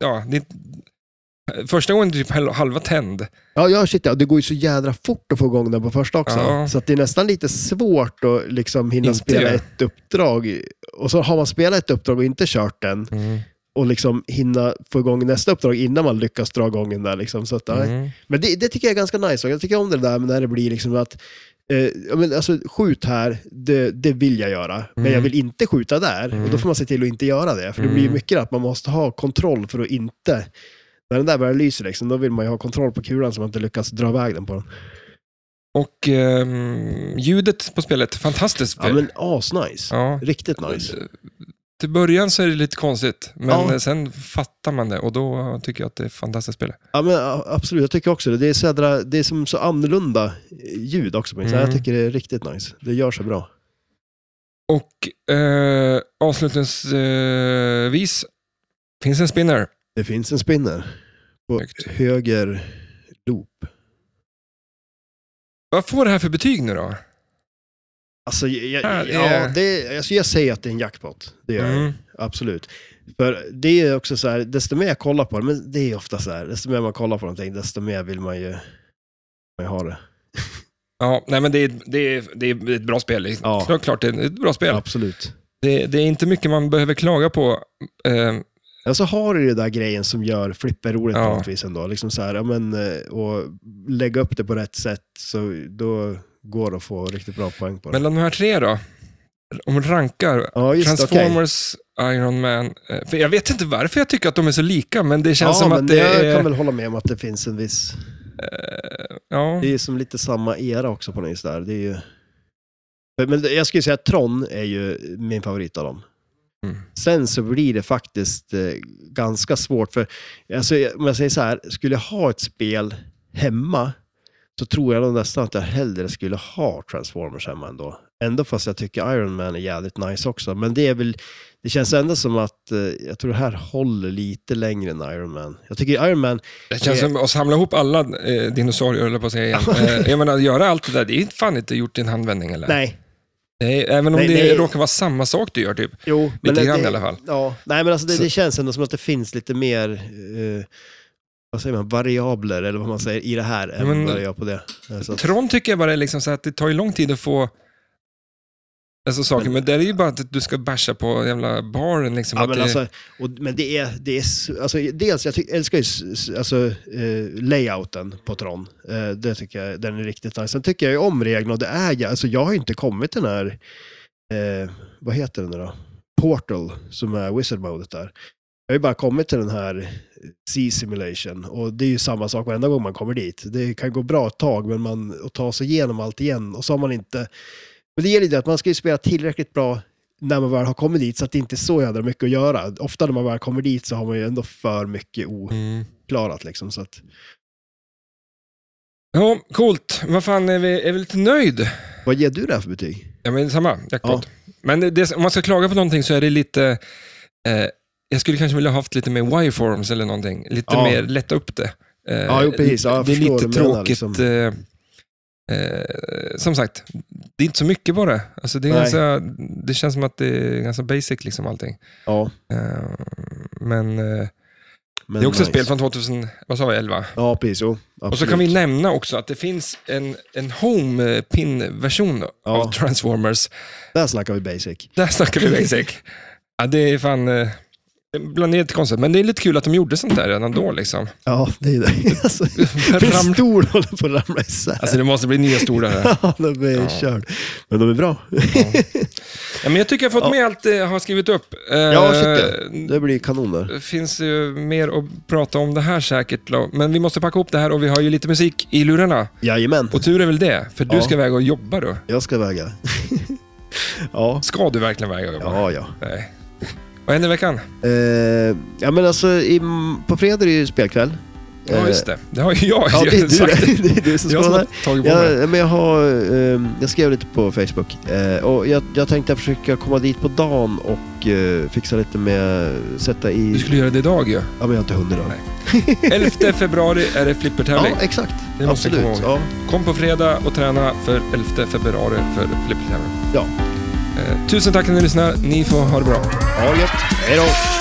Speaker 1: ja, det, är- första gången är typ hal- halva tänd.
Speaker 2: ja, ja, shit ja. Det går ju så jädra fort att få igång den på första också.
Speaker 1: Ja.
Speaker 2: Så att det är nästan lite svårt att liksom hinna
Speaker 1: Inte
Speaker 2: spela
Speaker 1: göra.
Speaker 2: ett uppdrag. Och så har man spelat ett uppdrag och inte kört den, och liksom hinna få igång nästa uppdrag innan man lyckas dra igång den där. Liksom, så att, nej.
Speaker 1: Mm.
Speaker 2: Men det, det tycker jag är ganska nice. och Jag tycker om det där med när det blir liksom att eh, ja, men alltså, skjut här, det, det vill jag göra. Men
Speaker 1: Mm.
Speaker 2: jag vill inte skjuta där. Och då får man se till att inte göra det. För det blir ju mycket att man måste ha kontroll för att inte... När den där börjar lysa, liksom, då vill man ju ha kontroll på kulan så man inte lyckas dra iväg den på den.
Speaker 1: Och ehm, ljudet på spelet, fantastiskt
Speaker 2: Ja,
Speaker 1: spel.
Speaker 2: men asnice.
Speaker 1: Ja.
Speaker 2: Riktigt nice.
Speaker 1: Till början så är det lite konstigt, men
Speaker 2: Ja.
Speaker 1: sen fattar man det och då tycker jag att det är ett fantastiskt spel.
Speaker 2: Ja, men, a- absolut, jag tycker också det. Det är, så jädra, det är som så annorlunda eh, ljud också. Men, så här,
Speaker 1: Mm.
Speaker 2: jag tycker det är riktigt nice. Det gör sig bra.
Speaker 1: Och eh, avslutningsvis finns en spinner.
Speaker 2: Det finns en spinner på
Speaker 1: Snyggt.
Speaker 2: höger loop.
Speaker 1: Vad får det här för betyg nu då?
Speaker 2: Alltså, jag,
Speaker 1: Ja,
Speaker 2: jag,
Speaker 1: det är-
Speaker 2: ja, det, alltså, jag säger att det är en jackpot. Det gör jag.
Speaker 1: Mm.
Speaker 2: Absolut. För det är också så här, desto mer jag kollar på det, men det är ofta så här, desto mer man kollar på någonting, desto mer vill man ju, man ju ha det.
Speaker 1: Ja, nej men det är, det är, det är ett bra spel.
Speaker 2: Ja.
Speaker 1: Ja. Klart det är ett bra spel.
Speaker 2: Absolut.
Speaker 1: Det, det är inte mycket man behöver klaga på. Eh,
Speaker 2: Ja, så Alltså, har du ju den där grejen som gör flipper roligt
Speaker 1: Ja.
Speaker 2: på något vis ändå. Liksom så här, ja, men, eh, och lägga upp det på rätt sätt, så då går det att få riktigt bra poäng på det.
Speaker 1: mellan de här tre då? Om man rankar
Speaker 2: ja, just det, okej.
Speaker 1: Transformers, Iron Man. eh, För jag vet inte varför jag tycker att de är så lika, men det känns
Speaker 2: ja,
Speaker 1: som
Speaker 2: men
Speaker 1: att det
Speaker 2: jag
Speaker 1: är...
Speaker 2: kan väl hålla med om att det finns en viss...
Speaker 1: Ja.
Speaker 2: Det är ju som lite samma era också på något vis där. Det är ju... Men jag skulle säga att Tron är ju min favorit av dem.
Speaker 1: Mm.
Speaker 2: Sen så blir det faktiskt eh, ganska svårt. För alltså, om jag säger så här, skulle jag ha ett spel hemma så tror jag nog nästan att jag hellre skulle ha Transformers hemma ändå. Ändå fast jag tycker Iron Man är jävligt nice också. Men det är väl, det känns ändå som att eh, jag tror det här håller lite längre än Iron Man. Jag tycker Iron Man,
Speaker 1: Det känns som att samla ihop alla eh, dinosaurier, höll jag på att säga igen. eh, jag menar, göra allt det där, det är fan inte gjort i en handvändning eller?
Speaker 2: nej,
Speaker 1: Nej, även om
Speaker 2: Nej,
Speaker 1: det
Speaker 2: nej.
Speaker 1: råkar vara samma sak du gör typ.
Speaker 2: Jo,
Speaker 1: Lite
Speaker 2: det-
Speaker 1: grann
Speaker 2: det,
Speaker 1: i alla fall.
Speaker 2: Ja, nej men alltså det,
Speaker 1: Så-
Speaker 2: det känns ändå som att det finns lite mer, eh, vad säger man, variabler eller vad man säger i det här än
Speaker 1: Men-
Speaker 2: vad det gör på det. Alltså,
Speaker 1: Tron tycker jag bara är liksom så här att det tar ju lång tid att få alltså, saker, men, det är ju bara att du ska basha på jävla baren. Liksom,
Speaker 2: ja,
Speaker 1: att
Speaker 2: men
Speaker 1: det,
Speaker 2: alltså, och, men det är, det är s- alltså, dels, jag ty- älskar ju s- s- alltså, eh, layouten på Tron. Eh, det tycker jag, den är riktigt nice. Sen tycker jag ju om reglerna och det är jag, alltså jag har ju inte kommit till den här, eh, vad heter den nu då? Portal, som är wizard-modet där. Jag har ju bara kommit till den här C-simulation och det är ju samma sak varenda gång man kommer dit. Det kan gå bra ett tag, men man att ta sig igenom allt igen och så har man inte... Men det gäller ju det att man ska ju spela tillräckligt bra när man väl har kommit dit så att det inte är så jävla mycket att göra. Ofta när man väl kommer dit så har man ju ändå för mycket
Speaker 1: mm.
Speaker 2: oklarat liksom. Så att,
Speaker 1: Ja, coolt. Vad fan, är vi, är vi lite nöjd?
Speaker 2: vad ger du det här för betyg?
Speaker 1: Ja, men samma, jackpot. Men det- det, om man ska klaga på någonting så är det lite... Eh, jag skulle kanske vilja ha haft lite mer wireforms eller någonting. Lite
Speaker 2: Ja.
Speaker 1: mer lätta upp det. Eh,
Speaker 2: Ja, jo, precis. Ja, jag
Speaker 1: det är
Speaker 2: förstår
Speaker 1: lite
Speaker 2: vad du menar,
Speaker 1: tråkigt.
Speaker 2: liksom.
Speaker 1: eh, eh, som sagt, det är inte så mycket på det. Alltså, det, är
Speaker 2: Nej.
Speaker 1: ganska, det känns som att det är ganska basic liksom allting.
Speaker 2: Ja,
Speaker 1: Eh, men eh,
Speaker 2: men
Speaker 1: det är också
Speaker 2: nice.
Speaker 1: ett spel från 2000, vad sa vi, 11?
Speaker 2: Ja, precis. Jo,
Speaker 1: Och så kan vi nämna också att det finns en, en home pin version
Speaker 2: Ja.
Speaker 1: av Transformers
Speaker 2: Där snackar vi basic.
Speaker 1: Där snackar vi basic. Ja, det är fan... eh, Bland annat konstigt, men det är lite kul att de gjorde sånt där redan då. Liksom.
Speaker 2: Ja, det är ju det. Alltså, min
Speaker 1: Ramla-
Speaker 2: stol håller på att ramla isär.
Speaker 1: Alltså det måste bli nya stolar här.
Speaker 2: Ja, de är körd. Men de är bra.
Speaker 1: Eh, Ja, men jag tycker jag har fått med allt eh, jag har skrivit upp. Eh,
Speaker 2: Ja, shit ja. Det blir kanoner.
Speaker 1: Det finns ju mer att prata om det här säkert, Lo- men vi måste packa ihop det här och vi har ju lite musik i lurarna.
Speaker 2: Jajamän,
Speaker 1: Och tur är väl det, för du
Speaker 2: Ja.
Speaker 1: ska iväg och jobba då.
Speaker 2: jag ska väga. Ja,
Speaker 1: Ska du verkligen iväg och jobba?
Speaker 2: ja, ja.
Speaker 1: Nej. Vad händer i veckan?
Speaker 2: Eh, ja men alltså, i, på fredag är det ju spelkväll.
Speaker 1: Ja, just det. Det har ju jag
Speaker 2: Eh. Ja, det är du
Speaker 1: sagt.
Speaker 2: det. det. är du som
Speaker 1: Jag som
Speaker 2: ska
Speaker 1: har
Speaker 2: vara där.
Speaker 1: tagit på mig.
Speaker 2: Jag, men jag, har, eh, jag skrev lite på Facebook eh, och jag, jag tänkte försöka komma dit på dagen och eh, fixa lite med, sätta i...
Speaker 1: Du skulle göra det idag ju.
Speaker 2: Ja, men jag har inte hunnit idag.
Speaker 1: Nej. 11 februari är det flippertävling.
Speaker 2: Ja, exakt.
Speaker 1: Det måste jag
Speaker 2: Absolut.
Speaker 1: komma
Speaker 2: Ja,
Speaker 1: Kom på fredag och träna för 11 februari för flippertävling.
Speaker 2: ja.
Speaker 1: Eh, tusen tack att ni lyssnar. Ni får ha det bra.
Speaker 2: ja gött. Hej då.